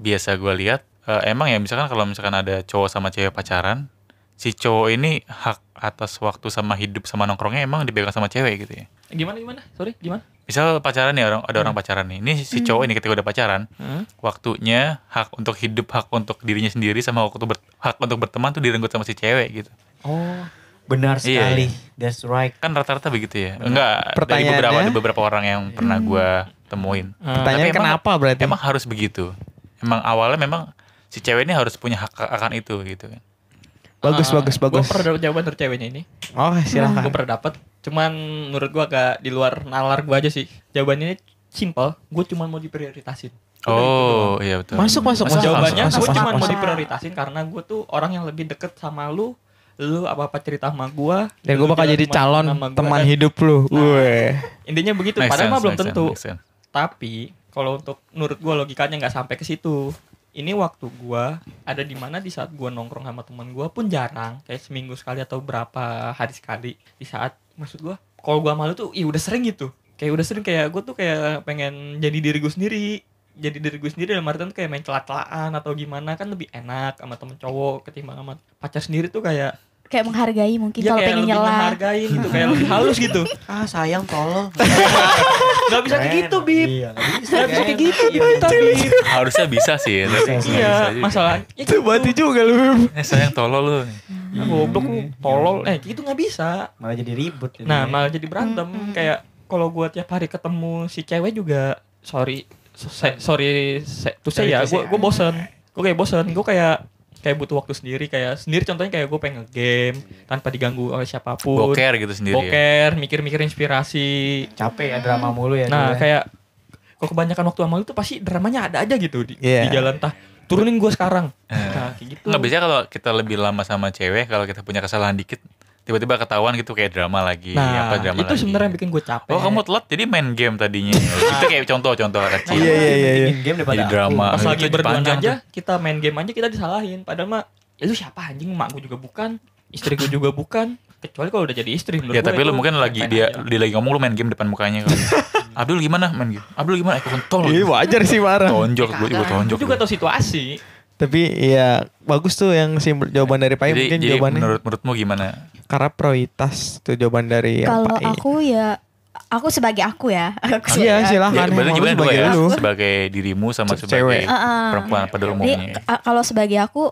S3: biasa gue lihat eh, emang ya misalkan kalau misalkan ada cowok sama cewek pacaran si cowok ini hak atas waktu sama hidup sama nongkrongnya emang dipegang sama cewek gitu ya
S4: Gimana gimana? Sorry, gimana?
S3: misal pacaran nih orang ada orang pacaran nih ini si cowok ini ketika udah pacaran
S4: Heeh.
S3: waktunya hak untuk hidup hak untuk dirinya sendiri sama waktu ber- hak untuk berteman tuh direnggut sama si cewek gitu
S4: Oh,
S5: benar
S3: Iya,
S5: sekali that's right
S3: kan rata-rata
S4: Hmm.
S3: begitu ya enggak dari
S2: Pertanyaannya-
S3: beberapa ada beberapa orang yang pernah gua temuin
S2: Pertanyaan
S3: Tapi emang-
S2: kenapa berarti?
S3: emang harus begitu emang awalnya memang si cewek ini harus punya hak akan itu gitu kan
S2: bagus, bagus, bagus.
S4: Gue pernah dapet jawaban dari ceweknya ini.
S3: Hmm,
S2: Oh,
S4: Gue
S2: silakan.
S4: pernah dapet. Cuman menurut gue agak di luar nalar gue aja sih. Jawabannya simple. Gue cuman mau diprioritasin. Udah itu doang.
S3: oh iya betul
S2: Masuk, masuk,
S3: Masuk akal,
S4: Jawabannya
S2: masuk,
S4: gue
S2: masuk,
S4: cuma mau
S2: masuk.
S4: diprioritasin karena gue tuh orang yang lebih deket sama lu. Lu apa-apa cerita sama gue.
S2: Dan gue Ya, bakal jadi calon teman
S4: kan.
S2: hidup lu. Weh.
S4: Intinya begitu.
S3: Make
S4: Padahal
S3: sense,
S4: mah belum
S3: make sense,
S4: tentu.
S3: make sense.
S4: Tapi kalau untuk menurut gue logikanya nggak sampai ke situ. Ini waktu gue ada di mana di saat gue nongkrong sama teman gue pun jarang, kayak seminggu sekali atau berapa hari sekali. Di saat maksud gue, kalau gue malu tuh, iya udah sering gitu. Kayak udah sering kayak gue tuh kayak pengen jadi diri gue sendiri. Jadi diri gue sendiri dalam artian tuh kayak main celah-celahan atau gimana kan lebih enak sama temen cowok ketimbang sama pacar sendiri tuh kayak
S6: kayak menghargai mungkin
S4: dia Iya,
S6: kalau
S4: kayak
S6: pengen
S4: lebih
S6: nyela
S4: menghargain gitu kayak lebih halus gitu
S5: ah sayang tolong
S4: nggak bisa kayak gitu bib
S5: iya, nggak bisa
S4: nggak bisa kayak
S5: Ken.
S4: gitu
S5: Iya,
S4: Bib,
S5: betul.
S4: tapi
S3: harusnya bisa sih tapi
S5: Bisa,
S3: nggak bisa
S4: Iya,
S3: juga.
S4: masalahnya
S2: Itu mati juga lu. Bim.
S3: eh, sayang tolol lu nih.
S4: Ah, goblok lu, tolol. Eh, gitu nggak bisa.
S5: malah jadi ribut jadi
S4: Nah,
S5: ya.
S4: malah jadi berantem. Kayak kalau gua tiap hari ketemu si cewek juga, sorry, so- se- sorry, se- to say
S5: Sorry
S4: ya,
S5: to say.
S4: gua gua bosen. Gua kayak bosen. Gua kayak kayak butuh waktu sendiri. Kayak sendiri. Contohnya kayak gua pengen game tanpa diganggu oleh siapapun.
S3: boker gitu sendiri ya.
S4: Boker, mikir-mikir inspirasi.
S5: capek ya drama mulu ya
S4: Nah,
S5: dia.
S4: kayak kalau kebanyakan waktu sama lu tuh pasti dramanya ada aja gitu di,
S2: Iya.
S4: di jalan tah. Turunin gua sekarang. Nah, kayak gitu.
S3: nggak bisa kalau kita lebih lama sama cewek kalau kita punya kesalahan dikit tiba-tiba ketahuan gitu kayak drama lagi
S4: Nah,
S3: apa drama
S4: itu
S3: lagi.
S4: sebenarnya yang bikin Iya. gue capek.
S3: oh kamu telat jadi main game tadinya itu kayak contoh-contoh kecil
S2: Iya, iya, iya, iya.
S5: Bikin game daripada
S3: jadi drama
S4: pas
S3: ah, Itu
S4: lagi berduaan
S3: panjang
S4: aja kita main game aja kita disalahin padahal mah ya lu siapa anjing mak gue juga bukan istri gue juga bukan kecuali kalau udah jadi istri
S3: tuh.
S4: menurut
S3: ya
S4: gua
S3: tapi
S4: itu
S3: lu mungkin lagi
S4: fine
S3: dia
S4: aja.
S3: dia lagi ngomong lu main game depan mukanya kali. Abdul gimana main game Abdul gimana aku kontol
S2: Iya, wajar sih marah.
S3: tonjok gue
S4: Lu
S3: juga tonjok
S4: juga
S3: lu.
S4: tau situasi
S2: Tapi ya bagus tuh yang simpel jawaban dari Pak.
S3: jadi,
S2: Mungkin
S3: jadi
S2: jawabannya
S3: menurut menurutmu gimana
S2: karena prioritas tuh jawaban dari yang Iya, Pak.
S6: kalau
S2: I.
S6: aku ya aku sebagai aku ya aku
S2: Iya,
S6: sebagai-
S2: silakan.
S3: ya, berarti
S2: Emang lu
S3: gimana dua
S2: sebagai
S3: ya
S2: lu.
S3: sebagai dirimu sama
S2: Se-
S3: sebagai
S2: cewek.
S4: Ah,
S6: Heeh.
S3: perempuan
S4: Iya.
S3: pada
S6: Jadi
S3: umumnya
S6: a- kalau sebagai aku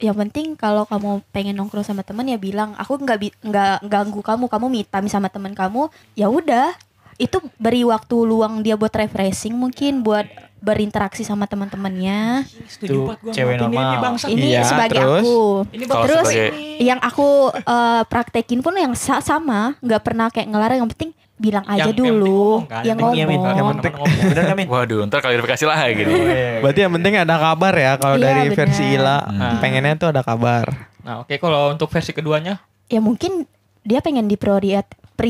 S6: yang penting kalau kamu pengen nongkrong sama temen ya bilang aku nggak bi- nggak ganggu kamu kamu meet time sama temen kamu ya udah itu beri waktu luang dia buat refreshing mungkin buat berinteraksi sama teman-temannya
S5: Tuh,
S4: banget gua
S5: cewek
S4: sama opini
S5: normal. Iya,
S4: ini bangsa
S6: ini
S2: Iya,
S6: sebagai
S2: terus?
S6: aku
S4: ini
S3: Kalau
S4: bangsa
S6: terus
S3: sebagai-
S6: yang aku eh, praktekin pun yang sa- sama nggak pernah kayak ngelarang yang penting bilang
S4: Yang-
S6: aja
S4: yang
S6: dulu
S4: penting ngomong, kan?
S6: yang
S4: Yang
S6: ngomong,
S5: penting- yang penting-
S4: yang penting ngomong.
S5: bener kan min
S3: waduh ntar klarifikasi lah gitu
S4: Iya.
S5: Iya.
S2: Berarti yang penting ada kabar ya kalau
S6: Iya,
S2: dari
S6: benar.
S2: versi Ila
S3: Hmm.
S2: pengennya tuh ada kabar.
S4: nah oke kalau untuk versi keduanya
S6: ya mungkin dia pengen diprioriat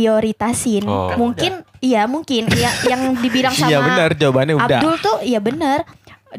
S6: prioritasin
S3: Oh.
S6: mungkin iya mungkin ya, yang dibilang sama
S2: Iya benar jawabannya udah.
S6: Abdul tuh ya benar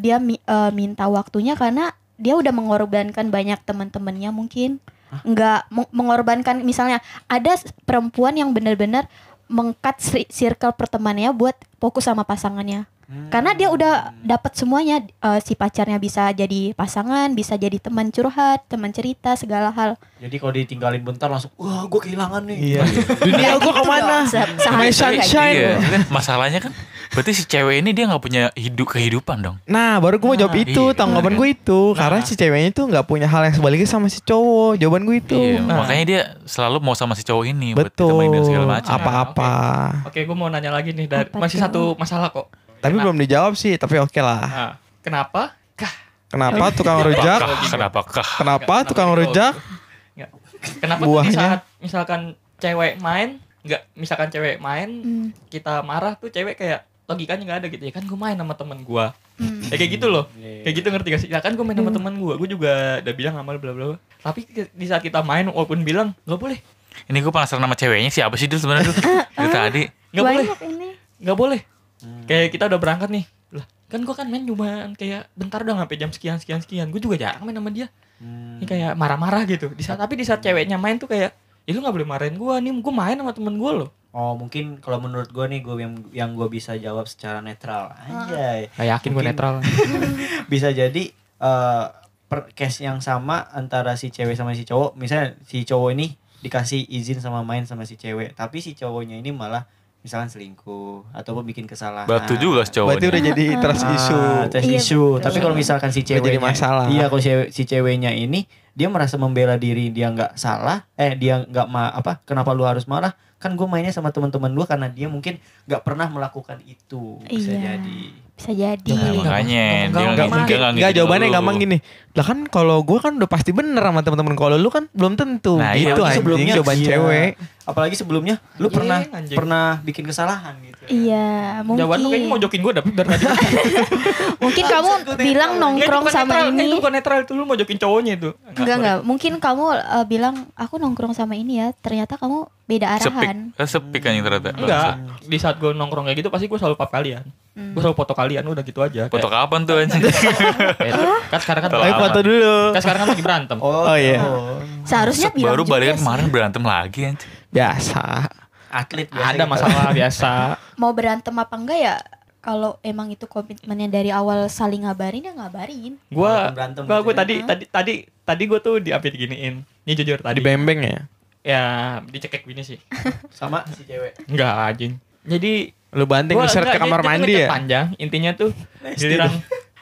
S6: dia mi- eh, minta waktunya karena dia udah mengorbankan banyak teman-temannya mungkin nggak meng- mengorbankan misalnya ada s- perempuan yang benar-benar mengkat sri- circle pertemanannya buat fokus sama pasangannya karena dia udah
S5: Hmm.
S6: dapat semuanya eh, si pacarnya bisa jadi pasangan bisa jadi teman curhat teman cerita segala hal
S5: jadi kalau ditinggalin bentar langsung wah gue kehilangan nih
S2: Iya.
S6: Nggak
S2: Dunia gua
S6: gitu
S2: kemana?
S6: dong, se-
S2: My
S6: seharusnya nggak
S2: sunshine.
S6: gitu.
S3: Iya, masalahnya kan berarti si cewek ini dia nggak punya hidup kehidupan dong.
S2: Nah baru gue mau jawab
S3: Nah,
S2: itu
S3: iya. Ah.
S2: tanggapan gue itu karena si ceweknya itu nggak punya hal yang sebaliknya sama si cowok jawaban gue itu.
S3: Iya,
S4: Nah.
S3: makanya dia selalu mau sama si cowok ini buat
S2: Betul.
S3: ditemenin dan segala macam. Ah,
S2: Apa-apa.
S4: oke gue mau nanya lagi nih dari
S6: Apa
S4: masih
S6: tuh?
S4: satu masalah kok
S2: Tapi
S4: Kenapa?
S2: belum dijawab sih. Tapi oke
S5: Ah.
S2: lah.
S4: Nah, kenapa kah
S2: Kenapa tukang rujak?
S3: Apakah? Kenapakah?
S2: Kenapa
S4: Kenapa
S2: tukang
S4: gitu?
S2: rujak?
S4: Nggak. kenapa tuh di
S2: Buahnya?
S4: saat misalkan cewek main nggak misalkan cewek main
S6: Hmm.
S4: kita marah tuh cewek kayak logikanya nggak ada gitu ya kan gue main sama temen gue ya kayak gitu loh
S5: Iya.
S4: kayak gitu ngerti gak sih ya kan gue main sama teman gue gue juga udah bilang amal bla bla bla tapi ke- di saat kita main walaupun bilang nggak boleh
S3: Ini gue penasaran sama ceweknya siapa sih dulu sebenarnya tuh. Dari tadi.
S4: nggak boleh
S6: Banyak ini.
S4: nggak boleh
S5: Hmm.
S4: kayak kita udah berangkat nih lah kan gue kan main cuma kayak bentar dong sampai jam sekian sekian sekian gue juga jarang main sama dia
S5: Hmm.
S4: ini kayak marah-marah gitu di saat tapi di saat ceweknya main tuh kayak ya lu nggak boleh marahin gue nih gue main sama temen gue loh
S5: Oh mungkin kalau menurut gue nih gue yang yang gue bisa jawab secara netral anjay
S4: Gak yakin gue
S5: Mungkin-
S4: netral
S5: bisa jadi eh per case yang sama antara si cewek sama si cowok misalnya si cowok ini dikasih izin sama main sama si cewek tapi si cowoknya ini malah misalnya selingkuh ataupun bikin kesalahan
S3: Batu juga si
S2: Berarti
S3: cowoknya. Nah,
S2: udah jadi trust issue.
S5: Ah, trust
S6: Iya,
S5: issue.
S6: betul.
S5: Tapi kalau misalkan si
S2: Nggak
S5: ceweknya
S2: jadi masalah.
S5: Iya, kalau cewek- si ceweknya ini dia merasa membela diri dia nggak salah, eh dia nggak ma apa? Kenapa lu harus marah? Kan gue mainnya sama teman-teman gue karena dia mungkin nggak pernah melakukan itu. Bisa
S6: Iya.
S5: jadi.
S6: Bisa jadi.
S3: Nah,
S4: Nggak- nggak-
S3: makanya dia nggak
S2: Enggak
S4: Nggak
S3: mungkin
S2: mungkin.
S3: nggak gitu.
S2: Enggak
S3: ngikutin
S2: jawabannya
S3: lu.
S2: gampang gini. Lah kan kalau gua kan udah pasti bener sama teman-teman kalau lu kan belum tentu
S3: Nah, iya,
S2: gitu
S5: tapi
S2: anjing
S5: sebelumnya-
S2: jawaban
S5: iya.
S2: cewek.
S5: Apalagi sebelumnya lu
S4: Anjing,
S5: pernah
S4: Iya, anjing.
S5: pernah bikin kesalahan gitu.
S6: Iya, mungkin.
S4: jawaban lu kayaknya mau jokin gue tapi dari tadi
S6: Mungkin kamu bilang nongkrong sama
S4: itu
S6: ini.
S4: bukan netral itu lu mau jokin cowoknya itu Nah,
S6: Enggak, enggak. Mungkin kamu eh, bilang aku nongkrong sama ini ya, ternyata kamu beda
S3: Sepik,
S6: arahan.
S3: Eh, sepik anjing ternyata.
S4: enggak di saat gue nongkrong kayak gitu pasti gue selalu pap kalian
S6: Hmm.
S4: gue selalu foto kalian udah gitu aja
S3: Foto kapan tuh anjing?
S4: Kayak- kan sekarang kan
S3: Telah
S2: Ayo
S3: aman.
S2: foto dulu.
S4: kan sekarang kan lagi berantem
S2: Oh, iya.
S6: Seharusnya bilang
S3: Baru
S6: juga
S3: balikan
S6: sih.
S3: kemarin berantem lagi anjing.
S2: Biasa.
S5: Atlet biasa
S4: ada
S5: gitu.
S4: masalah biasa
S6: Mau berantem apa enggak ya? Kalau emang itu komitmennya dari awal saling ngabarin ya ngabarin.
S4: gue
S5: Berantem
S4: gue
S5: gitu ya.
S4: tadi tadi tadi tadi gue tuh diapit giniin ini jujur
S2: Tadi
S4: tadi
S2: bembeng ya.
S4: ya dicekek gini sih
S5: sama si cewek.
S4: enggak anjing jadi
S2: Lu banting
S4: Gua-
S2: besar
S4: enggak,
S2: ke
S4: gitu, dia-
S2: kamar
S4: dia tuh
S2: mandi
S4: ngechat
S2: ya.
S4: panjang intinya tuh
S5: Nasty
S4: giliran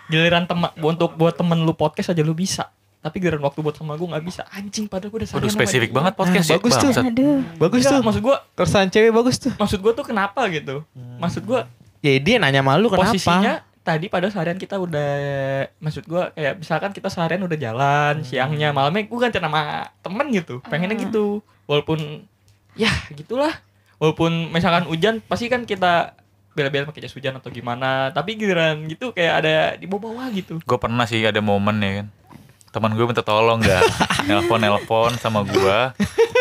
S4: giliran teman untuk buat temen lu podcast aja lu bisa tapi giliran waktu buat sama gue nggak bisa anjing padahal gue udah
S3: Waduh
S4: sayang sama
S3: spesifik
S4: dia.
S3: banget podcast
S2: Nah,
S3: ya.
S2: bagus tuh.
S3: bangsat.
S6: Aduh.
S2: Bagus
S4: Enggak,
S2: tuh.
S4: maksud gue
S2: Keresahan cewek bagus tuh.
S4: maksud gue tuh kenapa gitu maksud gue
S2: Ya dia nanya malu kenapa?
S4: posisinya tadi pada seharian kita udah maksud gua kayak misalkan kita seharian udah jalan siangnya malamnya gua ganti nama temen gitu pengennya gitu walaupun ya gitulah walaupun misalkan hujan pasti kan kita bela-belain pakai jas hujan atau gimana tapi giliran gitu kayak ada di bawah-bawah gitu
S3: Gue pernah sih ada momen ya kan. Teman gue minta tolong gak Nelpon-nelpon sama gue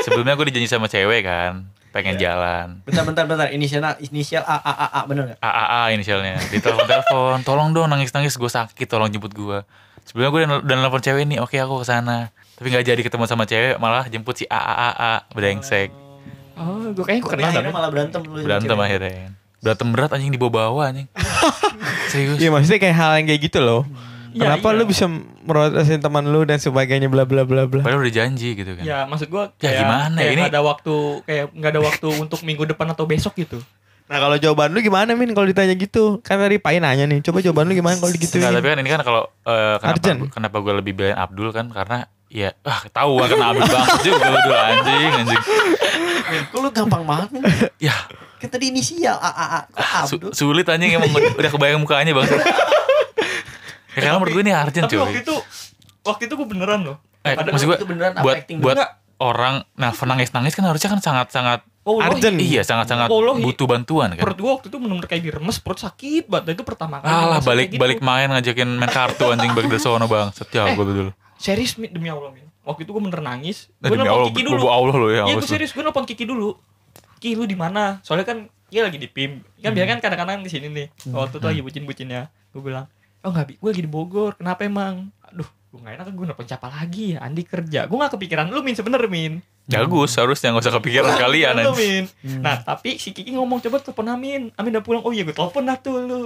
S3: Sebelumnya gue dijanji sama cewek kan Pengen jalan
S5: Bentar bentar bentar inisial inisial A A A A bener nggak?
S3: AAA inisialnya ditelepon telepon tolong dong nangis nangis gue sakit tolong jemput gue sebelumnya gue udah nelfon cewek nih oke aku kesana tapi nggak jadi ketemu sama cewek malah jemput si AAA brengsek
S4: oh iya, gua kayaknya gua
S5: Tapi
S4: kenal
S5: akhirnya
S4: dah
S5: malah berantem lu sama
S3: berantem
S5: cewek.
S3: akhirnya kan. berantem berat anjing dibawa bawa anjing serius
S2: Iya maksudnya kayak hal yang kayak gitu loh.
S4: Iya,
S2: Kenapa
S4: iya.
S2: lu bisa merotasin teman lu dan sebagainya bla bla bla bla.
S3: padahal udah janji gitu kan
S4: ya maksud gua
S3: Ya,
S4: kayak,
S3: gimana
S4: kayak
S3: ini?
S4: nggak ada waktu kayak nggak ada waktu untuk minggu depan atau besok gitu
S2: Nah kalau jawaban lu gimana Min kalau ditanya gitu? Kan tadi Pai nanya nih, coba jawaban lu gimana kalau digituin?
S4: gitu, iya.
S3: Nggak, tapi kan ini kan kalau eh, kenapa
S2: Arjen.
S3: kenapa gue lebih belain Abdul kan karena ya ah tahu kan Abdul banget juga lu dulu anjing anjing
S5: Kok lu gampang banget nih?
S3: ya
S5: Kan tadi inisial A A A. Kok
S3: su-
S5: Abdul?
S3: sulit anjing emang udah kebayang mukanya bang ya, karena menurut gue ini Arjen
S4: tapi
S3: cuy
S4: waktu itu waktu itu gua beneran loh
S3: Eh,
S5: Padahal
S3: maksud gue
S5: itu beneran apa
S3: buat
S5: acting
S3: buat
S4: Enggak.
S3: orang nelfon nangis nangis kan harusnya kan sangat sangat
S4: Oh,
S2: Arjen.
S3: iya sangat sangat
S4: Wallahi.
S3: butuh bantuan kan.
S4: perut gua waktu itu benar-benar kayak diremes perut sakit banget Dan itu pertama kali
S3: Alah
S4: ngerasain
S3: balik
S4: kayak
S3: balik
S4: gitu.
S3: main ngajakin main kartu anjing balik dari sono bang. ya Setiap gue dulu.
S4: serius Mi, demi allah min waktu itu gua bener nangis
S3: Nah,
S4: Gua
S3: demi
S4: nelpon
S3: Allah,
S4: kiki
S3: gue
S4: dulu
S3: bawa Allah lo ya.
S4: iya
S3: Allah.
S4: gua serius gua nelpon kiki dulu ki lu di mana soalnya kan dia lagi di pim kan biasanya kan kadang-kadang di sini nih
S3: Hmm.
S4: waktu itu lagi bucin-bucinnya gua bilang oh nggak bi gua lagi di Bogor kenapa emang aduh gua nggak enak gua nelpon siapa lagi ya Andi kerja gua nggak kepikiran lu min sebener min
S3: Jagus harusnya nggak usah kepikiran kalian
S4: Lu,
S3: anjing. Hmm.
S4: min nah tapi si Kiki ngomong coba telepon Amin Amin udah pulang oh iya gua telepon dah tuh lu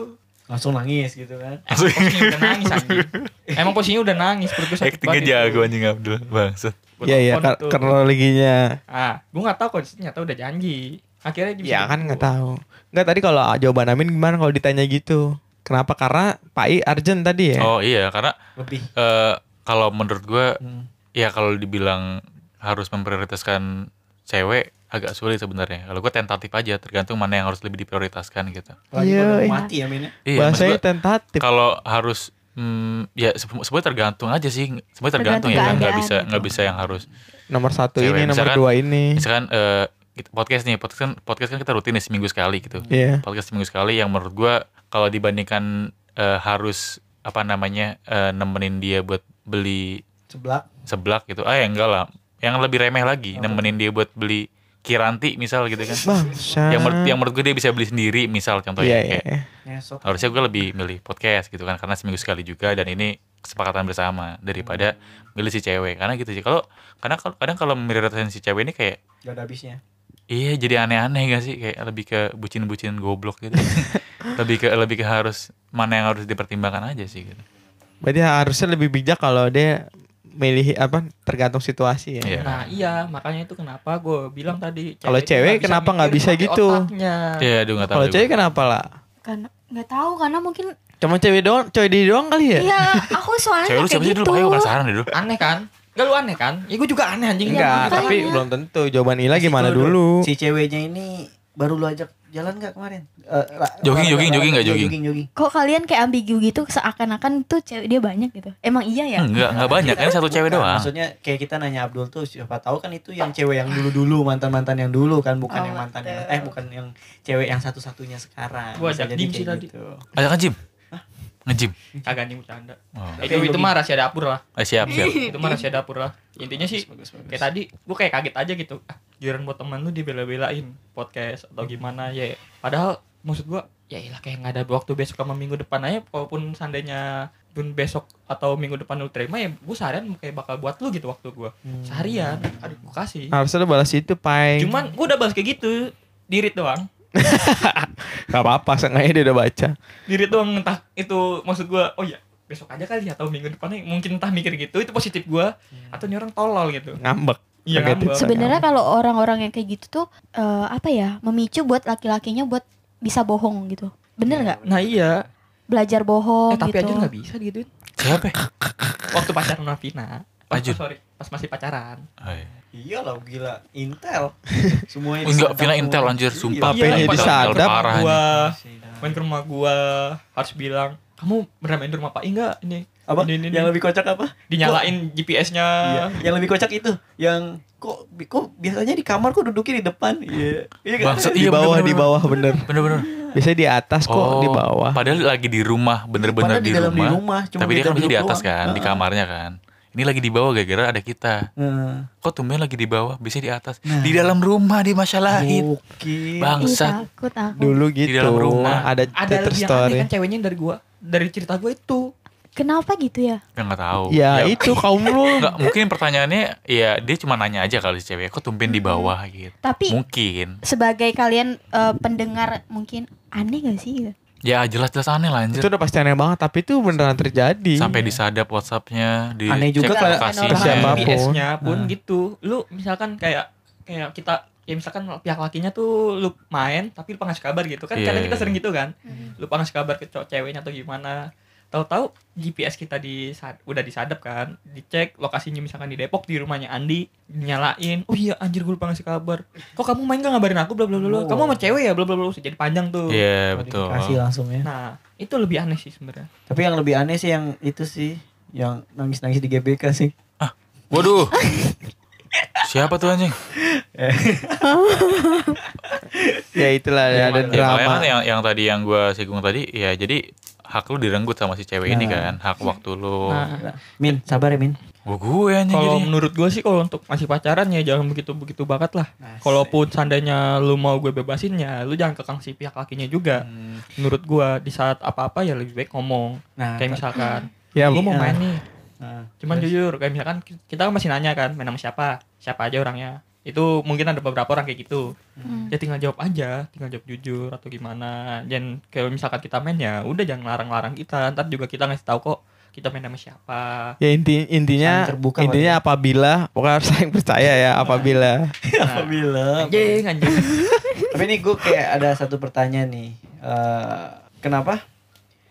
S5: Langsung nangis gitu kan.
S4: Emang posisinya udah nangis anjing. Emang posisinya udah nangis perut gue sakit
S3: Actingnya
S4: banget.
S3: jago anjing Abdul bangsat.
S4: Gua
S2: Iya iya
S4: telepon
S2: kar-
S4: tuh.
S2: kronologinya.
S4: Ah, gue enggak tahu kok ternyata udah janji. Akhirnya dia bisa gitu.
S2: Ya kan
S4: jemput
S2: nggak
S4: gua.
S2: tahu. Nggak tadi kalau jawaban Amin gimana kalau ditanya gitu? Kenapa? Karena Pai Arjen tadi ya.
S3: Oh iya karena
S5: Lebih.
S3: eh, kalau menurut gue
S5: Hmm.
S3: ya kalau dibilang harus memprioritaskan cewek agak sulit sebenarnya. Kalau gue tentatif aja tergantung mana yang harus lebih diprioritaskan gitu.
S5: Lagi
S2: Iya,
S5: udah
S2: iya.
S5: mati ya mainnya.
S3: Iya, maksud
S2: Bahasanya
S3: gua-
S2: tentatif.
S3: kalau harus hmm, ya se- sebenarnya tergantung aja sih sebenarnya tergantung,
S6: Tergantung
S3: ya kan nggak
S6: keadaan.
S3: bisa nggak bisa yang harus
S2: Nomor satu
S3: Cewek,
S2: ini, nomor
S3: misalkan-
S2: dua ini.
S3: misalkan eh, kita- podcast nih podcast kan podcast kan kita rutin nih seminggu ya sekali gitu
S2: Iya.
S3: podcast seminggu sekali yang menurut gua kalau dibandingkan eh, harus apa namanya eh, nemenin dia buat beli
S5: seblak
S3: seblak gitu ah ya enggak lah yang lebih remeh lagi nemenin dia buat beli kiranti misal gitu kan
S2: Bangsa.
S3: yang ya? menurut yang menurut gue dia bisa beli sendiri misal
S2: Iya,
S3: contohnya
S2: iya,
S3: kayak
S2: iya.
S5: nyesot
S3: harusnya gue lebih milih podcast gitu kan karena seminggu sekali juga dan ini kesepakatan bersama daripada
S2: Hmm.
S3: milih si cewek karena gitu sih kalau karena kalau- kadang kalau milih si cewek ini kayak
S5: gak ada habisnya
S3: Iya jadi aneh-aneh gak sih kayak lebih ke bucin-bucin goblok gitu. lebih ke lebih ke harus mana yang harus dipertimbangkan aja sih gitu.
S2: Berarti harusnya lebih bijak kalau dia milih apa tergantung situasi ya.
S3: Iya.
S4: Nah iya makanya itu kenapa gue bilang tadi
S2: Kalau
S4: itu
S2: cewek
S4: nggak bisa
S2: kenapa nggak
S4: mikir
S2: bisa
S4: pakai
S2: gitu?
S4: otaknya.
S3: Iya, aduh gak tahu.
S2: Kalau
S3: juga.
S2: cewek kenapa lah?
S6: Karena nggak tahu karena mungkin
S2: Cuma cewek doang, cewek di doang kali ya?
S6: ya aku soalnya
S3: cewek lu
S6: kayak
S3: siapa sih
S6: gitu.
S3: dulu? Ayo penasaran deh dulu.
S4: Aneh kan? Gak lu aneh kan? Ya gue juga aneh anjing
S2: Enggak,
S6: makanya.
S2: tapi belum tentu jawaban Ila gimana
S5: Nah, Situ
S2: dulu.
S5: si ceweknya ini baru lu ajak jalan gak kemarin Eh, la-
S3: Jogging,
S5: olahraga,
S3: jogging, jogging nggak
S5: olahraga,
S3: jogging?
S5: jogging
S6: Kok kalian kayak ambigu gitu seakan-akan tuh cewek dia banyak gitu. Emang iya ya?
S3: Enggak, enggak banyak. Ini satu cewek
S5: Nah,
S3: doang.
S5: maksudnya kayak kita nanya Abdul tuh siapa tahu kan itu yang cewek yang dulu dulu mantan mantan yang dulu kan bukan
S6: Oh,
S5: yang mantan yang
S6: betul.
S5: eh bukan yang cewek yang satu satunya sekarang
S4: Gua
S5: Bisa
S4: ajak
S5: jadi
S4: gym sih
S5: kayak
S4: tadi.
S5: gitu.
S3: Ajak kan Jim. Nge-gym.
S4: Kagak nih bercanda.
S3: Oh.
S4: Itu, itu mah rahasia dapur lah.
S3: Eh, siap, siap.
S4: Itu mah rahasia dapur lah. Intinya sih
S5: Bagus, bagus.
S4: kayak tadi gue kayak kaget aja gitu. Ah, giliran buat temen lu dibela-belain podcast atau gimana ya. Padahal maksud gue ya ilah kayak nggak ada waktu besok sama minggu depan aja walaupun seandainya pun besok atau minggu depan lu terima ya gue seharian kayak bakal buat lu gitu waktu gue
S5: Hmm,
S4: seharian aduh gue kasih
S2: Harusnya lu balas itu, Pai.
S4: cuman gue udah bahas kayak gitu dirit doang
S2: Gak apa-apa, sengaja dia udah baca.
S4: diri doang entah itu maksud gua oh ya besok aja kali ya atau minggu depannya mungkin entah mikir gitu itu positif gua atau ini orang tolol gitu
S2: Ngambek.
S4: Iya,
S2: Kaget
S4: ngambek.
S2: itu.
S6: Sebenarnya kalau orang-orang yang kayak gitu tuh eh, apa ya? Memicu buat laki-lakinya buat bisa bohong gitu. Bener nggak?
S4: nah iya
S6: Belajar bohong
S4: eh, tapi
S6: gitu.
S4: aja nggak bisa digituin
S3: Siapa? ya?
S4: waktu pacaran sama Vina Oh,
S3: Ajun.
S4: sorry pas masih pacaran
S3: Oh, iya.
S5: iya lah gila Intel semuanya
S3: Enggak,
S5: disadap
S3: Vina
S5: semua.
S3: Intel anjir, sumpah.
S2: Iya, Papenya
S4: pada
S2: disadap.
S4: main ke rumah
S3: Parah,
S4: gua
S5: Disadap.
S4: main ke rumah gua harus bilang kamu pernah main di rumah Pak enggak ini
S5: apa
S4: ini, ini,
S5: yang
S4: ini.
S5: lebih kocak apa
S4: dinyalain GPS-nya
S5: Iya. Yang lebih kocak itu, yang kok kok biasanya di kamar kok duduknya di depan. Iya. Iya kan?
S3: Bangsat,
S2: Di
S3: iya,
S2: bawah,
S3: bener, Oh,
S2: di
S3: bener,
S2: bawah, bener.
S3: Bener-bener.
S2: Biasanya di atas kok, di bawah.
S3: Padahal lagi di rumah, bener-bener
S5: Padahal
S3: di,
S5: dalam
S3: rumah.
S5: Di rumah cuma
S3: Tapi dia
S5: beda
S3: kan masih di
S5: duduk
S3: atas
S5: doang.
S3: kan, di
S5: Heeh.
S3: kamarnya kan. Ini lagi di bawah gara-gara ada kita.
S5: Heeh.
S3: Kok tumben lagi di bawah, bisa di atas.
S5: Nah. Iya.
S3: Di dalam rumah
S5: Ah,
S3: dimasalahin.
S5: Oke.
S6: Ih,
S3: Bangsat.
S6: takut aku.
S2: Dulu gitu.
S3: dalam rumah.
S2: Ada
S4: ada
S2: Twitter
S4: lagi yang
S2: story.
S4: aneh kan ceweknya dari gua dari cerita gua itu
S6: Kenapa gitu ya?
S5: Iya.
S3: Ya nggak tahu.
S2: Ya, itu kaum lu.
S3: Nggak, mungkin pertanyaannya ya dia cuma nanya aja kali si cewek kok tumben di bawah gitu.
S6: Tapi
S3: Mungkin.
S6: sebagai kalian eh, pendengar mungkin aneh gak sih?
S3: Ya jelas-jelas aneh lah
S2: Itu
S3: anjir.
S2: udah pasti aneh banget, tapi itu beneran terjadi.
S3: Sampai disadap WhatsApp-nya, di
S5: Aneh
S3: cek
S5: juga kalau
S3: lokasinya.
S2: orang Siapapun. yang
S4: GPS-nya pun
S3: Ah.
S5: Nah.
S4: gitu. Lu misalkan kayak kayak kita ya misalkan pihak lakinya tuh lu main tapi lupa ngasih kabar gitu kan
S3: Iya,
S4: kadang kita
S3: iya.
S4: sering gitu kan
S6: Mhm.
S4: lupa ngasih kabar ke cowok ceweknya atau gimana tahu-tahu GPS kita di udah disadap kan dicek lokasinya misalkan di Depok di rumahnya Andi nyalain oh iya anjir gue lupa ngasih kabar kok kamu main gak ngabarin aku bla bla bla bla. kamu sama cewek ya bla bla bla jadi panjang tuh
S3: Iya, betul.
S5: Kasih langsung ya.
S4: nah itu lebih aneh sih sebenarnya
S5: Tapi yang lebih aneh sih yang itu sih yang nangis-nangis di GBK sih.
S3: Waduh. Siapa tuh anjing?
S2: Ya itulah, ya, ada
S3: Ya, makanya
S2: drama.
S3: kan yang yang tadi yang gua singgung tadi ya jadi hak lu direnggut sama si cewek ini kan, hak waktu lu.
S4: nah
S5: Min, sabar ya Min.
S3: Gua gue
S5: Nah,
S3: anjing
S4: Kalau
S3: jadinya.
S4: menurut gue sih kalau untuk masih pacaran ya jangan begitu-begitu banget lah.
S5: Asik.
S4: Kalaupun seandainya lu mau gue bebasin ya lu jangan kekang si pihak lakinya juga. Menurut gue di saat apa-apa ya lebih baik ngomong.
S5: Hmm. Nah,
S4: Kayak misalkan
S2: Ya,
S4: gue mau
S5: iya.
S4: main nih.
S5: nah,
S4: Cuman
S5: terus.
S4: jujur kayak misalkan ki- kita kan masih nanya kan main sama siapa? Siapa aja orangnya? Itu mungkin ada beberapa orang kayak gitu.
S5: Hmm.
S4: Ya tinggal jawab aja, tinggal jawab jujur atau gimana. Dan kalau misalkan kita main ya udah jangan larang-larang kita. Ntar juga kita ngasih tahu kok kita main sama siapa.
S2: ya inti intinya
S5: Saling terbuka
S2: intinya apabila pokoknya harus saling percaya ya apabila
S4: Nah,
S5: Apabila
S4: anjing anjing.
S5: Tapi ini gue kayak ada satu pertanyaan nih. Eh, kenapa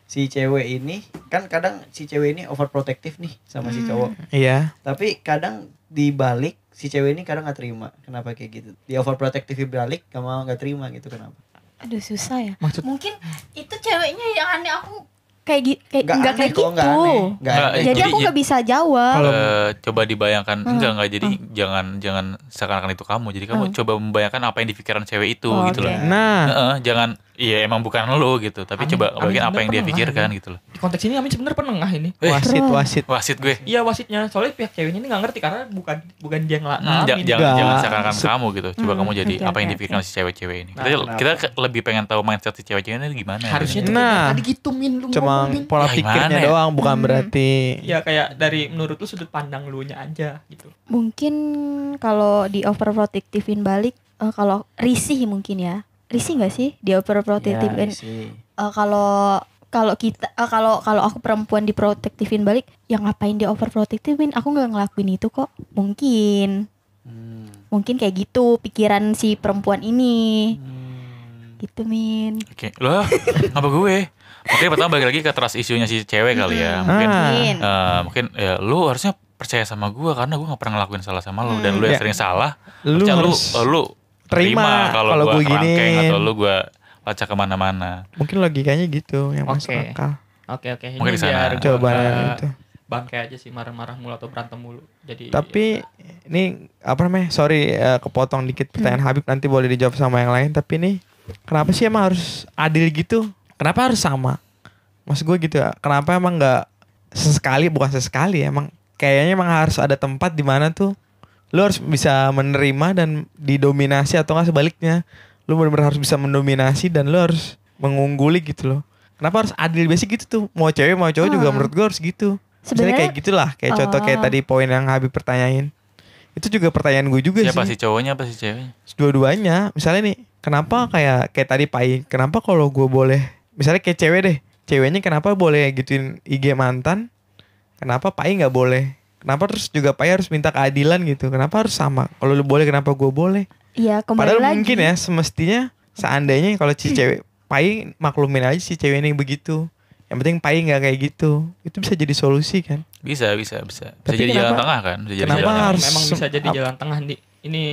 S5: si cewek ini kan kadang si cewek ini overprotective nih sama si cowok.
S2: iya
S5: Tapi kadang dibalik si cewek ini kadang nggak terima. Kenapa kayak gitu? Dia overprotective dibalik gak mau nggak terima gitu kenapa?
S6: Aduh susah ya.
S4: Maksud-
S6: mungkin itu ceweknya yang aneh aku kayak gitu kayak
S5: Nggak
S6: nggak
S5: aneh
S6: kayak
S5: kok, nggak
S6: gitu.
S5: aneh. Nggak
S3: Nggak,
S5: aneh.
S6: Jadi
S3: Jadi- ya,
S6: aku
S2: Iya.
S6: nggak bisa jawab.
S2: kalau
S3: Eh, coba dibayangkan enggak enggak jadi jangan jangan seakan-akan itu kamu jadi kamu coba membayangkan apa yang di pikiran cewek itu
S6: Oh,
S3: gitu
S6: oke.
S3: loh
S2: nah
S3: Heeh, jangan iya emang bukan lo gitu tapi
S4: Amin-
S3: coba
S4: Amin
S3: bayangin apa yang dia
S4: bener
S3: pikirkan
S4: lah.
S3: gitu loh
S4: Di konteks ini Amin sebenarnya penengah ini.
S3: Eh.
S2: Wasit, wasit.
S3: wasit gue
S4: Iya wasitnya, soalnya pihak ceweknya ini nggak ngerti karena bukan bukan dia yang ngala-
S3: Hmm, ja-
S4: ngalamin.
S3: jangan
S2: Enggak.
S3: jangan seakan
S2: Se-
S3: kamu gitu coba
S6: Hmm,
S3: kamu jadi
S6: oke,
S3: apa yang
S6: oke,
S3: dipikirkan si cewek-cewek ini
S5: Nah,
S3: kita
S5: kenapa?
S3: kita ke- lebih pengen tahu mindset si cewek-cewek ini gimana
S4: Harusnya
S3: gitu.
S4: tuh
S2: Nah.
S4: tadi gitu min lu
S2: Cuma
S4: ngomong, Min.
S2: pola
S3: Ya,
S2: pikirnya
S3: gimana ya?
S2: doang bukan
S6: Hmm.
S2: berarti
S4: Ya kayak dari menurut lu sudut pandang lu nya aja gitu.
S6: mungkin kalau di overprotectivein balik eh, kalau risih mungkin ya risih nggak sih di
S5: Iya,
S2: Ya,
S6: overprotectivein
S5: sih.
S6: Eh, kalau kalau kita eh, kalau kalau aku perempuan diprotektifin balik ya ngapain di overprotectivein aku nggak ngelakuin itu kok mungkin
S5: Hmm.
S6: mungkin kayak gitu pikiran si perempuan ini
S5: Hmm.
S6: gitu min
S3: oke loh apa gue mungkin pertama balik lagi ke trust isunya si cewek kali ya mungkin
S2: Ah.
S6: Min.
S3: eh, mungkin ya, lu harusnya percaya sama gue karena gue nggak pernah ngelakuin salah sama lu dan lu yang
S2: Ya.
S3: sering salah
S2: lu
S3: percaya lu
S2: harus
S3: eh, lu
S2: terima
S3: kalau
S2: kalau
S3: gue
S2: gue gini.
S3: kerangkeng atau lu gue lacak kemana-mana
S2: mungkin logikanya gitu yang masuk
S4: Oke.
S2: akal.
S4: Oke oke. Ini
S3: Mungkin di sana.
S4: biar gua
S2: Coba
S4: nggak
S2: itu.
S4: bangke aja sih marah-marah mulu atau berantem mulu.
S6: Iya.
S4: Jadi
S2: Tapi ini apa namanya? Sorry eh, kepotong dikit pertanyaan
S6: Hmm.
S2: Habib nanti boleh dijawab sama yang lain. Tapi nih kenapa sih emang harus adil gitu? Kenapa harus sama? Maksud gue gitu ya. Kenapa emang nggak sesekali bukan sesekali ya, emang kayaknya emang harus ada tempat di mana tuh lu harus bisa menerima dan didominasi atau nggak sebaliknya lu benar-benar harus bisa mendominasi dan lu harus mengungguli gitu loh kenapa harus adil basic gitu tuh mau cewek mau cowok juga
S6: Ah.
S2: menurut gue harus gitu Misalnya
S6: Sebenarnya-
S2: kayak gitulah kayak contoh kayak
S6: Oh.
S2: tadi poin yang Habib pertanyain itu juga pertanyaan gue juga
S3: siapa
S2: sih
S3: sih cowoknya apa sih ceweknya
S2: dua-duanya misalnya nih kenapa kayak kayak tadi Pai kenapa kalau gue boleh misalnya kayak cewek deh ceweknya kenapa boleh gituin IG mantan kenapa Pai nggak boleh kenapa terus juga Pai harus minta keadilan gitu kenapa harus sama kalau lu boleh kenapa gue boleh
S6: Iya kembali
S2: padahal
S6: lagi.
S2: mungkin ya semestinya seandainya kalau si cewek Pai maklumin aja si cewek ini begitu yang penting Pai nggak kayak gitu itu bisa jadi solusi kan
S3: bisa bisa bisa bisa
S2: Tapi
S3: jadi
S2: kenapa-
S3: jalan tengah kan bisa jadi
S2: kenapa
S3: jalan tengah.
S4: memang,
S2: harus
S4: memang bisa jadi
S2: ap-
S4: jalan tengah nih. Ini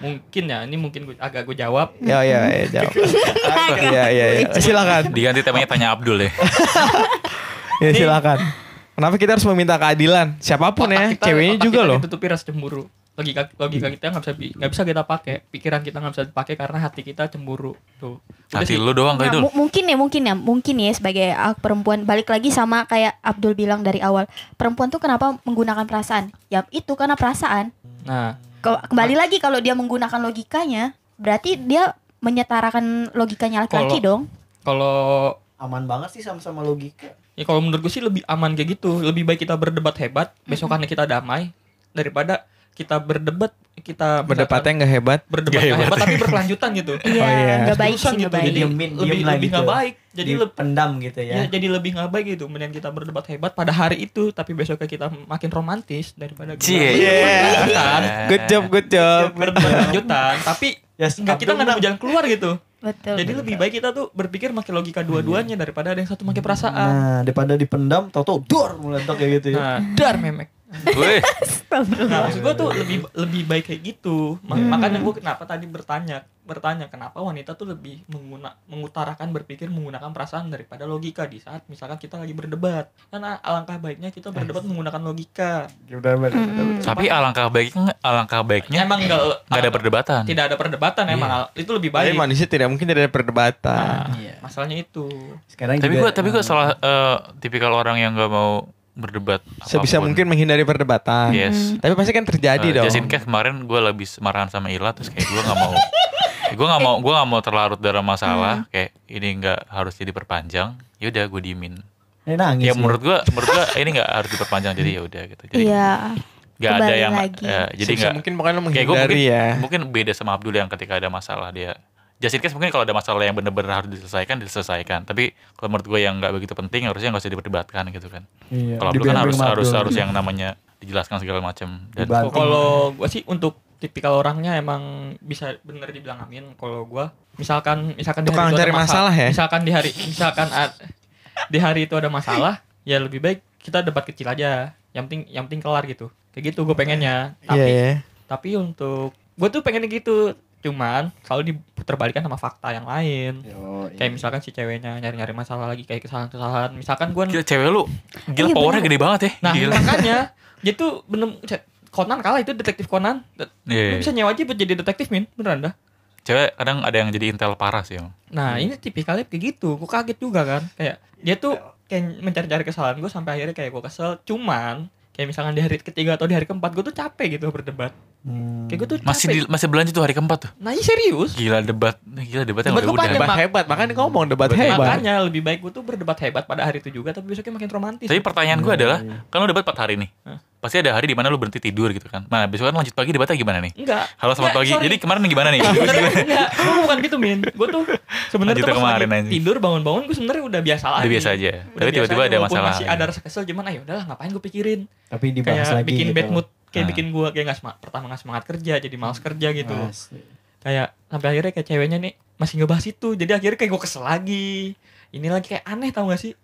S4: mungkin ya, ini mungkin gua, agak gue jawab.
S2: ya ya ya jawab ya ya, ya. silakan
S3: diganti temanya tanya Abdul deh
S2: ya silakan kenapa kita harus meminta keadilan siapapun ya
S4: Otak kita-
S2: ceweknya
S4: otak
S2: juga
S4: kita
S2: loh
S4: Ditutupi rasa cemburu. Logika logika kita nggak bisa bi- nggak bisa kita pakai, pikiran kita nggak bisa dipakai karena hati kita cemburu. Tuh. Udah
S3: hati
S4: sih.
S3: lu doang kali
S6: Nah,
S3: dul
S6: mu- mungkin ya mungkin ya mungkin ya sebagai ah, perempuan balik lagi sama kayak Abdul bilang dari awal perempuan tuh kenapa menggunakan perasaan ya itu karena perasaan
S4: Nah,
S6: Ke- kembali lagi kalau dia menggunakan logikanya berarti dia menyetarakan logikanya laki-laki
S4: Kalau-
S6: dong
S4: kalau
S5: Aman banget sih sama-sama logika.
S4: Ya kalau menurut gue sih lebih aman kayak gitu. Lebih baik kita berdebat hebat, besokannya kita damai daripada kita berdebat kita misalkan
S2: berdebatnya nggak hebat
S4: berdebat
S3: Gak
S4: nggak
S3: hebat.
S4: hebat tapi berkelanjutan gitu.
S6: iya
S2: iya.
S6: nggak baik
S4: Terusan
S6: sih nggak
S4: gitu.
S6: baik
S4: Jadi
S5: Diemin,
S4: lebih
S5: diem lah
S4: lebih
S5: gitu.
S4: nggak baik. Jadi lebih
S5: pendam gitu
S4: ya.
S5: ya.
S3: Iya,
S4: jadi lebih nggak baik gitu. Mendingan kita berdebat hebat pada hari itu, tapi besoknya kita makin romantis daripada kita Iya, kan?
S3: Cie.
S4: berdebat
S3: Eh,
S2: good job good job
S4: berdebat lanjutan. Tapi
S5: Ya,
S4: nggak kita nggak ada jalan keluar gitu.
S6: betul
S4: Jadi lebih baik kita tuh berpikir makin logika dua-duanya daripada ada yang satu makin
S3: ah.
S4: perasaan.
S5: Nah, daripada dipendam, tau-tau dor meledak kayak gitu
S4: Nah,
S5: ya.
S4: dar memek.
S3: Weh,
S4: Nah, maksud gue tuh lebih lebih baik kayak gitu. Ma-
S6: Hmm.
S4: Makanya gue kenapa tadi bertanya, bertanya kenapa wanita tuh lebih mengguna, mengutarakan berpikir menggunakan perasaan daripada logika di saat misalkan kita lagi berdebat. Karena alangkah baiknya kita berdebat menggunakan logika.
S5: Udah, udah, udah, udah.
S3: tapi alangkah baiknya alangkah baiknya
S4: Emang enggak
S3: Iya. nggak ada perdebatan
S4: tidak ada perdebatan emang al- itu lebih
S2: Tapi
S4: baik.
S2: manusia tidak mungkin tidak ada perdebatan
S4: Nah,
S5: Iya.
S4: masalahnya itu.
S5: Sekarang
S3: tapi
S5: juga-
S3: gua
S5: Ah.
S3: tapi gua salah eh, tipikal orang yang nggak mau berdebat
S2: sebisa
S3: Nah, apapun.
S2: mungkin menghindari perdebatan
S3: yes
S6: Hmm.
S2: tapi pasti kan terjadi
S3: Eh,
S2: dong
S3: just in case kemarin gue habis marahan sama Ila terus kayak gue nggak mau gue nggak mau gue nggak mau terlarut dalam masalah
S6: Hmm.
S3: kayak ini nggak harus jadi perpanjang yaudah gue diemin
S5: Eh, nangis.
S2: Iya
S3: ya
S5: lu.
S3: menurut gue menurut gue ini nggak harus diperpanjang jadi ya udah gitu jadi
S6: Hmm. iya
S3: nggak ada
S6: kembali
S3: yang
S6: lagi.
S3: eh, jadi
S2: Sebisa
S3: nggak
S2: mungkin pokoknya lo
S3: kayak gue mungkin
S2: menghindari ya
S3: mungkin beda sama Abdul yang ketika ada masalah dia just in case mungkin kalau ada masalah yang bener-bener harus diselesaikan diselesaikan tapi kalau menurut gue yang nggak begitu penting harusnya nggak usah diperdebatkan gitu kan
S5: Iya,
S3: kalau Abdul kan
S5: dibiarin
S3: harus
S5: sama
S3: harus
S5: Abdul.
S3: harus yang namanya dijelaskan segala macam dan
S5: Dibanting.
S4: Kalau gue sih untuk tipikal orangnya emang bisa bener dibilang amin kalau gua misalkan misalkan di hari
S2: Tukang
S4: itu ada
S2: cari
S4: masa-
S2: masalah ya?
S4: misalkan di hari misalkan a- di hari itu ada masalah ya lebih baik kita debat kecil aja yang penting yang penting kelar gitu kayak gitu gue pengennya
S2: iya
S4: tapi
S2: iya.
S4: tapi untuk gue tuh pengennya gitu cuman selalu diputar balikan sama fakta yang lain
S5: Yo, iya.
S4: kayak misalkan si ceweknya nyari-nyari masalah lagi kayak kesalahan-kesalahan misalkan gue
S3: Gila cewek lu Gila
S6: Iya,
S3: powernya
S6: bener.
S3: gede banget ya
S4: nah
S3: Gila.
S4: makanya dia tuh bener Conan kalah itu detektif Conan Lu
S3: Iya.
S4: bisa nyewa aja buat jadi detektif min beneran dah
S3: cewek kadang ada yang jadi intel parah sih emang.
S4: Nah ini tipikalnya kayak gitu, gue kaget juga kan. Kayak dia tuh kayak mencari-cari kesalahan gue sampai akhirnya kayak gue kesel. Cuman kayak misalkan di hari ketiga atau di hari keempat gue tuh capek gitu berdebat.
S5: Hmm.
S4: Kayak gue tuh capek.
S3: Hmm. masih
S6: ya?
S3: di- masih belanja tuh hari keempat tuh
S4: Nah iya serius.
S3: gila debat gila debat yang
S4: Debat
S3: udah
S4: lu
S3: udah
S4: panjang.
S2: Debat
S6: ya,
S4: mak-
S2: hebat, makanya ngomong debat
S3: Debat
S2: hebat.
S4: Makanya lebih baik gue tuh berdebat hebat pada hari itu juga, tapi besoknya makin romantis.
S3: tapi pertanyaan gue adalah kan lu debat 4 hari nih
S4: Hah?
S3: pasti ada hari di mana lu berhenti tidur gitu kan nah besok kan lanjut pagi debatnya gimana nih
S4: Enggak.
S3: halo selamat
S4: Nggak,
S3: pagi
S4: sorry. Nah,
S3: jadi kemarin gimana nih
S4: Enggak, gue bukan gitu Min Gue tuh sebenarnya
S3: Lanjut
S4: tuh
S3: ke
S4: pas lagi
S3: kemarin, anjing.
S4: tidur bangun-bangun gue sebenarnya udah biasa lagi
S3: udah biasa aja
S4: Iya. Udah
S3: tapi
S4: biasa aja,
S3: tiba-tiba ada
S4: walaupun
S3: masalah ya.
S4: masih ada rasa kesel cuman ayo udahlah ngapain gue pikirin
S5: Tapi dibahas
S4: Kayak
S5: lagi
S4: bikin
S5: gitu.
S4: bad mood Kayak
S3: Ah. Hmm.
S4: bikin gue kayak gak semangat Pertama gak semangat kerja jadi males kerja gitu
S5: Asli.
S4: Kayak sampai akhirnya kayak ceweknya nih masih ngebahas itu Jadi akhirnya kayak gue kesel lagi Ini lagi kayak aneh tau gak sih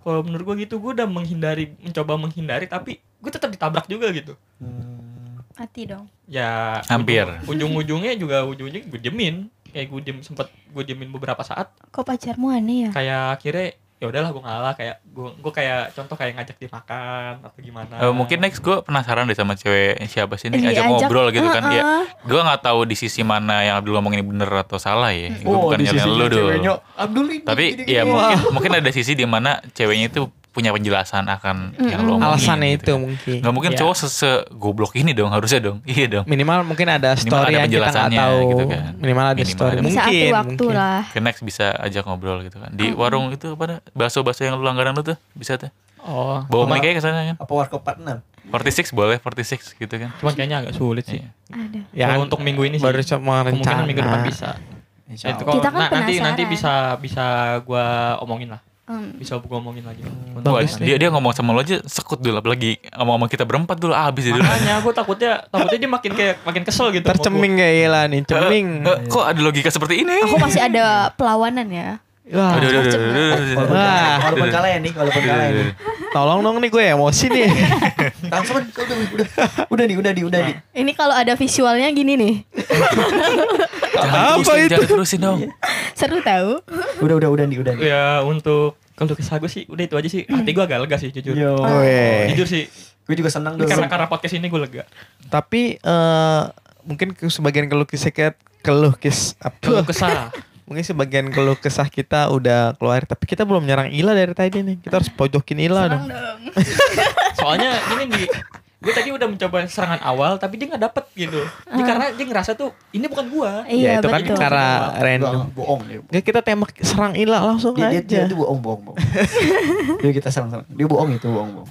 S4: kalau menurut gue gitu gue udah menghindari mencoba menghindari tapi gue tetap ditabrak juga gitu
S5: Hmm.
S6: Mati dong.
S4: ya
S3: Hampir.
S4: ujung ujungnya juga ujungnya gue diemin kayak gue diem sempet gue diemin beberapa saat
S6: Kok pacarmu
S1: Hmm.
S6: aneh ya?
S4: kayak akhirnya ya udahlah gue ngalah kayak gue gue kayak contoh kayak ngajak dia makan atau gimana
S3: Eh, mungkin next gue penasaran deh sama cewek siapa sih
S1: Iya,
S3: ini ajak
S6: Diajak- Eh,
S3: ngobrol gitu kan Iya
S6: Heeh.
S3: gue nggak tahu di sisi mana yang Abdul ngomong ini bener atau salah ya gue
S5: Oh,
S3: bukan
S5: di
S3: nyalain
S5: sisinya
S3: lu dulu
S5: ceweknya, Abdul ini
S3: tapi
S5: gini-gini.
S3: ya
S5: Wah.
S3: mungkin mungkin ada sisi di mana ceweknya itu punya penjelasan akan yang lo omongin
S2: Alasannya itu Iya.
S3: gitu.
S2: mungkin.
S3: nggak mungkin
S4: Ya.
S3: cowok sese goblok ini dong harusnya dong iya dong
S2: Minimal mungkin ada story
S3: ada
S2: yang kita nggak
S3: penjelasannya
S2: tahu.
S3: gitu kan.
S2: Minimal ada
S3: Minimal
S2: story.
S3: ada-
S6: Bisa
S2: mungkin,
S6: atur waktu
S2: mungkin.
S6: lah.
S3: Ke next bisa ajak ngobrol gitu kan di warung itu apa dah? bakso-bakso yang lu langganan lu tuh bisa tuh
S4: oh
S3: bawa
S5: Sama-
S3: mic aja ke sana kan
S5: Apa warkop partner?
S3: 46 boleh 46 gitu kan
S4: cuman kayaknya agak sulit sih
S3: Iya.
S6: Ada.
S2: Ya,
S4: Kalau untuk minggu ini sih,
S2: baru cuma rencana. Nah.
S4: kemungkinan Nah, minggu depan bisa
S5: Insya
S4: itu
S5: Allah.
S4: kalau
S6: Kita kan
S4: na- nanti nanti bisa
S6: penasaran.
S4: bisa gue omongin lah
S6: Hmm.
S4: bisa gue omongin lagi
S3: Wah,
S2: Bagus
S3: dia dia ngomong sama lo aja sekut dulu apalagi ngomong sama kita berempat dulu ah, habis dulu
S4: makanya gue takutnya takutnya dia makin kayak makin kesel gitu sama gua.
S2: Terceming kayak gila nih, ceming.
S3: Eh, kok ada logika seperti ini
S6: Aku masih ada pelawanan ya.
S2: Wah,
S3: Aduh, aduh, aduh, aduh, aduh, aduh,
S5: Walaupun
S3: aduh.
S5: kalah- Walaupun kalah ya nih, walaupun kalah ya nih.
S2: tolong dong nih gue emosi nih.
S5: Langsung udah, udah, udah, udah di, udah di, udah di.
S6: Ini kalau ada visualnya gini nih.
S4: gitu,
S3: Jangan
S2: Apa
S3: terusin,
S2: itu?
S3: jangan terusin dong.
S6: Seru tahu.
S5: Udah, udah, udah di, udah di.
S4: ya untuk kalau kesah gue sih udah itu aja sih hati gue agak lega sih jujur Eh.
S5: Yo.
S2: Oh, iya, Weh.
S4: jujur sih
S5: Gue juga senang
S4: Ini
S5: dulu.
S4: karena karena podcast ini gue lega
S2: Tapi eh mungkin ke- sebagian keluh kesah kita- keluh kes
S4: kalau
S2: apa?
S4: kesah
S2: Mungkin sebagian keluh kesah kita udah keluar, tapi kita belum nyerang Ila dari tadi nih. Kita harus pojokin Ila dong.
S4: soalnya ini di gue tadi udah mencoba serangan awal tapi dia nggak dapet gitu
S6: Ah.
S4: dia karena dia ngerasa tuh ini bukan gua
S2: ya
S6: Iya,
S2: itu kan
S6: betul.
S2: cara
S5: Enggak,
S2: random.
S5: bohong dia.
S2: Nggak, kita tembak serang Ila langsung
S4: Iya,
S5: Dia, dia,
S2: aja.
S5: dia, itu bohong, bohong, bohong. dia kita serang-serang. Dia bohong itu, bohong, bohong.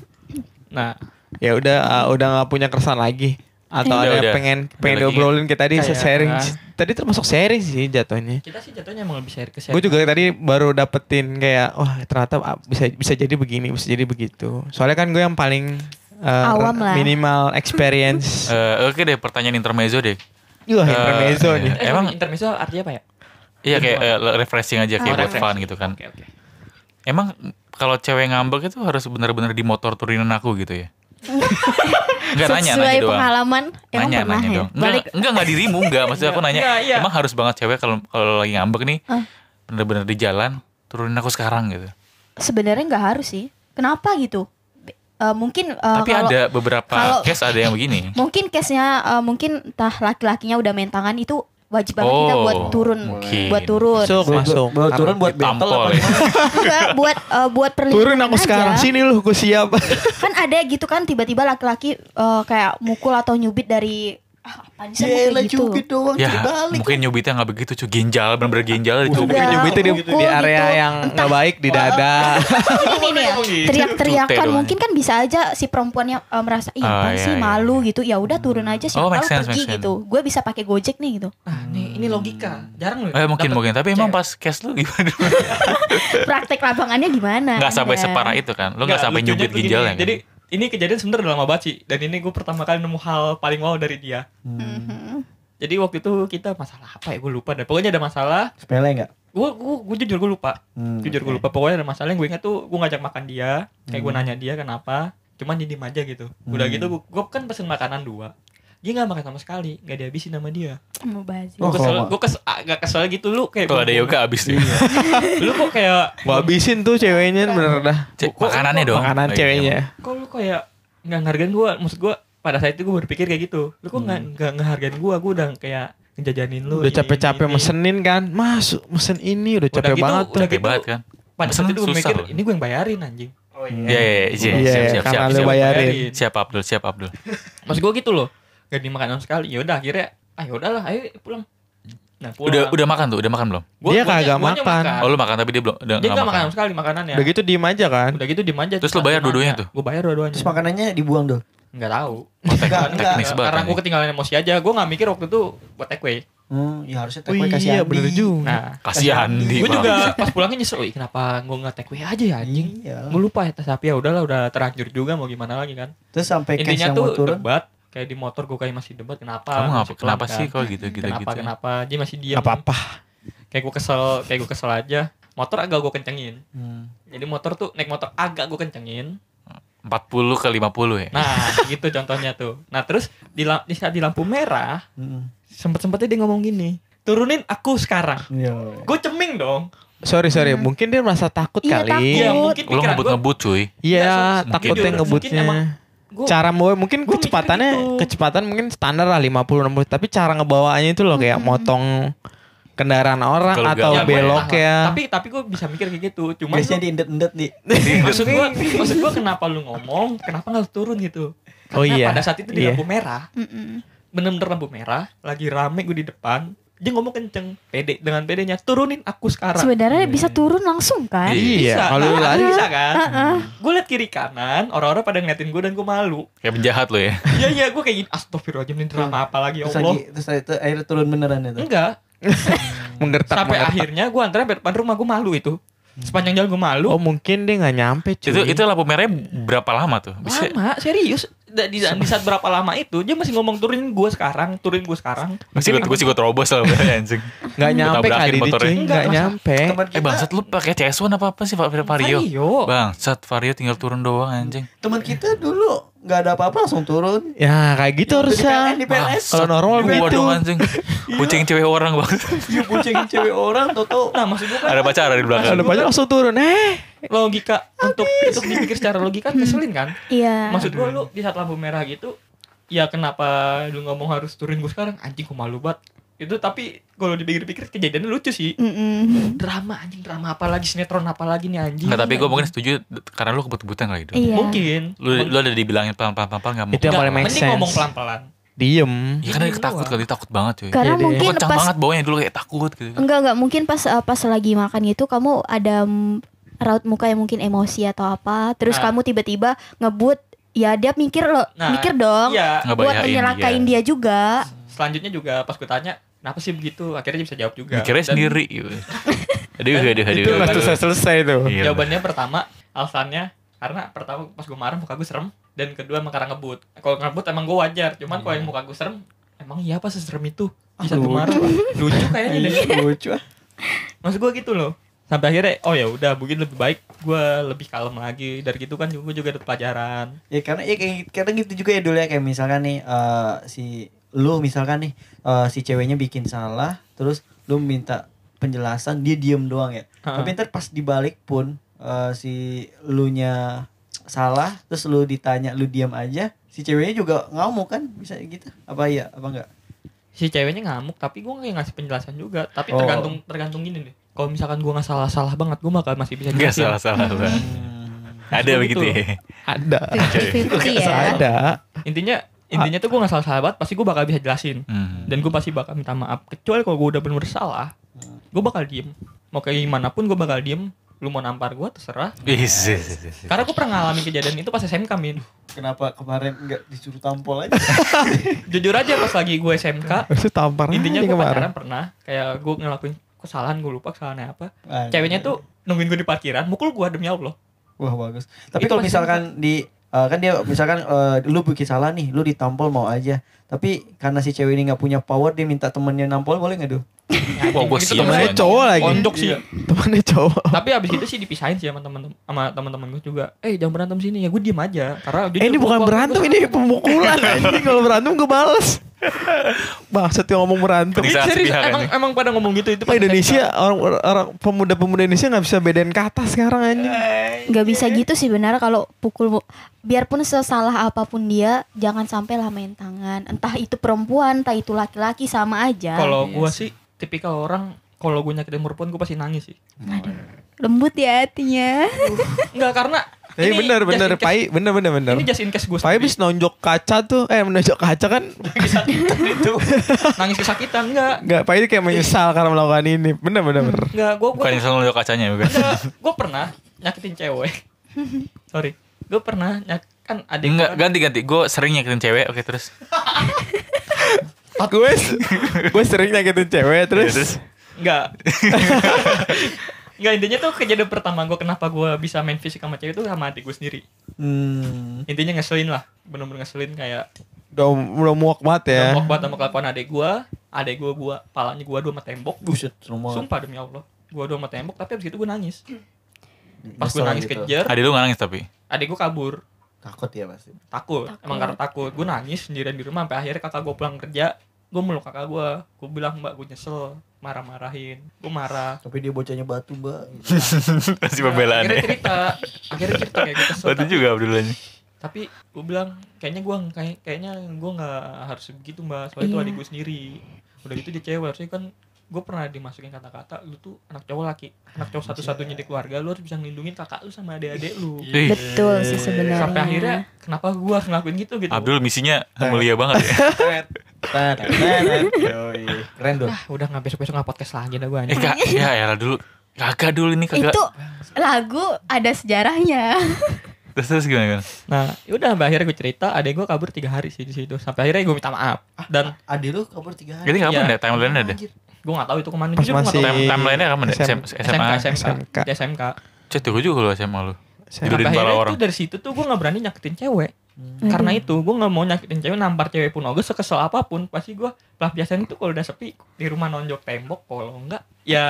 S4: nah
S2: Ya udah uh, udah nggak punya keresahan lagi atau
S3: Udah,
S2: ada yang
S3: Iya, udah.
S2: pengen pengen
S3: lagi.
S2: diobrolin kita tadi
S4: Kayak,
S2: sharing.
S4: ah.
S2: Tadi termasuk sharing sih jatuhnya.
S4: kita sih jatuhnya emang lebih share ke share
S2: Gue juga tadi baru dapetin kayak wah ternyata ah, bisa bisa jadi begini, bisa jadi begitu. Soalnya kan gue yang paling eh,
S6: Awam lah.
S2: minimal experience.
S3: Eh, Oke deh pertanyaan intermezzo deh.
S2: Wah,
S3: eh,
S2: intermezzo
S3: iya.
S2: nih.
S4: eh,
S3: Emang-
S4: emang intermezzo artinya apa ya
S3: Iya kayak eh, refreshing aja kayak buat fun gitu kan.
S4: oke oke
S3: Emang kalau cewek ngambek itu harus benar-benar di motor turunin aku gitu ya? Enggak nanya
S6: Sesuai
S3: nanya doang.
S6: pengalaman emang
S3: Nanya
S6: pernah
S3: nanya
S6: ya?
S3: dong.
S6: Balik
S3: Enggak enggak enggak dirimu enggak maksud aku nanya.
S4: Enggak, iya.
S3: Emang harus banget cewek kalau kalau lagi ngambek nih
S6: Ah.
S3: benar-benar di jalan turunin aku sekarang gitu.
S6: sebenarnya nggak harus sih. Kenapa gitu? Be- eh, mungkin eh,
S3: Tapi
S6: kalau-
S3: ada beberapa
S6: kalau-
S3: case ada yang begini.
S6: mungkin case-nya eh, mungkin entah laki-lakinya udah main tangan itu wajib banget kita
S3: Oh,
S6: buat turun
S3: mungkin.
S6: buat turun
S2: Masuk, masuk.
S5: Bawa turun buat
S3: Tampol
S5: battle apa
S3: ya.
S6: Enggak, buat eh, buat perlindungan
S2: Turun aku
S6: aja.
S2: sekarang sini lu gue siap.
S6: kan ada gitu kan tiba-tiba laki-laki eh, kayak mukul atau nyubit dari ah, apaan sih kamu
S5: Yelah
S6: kayak gitu
S5: Iya, cubit doang,
S3: Ya,
S5: cubit balik.
S3: mungkin nyubitnya nggak begitu cuy, ginjal benar-benar ginjal dicubit.
S6: Udah,
S2: Nyubitnya di,
S6: mukul
S2: di area
S6: gitu.
S2: yang
S6: Entah.
S2: nggak baik di dada.
S6: ini nih ya
S4: gitu?
S3: Cute
S6: teriak-teriakan
S3: doang. ya.
S6: mungkin kan bisa aja si perempuannya eh, merasa iya
S3: Ah,
S6: apaan
S3: iya,
S6: sih
S3: iya.
S6: malu gitu ya udah turun aja sih
S3: Oh,
S6: kalau
S3: make sense,
S6: pergi
S3: make sense.
S6: gitu gue bisa pakai gojek nih gitu
S4: nah ini ini logika jarang loh
S3: Eh mungkin
S4: dapet
S3: mungkin tapi emang
S4: cewek.
S3: pas case lu gimana?
S6: praktek lapangannya gimana
S3: Nggak sampai
S1: iya.
S6: Ada.
S3: separah itu kan? Lu nggak sampai
S4: lucunya
S3: nyubit
S4: tuh gini,
S3: ginjalnya kan?
S4: jadi ini kejadian sebenernya udah lama banget sih dan ini gue pertama kali nemu hal paling wow dari dia
S5: Hmm.
S6: Mhm.
S4: jadi waktu itu kita masalah apa ya gue lupa dan pokoknya ada masalah
S5: Sepele enggak?
S4: gue gue gue jujur gue lupa
S5: Hmm,
S4: jujur gue
S5: oke.
S4: lupa pokoknya ada masalah yang gue ingat tuh gue ngajak makan dia kayak gue nanya dia kenapa cuman dia diem aja gitu udah
S5: Hmm.
S4: gitu gue, gue kan pesen makanan dua dia nggak makan sama sekali nggak dihabisin sama dia
S6: mau bazir
S5: Oh,
S4: gue kesel
S5: kalau
S4: gue kesel agak kesel gitu lu kayak
S3: Kalau ada yoga abis nih.
S4: lu kok kayak
S2: Gue habisin tuh ceweknya bener dah.
S3: Cek makanannya dong. Iya,
S2: Makanan
S3: Baik,
S2: ceweknya.
S4: kok lu kayak nggak ngehargain gue maksud gue pada saat itu gue berpikir kayak gitu lu kok nggak nggak ngehargain gue gue udah kayak ngejajanin lu
S2: Hmm. udah
S4: ini,
S2: capek-capek
S4: ini, ini.
S2: mesenin kan masuk mesen ini udah capek
S4: gitu,
S2: banget tuh
S4: udah
S3: Oke
S4: gitu.
S3: banget kan.
S4: Pada
S3: Mesen
S4: saat
S3: itu
S4: itu gue
S3: susah
S4: mikir
S3: loh.
S4: ini gue yang bayarin anjing
S5: Oh
S3: Iya, iya, iya,
S2: Iya,
S3: siap, siap,
S2: karena
S3: siap,
S2: lu
S3: siap.
S2: bayarin.
S3: Siap Abdul, siap Abdul.
S4: Maksud gue gitu loh Gak dimakan sama sekali Yaudah akhirnya Ah yaudahlah ayo pulang Nah pulang
S3: Udah udah makan tuh, udah makan belum?
S4: Gua-
S2: Dia
S4: guanya-
S2: kagak
S4: guanya
S2: makan.
S3: Oh, lu makan tapi dia belum udah
S4: Dia
S3: nggak
S4: gak makan sama sekali makanannya
S2: udah gitu diem aja kan
S4: Udah gitu dimanja
S3: Terus lu bayar dua-duanya tuh?
S4: Gue bayar dua-duanya
S5: Terus makanannya dibuang dulu.
S4: Gak tau
S3: Oh, tek-
S5: Enggak, enggak.
S3: teknis banget.
S4: Karena
S3: anjing.
S4: gue ketinggalan emosi aja Gue gak mikir waktu itu buat take away
S5: Hmm, ya harusnya
S2: Wih,
S5: take away kasih
S2: iya
S5: Andi.
S2: bener juga
S4: Nah
S3: Kasihan di.
S4: Gue
S3: Bang.
S4: juga pas pulangnya nyesel "Ih, Kenapa gue gak take away aja ya anjing
S5: Iya.
S4: Gue lupa ya Tapi ya udahlah udah terlanjur juga Mau gimana lagi kan
S5: Terus sampai cash
S4: Intinya
S5: yang mau
S4: tuh
S5: turun.
S4: debat Kayak di motor gue kayak masih debat Kenapa
S3: Kamu ngapa
S4: masih pelan,
S3: kenapa
S4: kan?
S3: sih kalau gitu gitu
S4: kenapa
S3: gitu? ya?
S4: kenapa dia masih diam
S2: nggak apa-apa
S4: kayak gue kesel kayak gue kesel aja motor agak gue kencengin
S5: Hmm.
S4: jadi motor tuh naik motor agak gue kencengin
S3: 40 ke 50 ya.
S4: nah gitu contohnya tuh nah terus di, la- di saat di lampu merah
S5: Hmm.
S4: sempet sempetnya dia ngomong gini turunin aku sekarang
S5: Iya.
S4: gue ceming dong
S2: sorry sorry mungkin dia merasa takut
S6: Iya,
S2: kali
S6: takut.
S4: Iya
S6: Ngebut.
S4: mungkin
S3: Lu
S4: pikiran gue
S3: ngebut-ngebut cuy.
S2: iya
S4: Mungkin dia-
S2: takutnya
S4: mungkin
S2: ngebutnya
S4: emang gue
S2: cara mau mungkin
S4: Gua mikir
S2: kecepatannya
S4: gitu.
S2: kecepatan mungkin standar lah 50 60 tapi cara ngebawaannya itu loh kayak motong kendaraan orang
S3: Kalau
S2: atau
S3: gak-
S2: belok ya
S4: tapi tapi gue bisa mikir kayak gitu cuman
S5: Biasanya
S4: lu-
S5: diindet-indet di.
S4: maksud gue maksud gue kenapa lu ngomong kenapa nggak lu turun gitu karena
S2: Oh iya.
S4: pada saat itu di
S2: Iya.
S4: lampu merah
S6: Mm-mm.
S4: bener-bener lampu merah, lagi rame gue di depan, dia ngomong kenceng, pede dengan pedenya, turunin aku sekarang.
S6: Sebenarnya bisa turun langsung kan?
S3: Iya.
S2: iya
S4: Bisa,
S2: kalau lu
S4: kan?
S2: lari
S4: bisa kan?
S6: Heeh.
S4: Gue liat kiri kanan, orang-orang pada ngeliatin gue dan gue malu.
S3: Kayak penjahat lo ya.
S4: Iya iya, gue kayak gini, astagfirullahaladzim ini drama apa lagi ya
S5: Terus
S4: Allah.
S5: lagi terus itu akhirnya turun beneran itu.
S4: Enggak,
S2: menggertak
S4: sampai
S2: menggertak.
S4: akhirnya gue antar sampai depan rumah gue malu itu. Sepanjang jalan gue malu.
S2: oh mungkin dia nggak nyampe cuy
S3: Itu itu lampu merahnya berapa lama tuh? Bisa
S4: Lama, serius. Da- Di, di saat berapa lama itu, dia masih ngomong turunin gue sekarang, turunin gue sekarang.
S3: masih gue sih gue terobos lah bener, anjing.
S2: nggak nyampe
S3: Tabrakin
S2: kali dia
S3: motornya.
S2: cuy
S4: Enggak,
S2: nggak
S4: masa-
S2: nyampe
S5: Teman
S3: Eh
S5: kita,
S3: bangsat lu pakai CS1 apa apa sih Pak Vario?
S4: Vario.
S3: Bangsat Vario tinggal turun doang anjing.
S5: teman kita dulu nggak ada apa-apa langsung turun.
S2: ya kayak gitu harusnya
S5: Di PLN,
S2: kalau normal
S3: Gua
S2: gitu
S3: dong anjing. Kucing cewek orang banget.
S5: dia boncengin cewek orang toto.
S4: Nah maksud gue kan
S3: Ada pacar di belakang.
S2: ada banyak langsung turun eh
S4: logika untuk untuk dipikir secara logika ngeselin kan
S6: Iya.
S4: maksud gua lu di saat lampu merah gitu ya kenapa lu ngomong harus turun gue sekarang anjing gue malu banget itu tapi kalau dipikir-pikir kejadiannya lucu sih
S6: Mm-mm.
S4: drama anjing drama apa lagi sinetron apa lagi nih anjing
S3: Enggak, tapi gue mungkin setuju karena lu kebut-kebutan kali itu.
S6: Iya.
S4: mungkin
S3: Lu, lu ada dibilangin pelan-pelan-pelan gak mau.
S2: Itu yang
S3: Nggak,
S2: paling make
S4: mending
S2: sense.
S4: ngomong pelan-pelan
S2: diem
S3: Ya karena
S4: Iya,
S3: takut
S4: doang.
S3: kali, takut banget cuy.
S2: Iya
S6: Karena
S2: deh.
S6: mungkin
S3: Kocak
S6: pas
S3: banget bawahnya dulu kayak takut gitu.
S6: enggak enggak mungkin pas eh, pas lagi makan gitu kamu ada mm, raut muka yang mungkin emosi atau apa, terus
S4: Nah.
S6: kamu tiba-tiba ngebut, ya dia mikir loh,
S4: Nah,
S6: mikir dong
S4: iya
S3: Nggak ya.
S6: buat
S3: bayain
S6: menyelakain
S3: dia.
S6: dia juga.
S4: selanjutnya juga pas gue tanya kenapa sih begitu akhirnya dia bisa jawab juga
S3: Mikirnya
S4: Dan
S3: sendiri gitu. Aduh, aduh, aduh.
S2: itu nggak
S4: Iya.
S2: selesai selesai tuh
S3: Iya.
S4: jawabannya pertama alasannya karena pertama pas gue marah muka gue serem dan kedua emang karena ngebut kalau ngebut emang gue wajar cuman kalau yang muka gue serem emang iya apa seserem itu bisa gue
S5: Aduh.
S4: marah Pak. lucu kayaknya deh
S5: Lucu. ah.
S4: maksud gue gitu loh sampai akhirnya oh ya udah mungkin lebih baik gue lebih kalem lagi dari gitu kan gue juga ada pelajaran
S5: Ya karena ya kayak karena gitu juga ya dulu ya kayak misalkan nih eh, si lu misalkan nih eh, si ceweknya bikin salah terus lu minta penjelasan dia diem doang ya.
S4: Ha-ha.
S5: Tapi ntar pas dibalik pun eh, si lu nya salah terus lu ditanya lu diem aja si ceweknya juga ngamuk kan bisa gitu apa iya apa enggak
S4: si ceweknya ngamuk tapi gue nggak ngasih penjelasan juga tapi
S5: Oh.
S4: tergantung tergantung gini deh kalau misalkan gue nggak salah salah banget gue bakal masih bisa
S3: Enggak
S4: jelasin.
S3: salah-salah lah.
S6: Iya.
S5: Hmm,
S3: Ada
S4: Maksud
S3: begitu
S4: gitu.
S3: ya.
S2: ada
S6: Fifty-fifty
S3: Iya.
S6: ya.
S2: ada
S4: intinya intinya
S2: Ah.
S4: tuh gue nggak salah salah banget pasti gue bakal bisa jelasin
S3: Hmm.
S4: dan gue pasti bakal minta maaf kecuali kalau gue udah bener salah gue bakal diem mau kayak gimana pun gue bakal diem lu mau nampar gue terserah
S3: Ih, sih, sih, sih, sih.
S4: karena gue pernah ngalamin kejadian itu pas SMK min
S5: kenapa kemarin enggak disuruh tampol aja
S4: jujur aja pas lagi gue SMK
S2: itu tampar
S4: intinya
S2: aja
S4: gue
S2: kemarin.
S4: pacaran pernah kayak gue ngelakuin kesalahan gue lupa kesalahannya apa
S5: Ah,
S4: ceweknya tuh nungguin gue di parkiran mukul gue demi allah
S5: Wah bagus. Tapi
S4: Itu
S5: kalau
S4: pasti
S5: misalkan di eh, kan dia misalkan eh, lu bikin salah nih, lu ditampol mau aja. Tapi karena si cewek ini nggak punya power, dia minta temennya nampol boleh nggak tuh?
S3: Wah, gue
S4: Itu
S3: sih.
S4: temennya
S2: temannya cowok lagi
S4: gitu Onjok Iya, sih
S2: Iya. temannya cowok
S4: tapi abis itu sih dipisahin sih sama temen sama teman-teman gue juga eh jangan berantem sini ya gue diem aja karena
S2: Eh, ini bukan berantem ini pemukulan anjing kalau berantem gue bales Bangsat yang ngomong berantem.
S4: Ih,
S3: Penistaan
S4: Iya, serius,
S3: sepihak
S4: emang
S3: ini.
S4: emang pada ngomong gitu itu
S2: Apa
S4: pas
S2: Indonesia orang orang pemuda-pemuda Indonesia nggak bisa bedain kata sekarang anjing.
S6: nggak bisa gitu sih benar kalau pukul biarpun sesalah apapun dia jangan sampai lah main tangan entah itu perempuan entah itu laki-laki sama
S4: TK.
S6: aja
S4: Kalau
S5: Iya
S4: gua sih tipikal orang kalau gue nyakitin perempuan gue pasti nangis sih.
S6: lembut ya hatinya
S4: Enggak karena
S2: Tapi
S4: ini
S2: Iya, bener
S4: just
S2: bener
S4: in case-
S2: Pai bener bener bener.
S4: Ini just in case gue
S2: Pai habis nonjok kaca tuh eh menonjok kaca kan
S5: itu
S4: nangis kesakitan enggak.
S2: nggak Pai itu kayak menyesal karena melakukan ini. Bener bener bener.
S4: Enggak, gue gue
S3: Bukan yang selalu nunjuk kacanya ya, bukan?
S4: gue pernah nyakitin cewek. Sorry, gue pernah nyak kan ada
S3: Enggak, ganti-ganti. Gue sering nyakitin cewek. Oke, terus.
S2: gue gue sering nyakitin cewek terus.
S3: Ya, terus?
S4: Enggak. Enggak intinya tuh kejadian pertama gue kenapa gue bisa main fisik sama cewek itu sama adik gue sendiri.
S5: hmm,
S4: Intinya ngeselin lah, bener-bener ngeselin kayak
S2: Udah udah muak banget ya.
S4: yeah. banget sama kelakuan adik gue, adik gue gue palanya gue dua sama tembok.
S5: buset semua
S4: Sumpah demi Allah, gue dua sama tembok tapi abis itu gue nangis. Pas gue
S5: Hmm. Nyesel
S4: nangis
S5: gitu.
S4: kejar,
S3: Adik lu nggak nangis tapi.
S4: adik gue kabur.
S5: takut ya pasti
S4: takut, emang karena takut gue nangis sendirian di rumah sampai akhirnya kakak gue pulang kerja gue meluk kakak gue gue bilang mbak gue nyesel marah-marahin gue marah
S5: tapi dia bocahnya batu mbak
S3: Masih pembelaan
S4: akhirnya
S3: ya.
S4: cerita akhirnya cerita kayak gitu. gue kesel
S3: Batu
S4: tapi,
S3: juga Abdullah.
S4: tapi gue bilang kayaknya gue kayak kayaknya gue nggak harus begitu mbak soalnya itu
S6: Iya.
S4: adik gue sendiri udah gitu dia cewek harusnya kan gue pernah dimasukin kata-kata lu tuh anak cowok laki anak cowok satu-satunya di keluarga lu harus bisa ngelindungin kakak lu sama adik-adik lu
S3: Ih,
S6: betul sih sebenarnya
S4: sampai akhirnya kenapa gue harus ngelakuin gitu gitu
S3: Abdul misinya mulia banget ya.
S5: Tet, tet, tet. Yoi. keren dong
S4: ah udah nggak besok-besok nggak podcast lagi dah gue
S3: Eh kak, ya ya dulu. Kagak dulu ini
S2: Uh,
S3: kagak.
S6: itu lagu ada sejarahnya
S3: Terus terus gimana kan?
S4: Nah, udah mbak akhirnya gue cerita, adek gue kabur tiga hari sih di situ. Sampai akhirnya gue minta maaf. Dan
S5: Adi lu kabur tiga hari
S3: Jadi kapan
S4: Iya.
S3: ya timeline-nya deh?
S5: Anjir.
S4: gue nggak tahu itu kemana.
S2: Pas
S4: Jujur gue nggak
S2: masih-
S4: tahu.
S3: Time- Timeline-nya kapan ya? deh?
S2: SM-
S4: SMK,
S3: SMA.
S4: SMK,
S2: SMK.
S4: Di SMK.
S3: Cet, gue juga lu SMA lu.
S2: Saya-
S4: Sampai
S3: Tidurin
S4: akhirnya
S3: kepala
S4: itu
S3: orang.
S4: dari situ tuh gue nggak berani nyakitin cewek.
S6: Hmm.
S4: Karena itu gue nggak mau nyakitin cewek, nampar cewek pun oge sekesel apapun. Pasti gue pelampiasan itu kalau udah sepi di rumah nonjok tembok, kalau enggak ya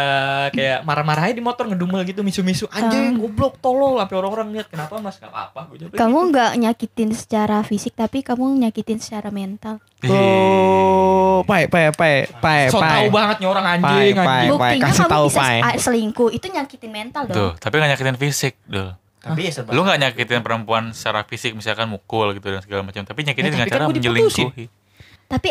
S4: kayak marah-marah aja di motor ngedumel gitu misu-misu
S6: Ah.
S4: anjing goblok tolol sampai orang-orang lihat kenapa mas gak apa-apa gue jawab
S6: kamu nggak nyakitin secara fisik tapi kamu nyakitin secara mental iya,
S2: Oh, Pai Pai Pai Pai
S4: so
S2: Pai.
S4: tau banget nih orang anjing
S2: Pai,
S4: anjing
S2: Pai. Pai,
S6: buktinya
S2: kasih
S6: kamu
S2: tahu,
S6: bisa
S2: Pai.
S6: ah, selingkuh itu nyakitin mental dong
S3: Tuh, tapi gak nyakitin fisik, Dul.
S5: tapi ya serba
S3: Lu gak nyakitin perempuan secara fisik, misalkan mukul gitu dan segala macam. Tapi nyakitin
S4: Ya,
S3: dengan
S4: tapi kan
S3: cara
S4: gua diputusin.
S3: menjelingkuhi.
S6: tapi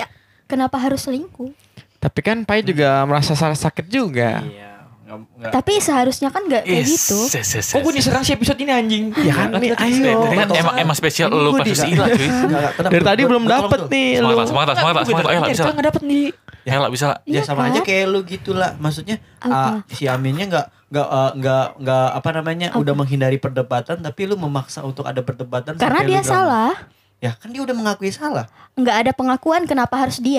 S6: kenapa harus selingkuh
S2: Tapi kan Pai juga merasa sa- sakit juga.
S5: iya nggak- nggak-
S6: tapi seharusnya kan nggak kayak
S3: Is, ya,
S6: gitu
S3: ses, ses, ses.
S4: Kok gue diserang sih episode ini anjing?
S2: Ya kan, nih, ayo.
S3: Tadi kan
S5: Betul.
S3: emang, emang spesial
S2: Ini
S3: lu
S2: gua
S3: pas
S2: tidak-
S3: Sila cuy.
S5: Nggak, nggak, tenang.
S2: Dari tadi
S5: Gua-
S2: belum
S5: gua tolong
S2: dapet
S5: tuh.
S2: nih
S3: Semangat
S2: lu.
S3: lah, semangat lah, semangat lah, semangat lah. Ayo lah, bisa lah.
S4: nggak dapet nih.
S3: Ayo lah, bisa lah.
S5: Ya
S6: Iya,
S5: sama
S6: Kak.
S5: aja kayak lu gitu lah. Maksudnya
S6: Apa?
S5: ah, si Aminnya nggak nggak eh, nggak nggak apa namanya
S6: Apa?
S5: udah menghindari perdebatan tapi lu memaksa untuk ada perdebatan
S6: karena
S5: sampai lu
S6: dia
S5: drama.
S6: salah
S5: Ya kan dia udah mengakui salah.
S6: nggak ada pengakuan kenapa harus diam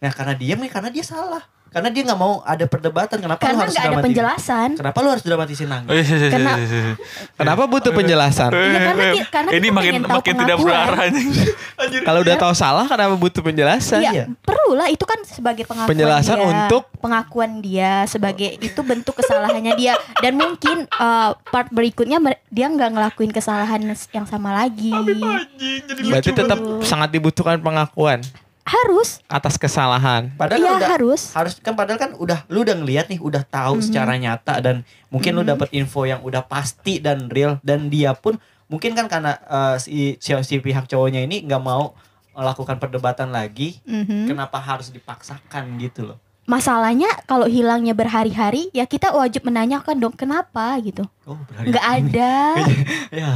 S5: Nah karena dia karena dia salah. Karena dia nggak mau ada perdebatan. Kenapa lu
S6: karena
S5: harus
S6: nggak ada
S5: dramatisin?
S6: penjelasan
S5: Kenapa lu harus dramatisin nangis?
S6: Iya,
S3: Ayo, ses, ses,
S6: Kena-
S3: ses, ses.
S2: Kenapa butuh penjelasan?
S6: Iya, karena ki- karena
S3: Eh, ini
S6: kita
S3: makin
S6: pengen tahu
S3: makin tidak
S6: pengakuan.
S3: berarah anjing.
S4: Iya.
S2: Kalau udah tahu salah kenapa butuh penjelasan?
S6: Iya,
S5: Iya.
S6: perlu lah itu kan sebagai pengakuan
S2: Penjelasan
S6: dia,
S2: untuk-
S6: pengakuan dia sebagai itu bentuk kesalahannya dia dan mungkin eh, part berikutnya mer- dia nggak ngelakuin kesalahan yang sama lagi.
S2: Oh,
S4: Anjing, jadi lucu.
S2: Berarti tetap sangat dibutuhkan pengakuan
S6: Harus,
S2: atas kesalahan.
S5: Padahal lu
S6: iya
S5: udah
S6: harus.
S5: harus kan padahal kan udah lu udah ngeliat nih udah tahu
S6: Mhm.
S5: secara nyata dan mungkin lu dapat info yang udah pasti dan real dan dia pun mungkin kan karena eh, si, si si pihak cowoknya ini nggak mau melakukan perdebatan lagi
S6: Mhm.
S5: kenapa harus dipaksakan gitu loh
S6: Masalahnya kalau hilangnya berhari-hari ya kita wajib menanyakan dong kenapa gitu.
S5: oh berarti
S6: Nggak ada.
S5: ya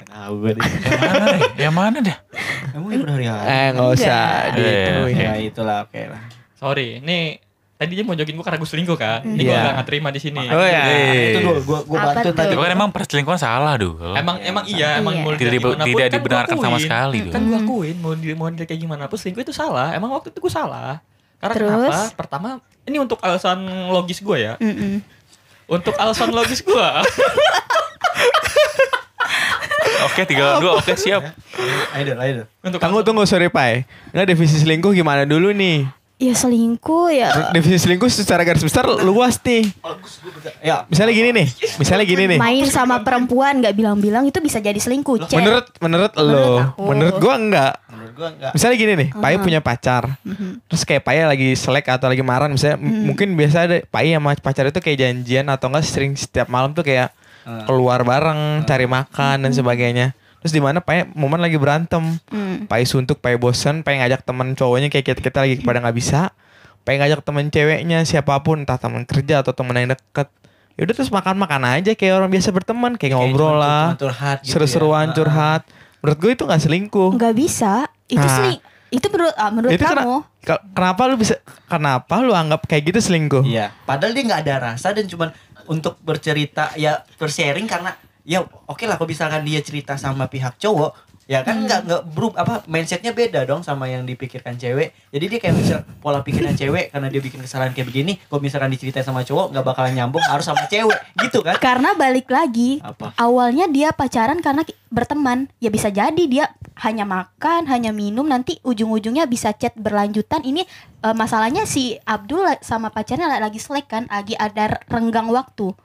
S5: Nggak tahu gue deh
S3: Yang Eh, mana deh?
S5: kamu yang berhari-hari
S2: Eh nggak usah
S3: Iya,
S2: Iya.
S6: Enggak.
S2: dituin.
S5: ya itulah oke lah
S4: Sorry, ini tadi dia mau jokin gue karena gue selingkuh kan. Ini gue
S2: Iya.
S4: gak terima di sini.
S2: Oh ya.
S3: Iya.
S5: itu dulu gue gue
S6: Apa
S5: bantu
S6: tuh?
S5: tadi
S3: Tapi kan emang perselingkuhan salah, Dul.
S4: Emang
S5: Iya.
S4: emang iya, emang
S6: Iya.
S4: mau
S3: Tidak
S4: dilihat
S3: dibe-
S4: gimana pun,
S3: tidak
S4: kan gua
S3: dibenarkan sama
S4: akuin.
S3: sekali,
S4: Hmm,
S6: Gitu.
S3: dong.
S4: Kan gue akuin mau di mau dilihat kayak gimana pun selingkuh itu salah. Emang waktu itu gue salah. Karena
S6: Terus?
S4: kenapa? Pertama, ini untuk alasan logis gue ya.
S6: Mm-mm.
S4: Untuk alasan logis gue.
S3: Oke, tiga dua, oke siap.
S5: ayo dulu ayo dulu
S4: untuk
S2: Tunggu tunggu sorry Pai. Nggak definisi selingkuh gimana dulu nih?
S6: Ya selingkuh
S2: Eh,
S6: ya.
S2: Definisi selingkuh secara garis besar luas nih.
S5: ya
S2: Misalnya gini nih, misalnya gini nih.
S6: Main sama perempuan nggak bilang-bilang itu bisa jadi selingkuh. Cek.
S2: Menurut menurut lo,
S6: aku.
S2: menurut gua enggak.
S5: menurut gua nggak
S2: Misalnya gini nih, Pai
S6: Ah.
S2: punya pacar.
S6: Mhm.
S2: Terus kayak Pai lagi selek atau lagi marah misalnya, M-
S6: Hmm.
S2: mungkin biasa ada Pai sama pacar itu kayak janjian atau enggak sering setiap malam tuh kayak
S5: eh,
S2: keluar bareng, cari makan
S6: Mm-hmm.
S2: dan sebagainya. Terus di mana Pai momen lagi berantem.
S6: Hmm.
S2: Pai suntuk, Pai bosen, Pai ngajak temen cowoknya kayak kita, kita lagi pada nggak bisa. Pai ngajak temen ceweknya siapapun, entah temen kerja atau temen yang deket. Yaudah terus makan-makan aja kayak orang biasa berteman, kayak,
S5: kayak
S2: ngobrol
S5: cuman-
S2: lah,
S5: cuman curhat gitu ya.
S2: seru-seruan,
S5: Heeh.
S2: curhat. Menurut gue itu nggak selingkuh.
S6: nggak bisa itu
S2: Nah.
S6: sih itu menurut ah, menurut
S2: Itu kena-
S6: kamu
S2: Ke- Kenapa lu bisa? Kenapa lu anggap kayak gitu selingkuh?
S5: Iya, padahal dia nggak ada rasa dan cuman untuk bercerita ya bersharing karena ya oke lah kalau misalkan dia cerita sama pihak cowok ya kan nggak nggak berub apa mindsetnya beda dong sama yang dipikirkan cewek jadi dia kayak misal pola pikiran cewek karena dia bikin kesalahan kayak begini kalau misalkan diceritain sama cowok nggak bakalan nyambung harus sama cewek gitu kan
S6: karena balik lagi
S5: apa
S6: awalnya dia pacaran karena ki- berteman ya bisa jadi dia hanya makan hanya minum nanti ujung-ujungnya bisa chat berlanjutan ini eh, masalahnya si Abdul la- sama pacarnya la- lagi slack kan lagi ada r- renggang waktu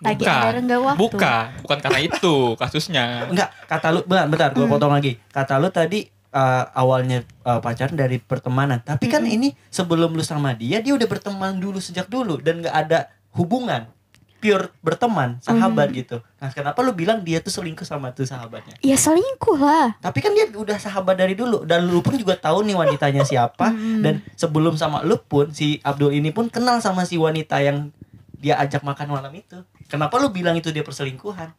S6: lagi
S4: Bukan.
S6: ada renggang waktu
S4: Bukan, bukan karena itu kasusnya.
S5: enggak kata lu bentar bentar gue
S6: Hmm.
S5: potong lagi kata lu tadi eh, awalnya eh, pacaran dari pertemanan tapi kan
S6: Mm-mm.
S5: ini sebelum lu sama dia dia udah berteman dulu sejak dulu dan nggak ada hubungan pure berteman sahabat gitu nah kenapa lu bilang dia tuh selingkuh sama tuh sahabatnya
S6: ya selingkuh lah
S5: tapi kan dia udah sahabat dari dulu dan lu pun juga tahu nih wanitanya siapa
S6: Hmm.
S5: dan sebelum sama lu pun si Abdul ini pun kenal sama si wanita yang dia ajak makan malam itu kenapa lu bilang itu dia perselingkuhan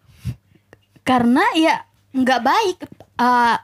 S6: karena ya nggak baik Eh,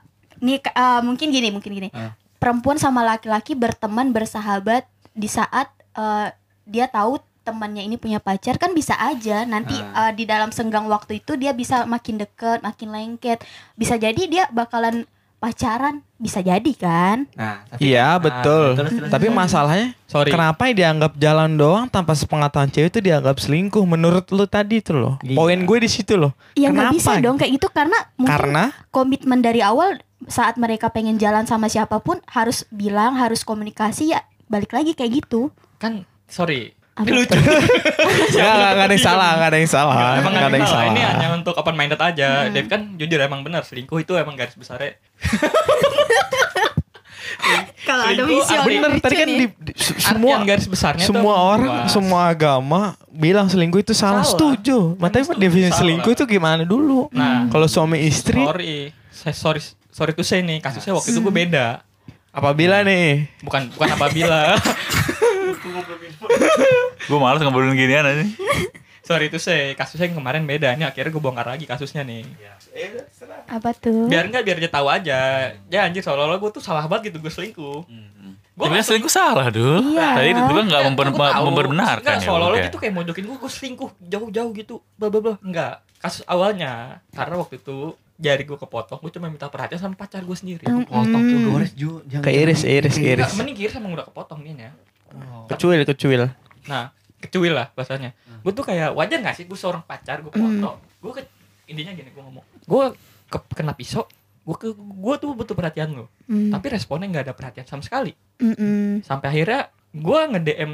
S6: nih eh, mungkin gini mungkin gini
S5: Ah.
S6: perempuan sama laki-laki berteman bersahabat di saat eh, dia tahu temannya ini punya pacar kan bisa aja nanti
S2: Ah.
S6: eh, di dalam senggang waktu itu dia bisa makin deket makin lengket bisa jadi dia bakalan pacaran bisa jadi kan
S5: nah tapi
S2: Iya betul.
S5: terus, terus,
S2: Tapi masalahnya
S4: Sorry.
S2: kenapa yang dianggap jalan doang tanpa sepengetahuan cewek itu dianggap selingkuh? Menurut lu tadi itu loh.
S5: Iya.
S2: Poin gue di situ loh.
S6: ya nggak
S2: Kenapa?
S6: bisa dong kayak gitu karena mungkin
S2: Karena
S6: komitmen dari awal saat mereka pengen jalan sama siapapun harus bilang harus komunikasi ya balik lagi kayak gitu
S4: Kan sorry. Ini
S6: Apa?
S4: lucu.
S2: Enggak, enggak, enggak Ya, ada yang salah, enggak ada yang salah. Enggak
S4: emang nggak
S2: Ah, ada yang salah.
S4: Ini hanya untuk open minded aja. Dev kan jujur emang benar selingkuh itu emang garis besarnya.
S6: kalau
S4: ada visual Artinya-
S2: Bener, tadi kan di- di- se- semua
S4: ya? Artian garis besarnya tuh
S2: semua
S4: emang
S2: orang,
S4: luas.
S2: semua agama bilang selingkuh itu salah,
S4: Salah.
S2: setuju. Makanya
S4: setuju,
S2: definisi
S4: salah.
S2: selingkuh itu gimana dulu?
S4: Nah.
S2: kalau suami istri
S4: Sorry, saya sorry sorry tuh saya nih kasusnya waktu itu gue
S6: Mm.
S4: beda.
S2: apabila nih
S4: Bukan bukan apabila.
S3: Gue males ngobrolin ginian aja.
S4: sorry tuh saya kasusnya yang kemarin beda. Ini akhirnya gue bongkar lagi kasusnya nih.
S6: apa tuh
S4: Biar nggak biar dia tahu aja. Ya anjir seolah-olah gue tuh salah banget gitu gue selingkuh.
S3: Gue bilang selingkuh salah dulu.
S6: Iya.
S3: Tadi itu bilang nggak
S4: Nggak,
S3: memper-
S4: gua tahu.
S3: memperbenarkan
S4: Nggak,
S3: ya.
S4: seolah-olah
S3: udah.
S4: gitu kayak mau jokin gue, gue selingkuh jauh-jauh gitu. Bla bla bla. Enggak. Kasus awalnya karena waktu itu jari gue kepotong, gue cuma minta perhatian sama pacar gue sendiri.
S5: Potong tuh gores Ju, jangan. Oh,
S2: keiris, Hmm. iris, iris,
S4: Enggak, mending kiri sama udah kepotong nih ya.
S2: kecuil, kecuil.
S4: Nah, kecuil lah bahasanya. Gue tuh kayak wajar gak sih gue seorang pacar gue foto. Gue ke, intinya gini gue ngomong. Gue ke, kena pisau. Gue ke, gue tuh butuh perhatian lo.
S6: Hmm.
S4: Tapi responnya nggak ada perhatian sama sekali.
S6: Mm-mm.
S4: Sampai akhirnya gue nge DM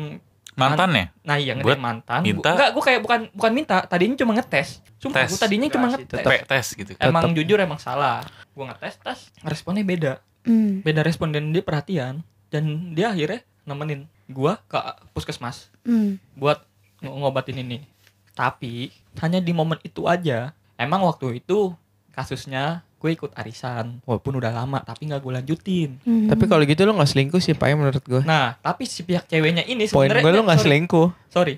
S3: Mantannya?
S4: nah iya nge
S3: Buat
S4: DM mantan.
S3: minta?
S4: Gua- Nggak, gue kayak bukan bukan minta. Tadinya cuma ngetes. Sumpah
S3: Tes.
S4: gue tadinya cuma
S5: Enggak sih,
S4: ngetes.
S3: Pe, tes gitu.
S4: Emang
S2: Tetep.
S4: jujur emang salah. Gue ngetes tes. Responnya beda.
S6: Mm.
S4: Beda respon dan dia perhatian. Dan dia akhirnya nemenin gue ke puskesmas.
S6: Mm.
S4: buat ng- ngobatin ini. Tapi hanya di momen itu aja. Emang waktu itu kasusnya gue ikut arisan walaupun udah lama tapi nggak gue lanjutin.
S6: Mm.
S2: Tapi kalau gitu lo nggak selingkuh sih, Pak, menurut gue.
S4: Nah, tapi si pihak ceweknya ini
S2: Poin
S4: sebenarnya
S2: gue lo nggak
S4: sorry,
S2: selingkuh. Kan
S4: sorry.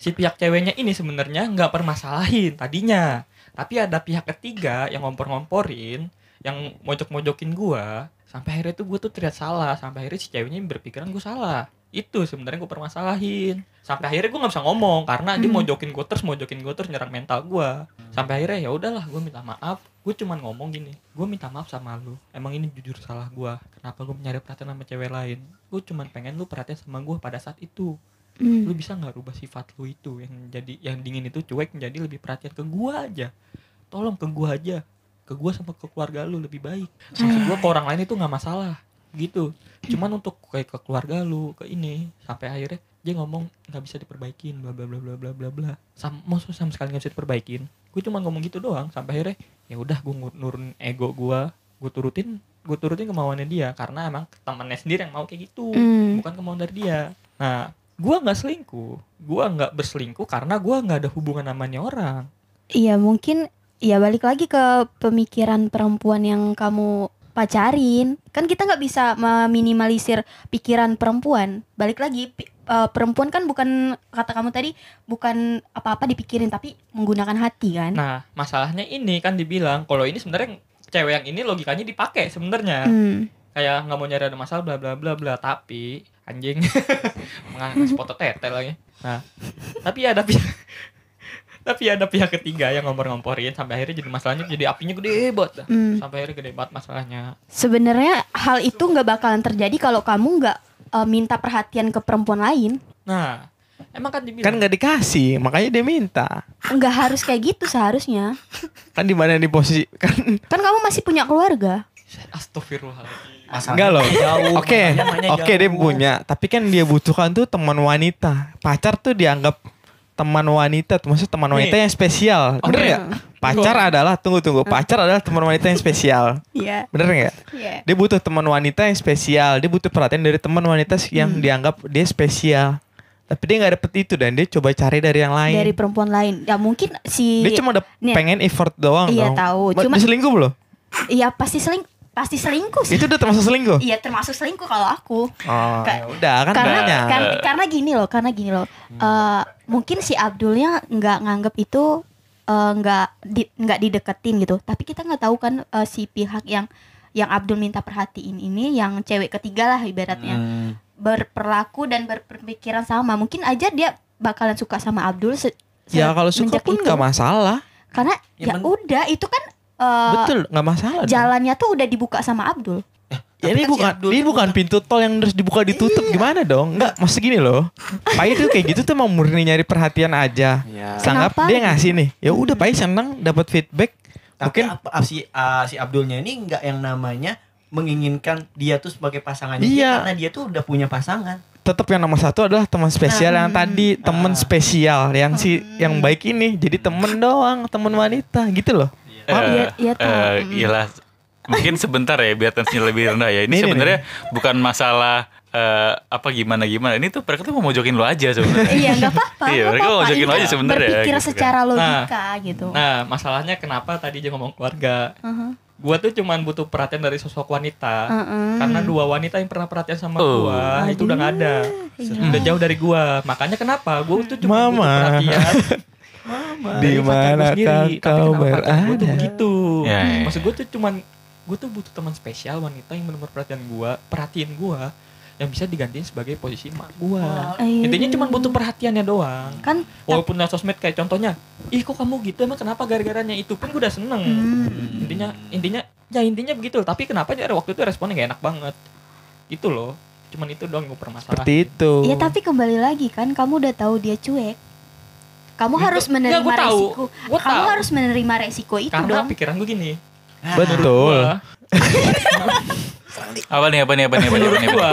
S4: Si pihak ceweknya ini sebenarnya nggak permasalahin tadinya. Tapi ada pihak ketiga yang ngompor-ngomporin, yang mojok-mojokin gua sampai akhirnya tuh gue tuh terlihat salah, sampai akhirnya si ceweknya berpikiran gue salah. Itu sebenarnya gue permasalahin. Sampai akhirnya gue nggak bisa ngomong karena dia
S6: Hmm.
S4: mojokin gue terus, mojokin gue terus nyerang mental gua. Sampai akhirnya ya udahlah gue minta maaf. Gue cuman ngomong gini, gue minta maaf sama lu. Emang ini jujur salah gua Kenapa gue nyari perhatian sama cewek lain? Gue cuman pengen lu perhatian sama gua pada saat itu lu
S6: Mm.
S4: bisa nggak rubah sifat lu itu yang jadi yang dingin itu cuek menjadi lebih perhatian ke gua aja tolong ke gua aja ke gua sama ke keluarga lu lebih baik maksud gua ke orang lain itu nggak masalah gitu cuman untuk kayak ke keluarga lu ke ini sampai akhirnya dia ngomong nggak bisa diperbaikin bla bla bla bla bla bla bla sama maksud sama sekali nggak bisa diperbaikin gue cuma ngomong gitu doang sampai akhirnya ya udah gue nurun ego gua gue turutin gue turutin kemauannya dia karena emang temannya sendiri yang mau kayak gitu
S6: Hmm.
S4: bukan kemauan dari dia nah gue nggak selingkuh gue nggak berselingkuh karena gue nggak ada hubungan namanya orang
S6: Iya mungkin ya balik lagi ke pemikiran perempuan yang kamu pacarin kan kita nggak bisa meminimalisir pikiran perempuan balik lagi pi- eh, perempuan kan bukan kata kamu tadi bukan apa-apa dipikirin tapi menggunakan hati kan
S4: nah masalahnya ini kan dibilang kalau ini sebenarnya cewek yang ini logikanya dipakai sebenarnya
S6: Hmm.
S4: kayak nggak mau nyari ada masalah bla bla bla bla tapi anjing menganggap foto tete lagi nah tapi ada pihak tapi ada pihak ketiga yang ngompor-ngomporin sampai akhirnya jadi masalahnya jadi apinya gede banget dah.
S6: Hmm.
S4: sampai akhirnya gede banget masalahnya
S6: sebenarnya hal itu nggak bakalan terjadi kalau kamu nggak eh, minta perhatian ke perempuan lain
S4: nah emang kan dibilang
S2: Kan nggak dikasih, makanya dia minta.
S6: nggak harus kayak gitu seharusnya
S2: Kan di mana di posisi kan
S6: kan kamu masih punya keluarga
S4: astagfirullahaladzim
S5: Masalahnya
S2: enggak loh.
S5: jauh,
S2: Oke.
S5: masalahnya mainnya
S2: Oke, dia
S5: jauh.
S2: punya, tapi kan dia butuhkan tuh teman wanita. Pacar tuh dianggap teman wanita, tuh. maksudnya teman wanita
S4: Nih.
S2: yang spesial.
S4: Oke.
S2: Bener nggak? Pacar adalah tunggu tunggu, pacar adalah teman wanita yang spesial.
S6: Iya
S2: Bener nggak?
S1: Iya.
S2: Dia butuh teman wanita yang spesial. Dia butuh perhatian dari teman wanita yang
S6: Hmm.
S2: dianggap dia spesial. Tapi dia nggak dapet itu dan dia coba cari dari yang lain.
S6: dari perempuan lain ya mungkin si
S2: dia cuma dap-
S6: Nih.
S2: pengen effort doang
S6: Iya,
S2: dong.
S6: tahu.
S2: Ba-
S6: Cuma-
S2: dia selingkuh belum?
S6: Iya pasti seling pasti selingkuh sih.
S2: Itu udah termasuk selingkuh.
S6: Iya termasuk selingkuh kalau aku.
S2: Oh,
S6: Ka-
S2: ya udah kan
S6: karena
S2: tanya.
S6: karena karena gini loh, karena gini loh.
S2: Hmm.
S6: Eh, mungkin si Abdulnya nggak nganggep itu eh, nggak di- nggak dideketin gitu. Tapi kita nggak tahu kan eh, si pihak yang yang Abdul minta perhatiin ini yang cewek ketiga lah ibaratnya
S5: Hmm.
S6: berperlaku dan berpemikiran sama. Mungkin aja dia bakalan suka sama Abdul. se-
S2: ya kalau suka
S6: semenjak
S2: pun
S6: itu.
S2: nggak masalah.
S6: Karena
S5: Ya,
S6: ya,
S5: men-
S6: udah itu kan eh,
S2: Betul, nggak masalah. dong.
S6: jalannya tuh udah dibuka sama Abdul. Iya.
S2: Ya, ini
S5: Tapi kan si
S2: bukan
S5: Abdul
S2: ini
S5: tuh
S2: bukan pintu tol yang harus dibuka ditutup gimana dong? Enggak, maksud gini loh. Pai tuh kayak gitu tuh mau murni nyari perhatian aja.
S5: Iya.
S2: Sanggap
S6: Kenapa?
S2: dia ngasih nih. Ya udah Pai seneng dapat feedback. Mungkin
S5: Tapi apa- ah, si ah, si Abdulnya ini nggak yang namanya menginginkan dia tuh sebagai pasangannya dia,
S2: Iya.
S5: karena dia tuh udah punya pasangan.
S2: tetap yang nomor satu adalah teman spesial yang
S6: Hmm.
S2: tadi teman
S5: Ah.
S2: spesial yang si yang baik ini jadi temen doang temen wanita gitu loh
S6: Oh, iya, iya tahu.
S3: eh,
S6: Mm.
S3: iyalah. mungkin sebentar ya biar tensinya lebih rendah ya.
S2: Nih, nih,
S3: Ini sebenarnya bukan masalah eh, apa gimana gimana. Ini tuh mereka tuh mau mojokin lo aja sebenarnya.
S6: Iya nggak apa-apa.
S3: Iya,
S6: nggak
S3: mereka
S6: apa-apa.
S3: ngajakin
S6: Ini
S3: aja sebenarnya,
S6: Berpikir
S3: gitu kan.
S6: secara logika gitu.
S4: nah masalahnya kenapa tadi dia ngomong keluarga
S6: Uh-huh.
S4: gue tuh cuman butuh perhatian dari sosok wanita
S6: Uh-uh.
S4: karena dua wanita yang pernah perhatian sama
S3: Oh.
S4: gua itu udah nggak ada
S6: Iya.
S4: udah jauh dari gua makanya kenapa gua tuh cuma butuh
S2: Mama.
S4: perhatian dari
S2: Di
S4: pacar gua
S2: mana
S4: sendiri. Tapi
S2: kau
S4: kenapa pacar gua tuh
S2: berada?
S4: begitu
S3: Ya, ya, ya.
S4: maksud gua tuh cuman gua tuh butuh teman spesial wanita yang benar perhatian gua perhatiin gua yang bisa digantiin sebagai posisi mak gua
S6: Ayo.
S4: Iya. intinya cuman butuh perhatiannya doang
S6: kan
S4: walaupun di sosmed kayak contohnya ih kok kamu gitu emang kenapa gara-garanya itu pun gua udah seneng
S6: Hmm.
S4: intinya intinya ya intinya begitu tapi kenapa ya waktu itu responnya gak enak banget gitu loh cuman itu doang gue permasalahan
S2: seperti itu
S6: ya tapi kembali lagi kan kamu udah tahu dia cuek. Kamu
S4: Enggak,
S6: harus menerima
S4: Gitu. gua tahu.
S6: resiko.
S4: Gua
S6: Kamu
S4: tahu.
S6: harus menerima resiko itu
S4: karena
S6: dong.
S4: pikiran gue gini
S2: betul
S4: Gua-
S3: apa nih apa nih apa nih apa nih, apa
S4: menurut
S3: nih, apa nih.
S4: gue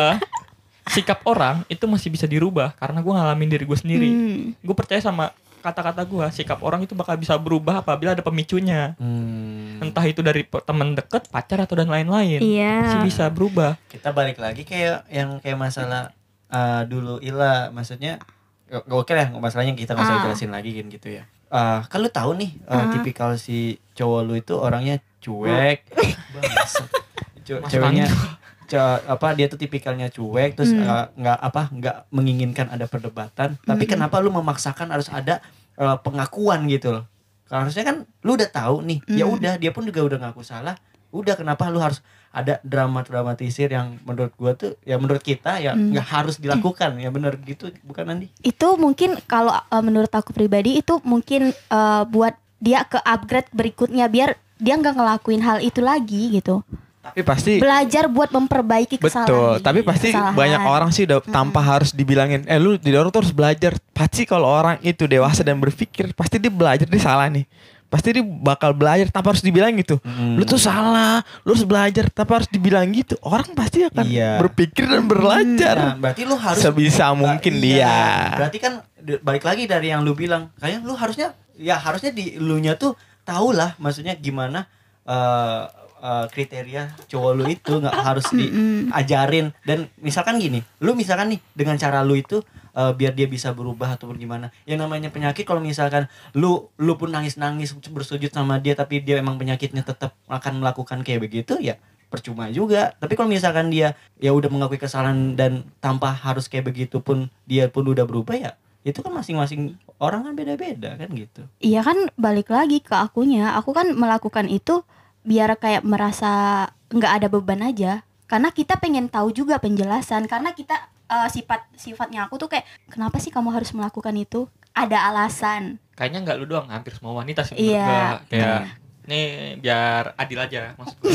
S4: sikap orang itu masih bisa dirubah karena gue ngalamin diri gue sendiri
S6: Hmm.
S4: gue percaya sama kata-kata gue sikap orang itu bakal bisa berubah apabila ada pemicunya
S5: hmm.
S2: Kan Hmm.
S4: entah itu dari pe- teman deket pacar atau dan lain-lain
S6: Iya.
S4: masih bisa berubah
S5: Kita balik lagi kayak yang kayak masalah eh, dulu Ila, maksudnya gak oke lah masalahnya kita nggak usah
S6: Ah.
S5: jelasin lagi kan gitu ya. Eh, kan lu tahu nih eh,
S6: Ah.
S5: tipikal si cowok lu itu orangnya cuek.
S6: Eh,
S5: Bangsat. Ce-
S4: Masuk
S5: ceweknya
S4: angin.
S5: ce- apa dia tuh tipikalnya cuek terus
S6: Hmm.
S5: eh, nggak apa nggak menginginkan ada perdebatan tapi
S6: Hmm.
S5: kenapa lu memaksakan harus ada eh, pengakuan gitu loh Kalau harusnya kan lu udah tahu nih ya
S6: Hmm.
S5: udah dia pun juga udah ngaku salah udah kenapa lu harus ada drama dramatisir yang menurut gua tuh ya menurut kita ya
S6: Hmm.
S5: nggak harus dilakukan ya bener gitu bukan Andi
S6: Itu mungkin kalau eh, menurut aku pribadi itu mungkin eh, buat dia ke upgrade berikutnya biar dia nggak ngelakuin hal itu lagi gitu.
S2: tapi pasti
S4: Iya.
S6: Belajar buat memperbaiki kesalahan.
S2: betul tapi pasti
S6: Kesalahan.
S2: banyak orang sih udah tanpa harus dibilangin eh lu jadi orang tuh harus belajar pasti kalau orang itu dewasa dan berpikir pasti dia belajar dia salah nih pasti dia bakal belajar tanpa harus dibilang gitu lu tuh salah lu harus belajar tanpa harus dibilang gitu orang pasti akan
S5: Iya.
S2: berpikir dan belajar
S5: Nah, berarti lu harus
S2: sebisa mungkin
S5: Iya,
S2: dia
S5: Berarti kan d- balik lagi dari yang lu bilang, kayaknya lu harusnya ya harusnya di lunya tuh tahu lah maksudnya gimana eh, eh, kriteria cowok lu itu nggak harus
S6: Mm-mm.
S5: diajarin dan misalkan gini lu misalkan nih dengan cara lu itu eh, biar dia bisa berubah ataupun gimana yang namanya penyakit kalau misalkan lu lu pun nangis nangis bersujud sama dia tapi dia emang penyakitnya tetap akan melakukan kayak begitu ya percuma juga tapi kalau misalkan dia ya udah mengakui kesalahan dan tanpa harus kayak begitu pun dia pun udah berubah ya itu kan masing-masing orang kan beda-beda kan gitu
S6: Iya kan balik lagi ke akunya. Aku kan melakukan itu biar kayak merasa nggak ada beban aja. Karena kita pengen tahu juga penjelasan. Karena kita eh, sifat sifatnya aku tuh kayak kenapa sih kamu harus melakukan itu? Ada alasan.
S4: Kayaknya nggak lu doang, hampir semua wanita sih
S6: Iya.
S4: menurut gua.
S3: Ya,
S4: Kayak nih biar adil aja maksud gua.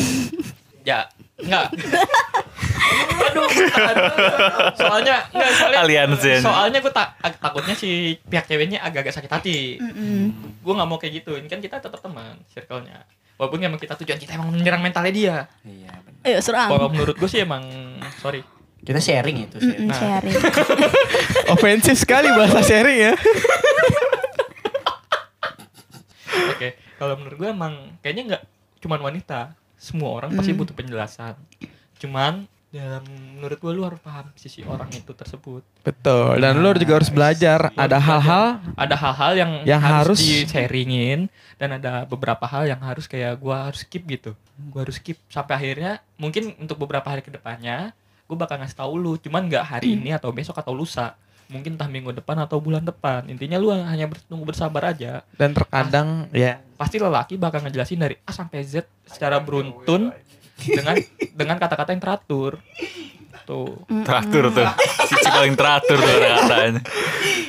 S4: ya, enggak. aduh, aduh. soalnya enggak soalnya
S3: Aliansi aja.
S4: soalnya gue tak ag- takutnya si pihak ceweknya agak-agak sakit hati
S6: Mm-mm.
S4: gue nggak mau kayak gitu ini kan kita tetap teman circle-nya walaupun emang kita tujuan kita emang menyerang mentalnya dia
S5: iya benar
S6: Ayo serang.
S4: kalau menurut gue sih emang sorry
S5: kita sharing itu sharing.
S6: Mm-mm,
S4: Nah.
S6: sharing.
S2: Ofensif sekali bahasa sharing ya.
S4: oke kalau menurut gue emang kayaknya nggak cuman wanita semua orang pasti
S6: Hmm.
S4: butuh penjelasan cuman dalam menurut gue lu harus paham sisi orang itu tersebut
S2: Betul. Dan lu juga harus belajar. Ada hal-hal
S4: ada hal-hal yang,
S2: Yang harus-
S4: di-sharingin dan ada beberapa hal yang harus kayak gue harus skip gitu gue harus skip sampai akhirnya mungkin untuk beberapa hari kedepannya gue bakal ngasih tahu lu cuman nggak hari ini atau besok atau lusa mungkin entah minggu depan atau bulan depan intinya lu hanya ber- tunggu bersabar aja
S2: dan terkadang ya
S4: pasti lelaki bakal ngejelasin dari A sampai Z secara beruntun dengan dengan kata-kata yang teratur. Tuh.
S6: Mm-mm.
S3: Teratur tuh. Cici paling teratur tuh kata-katanya.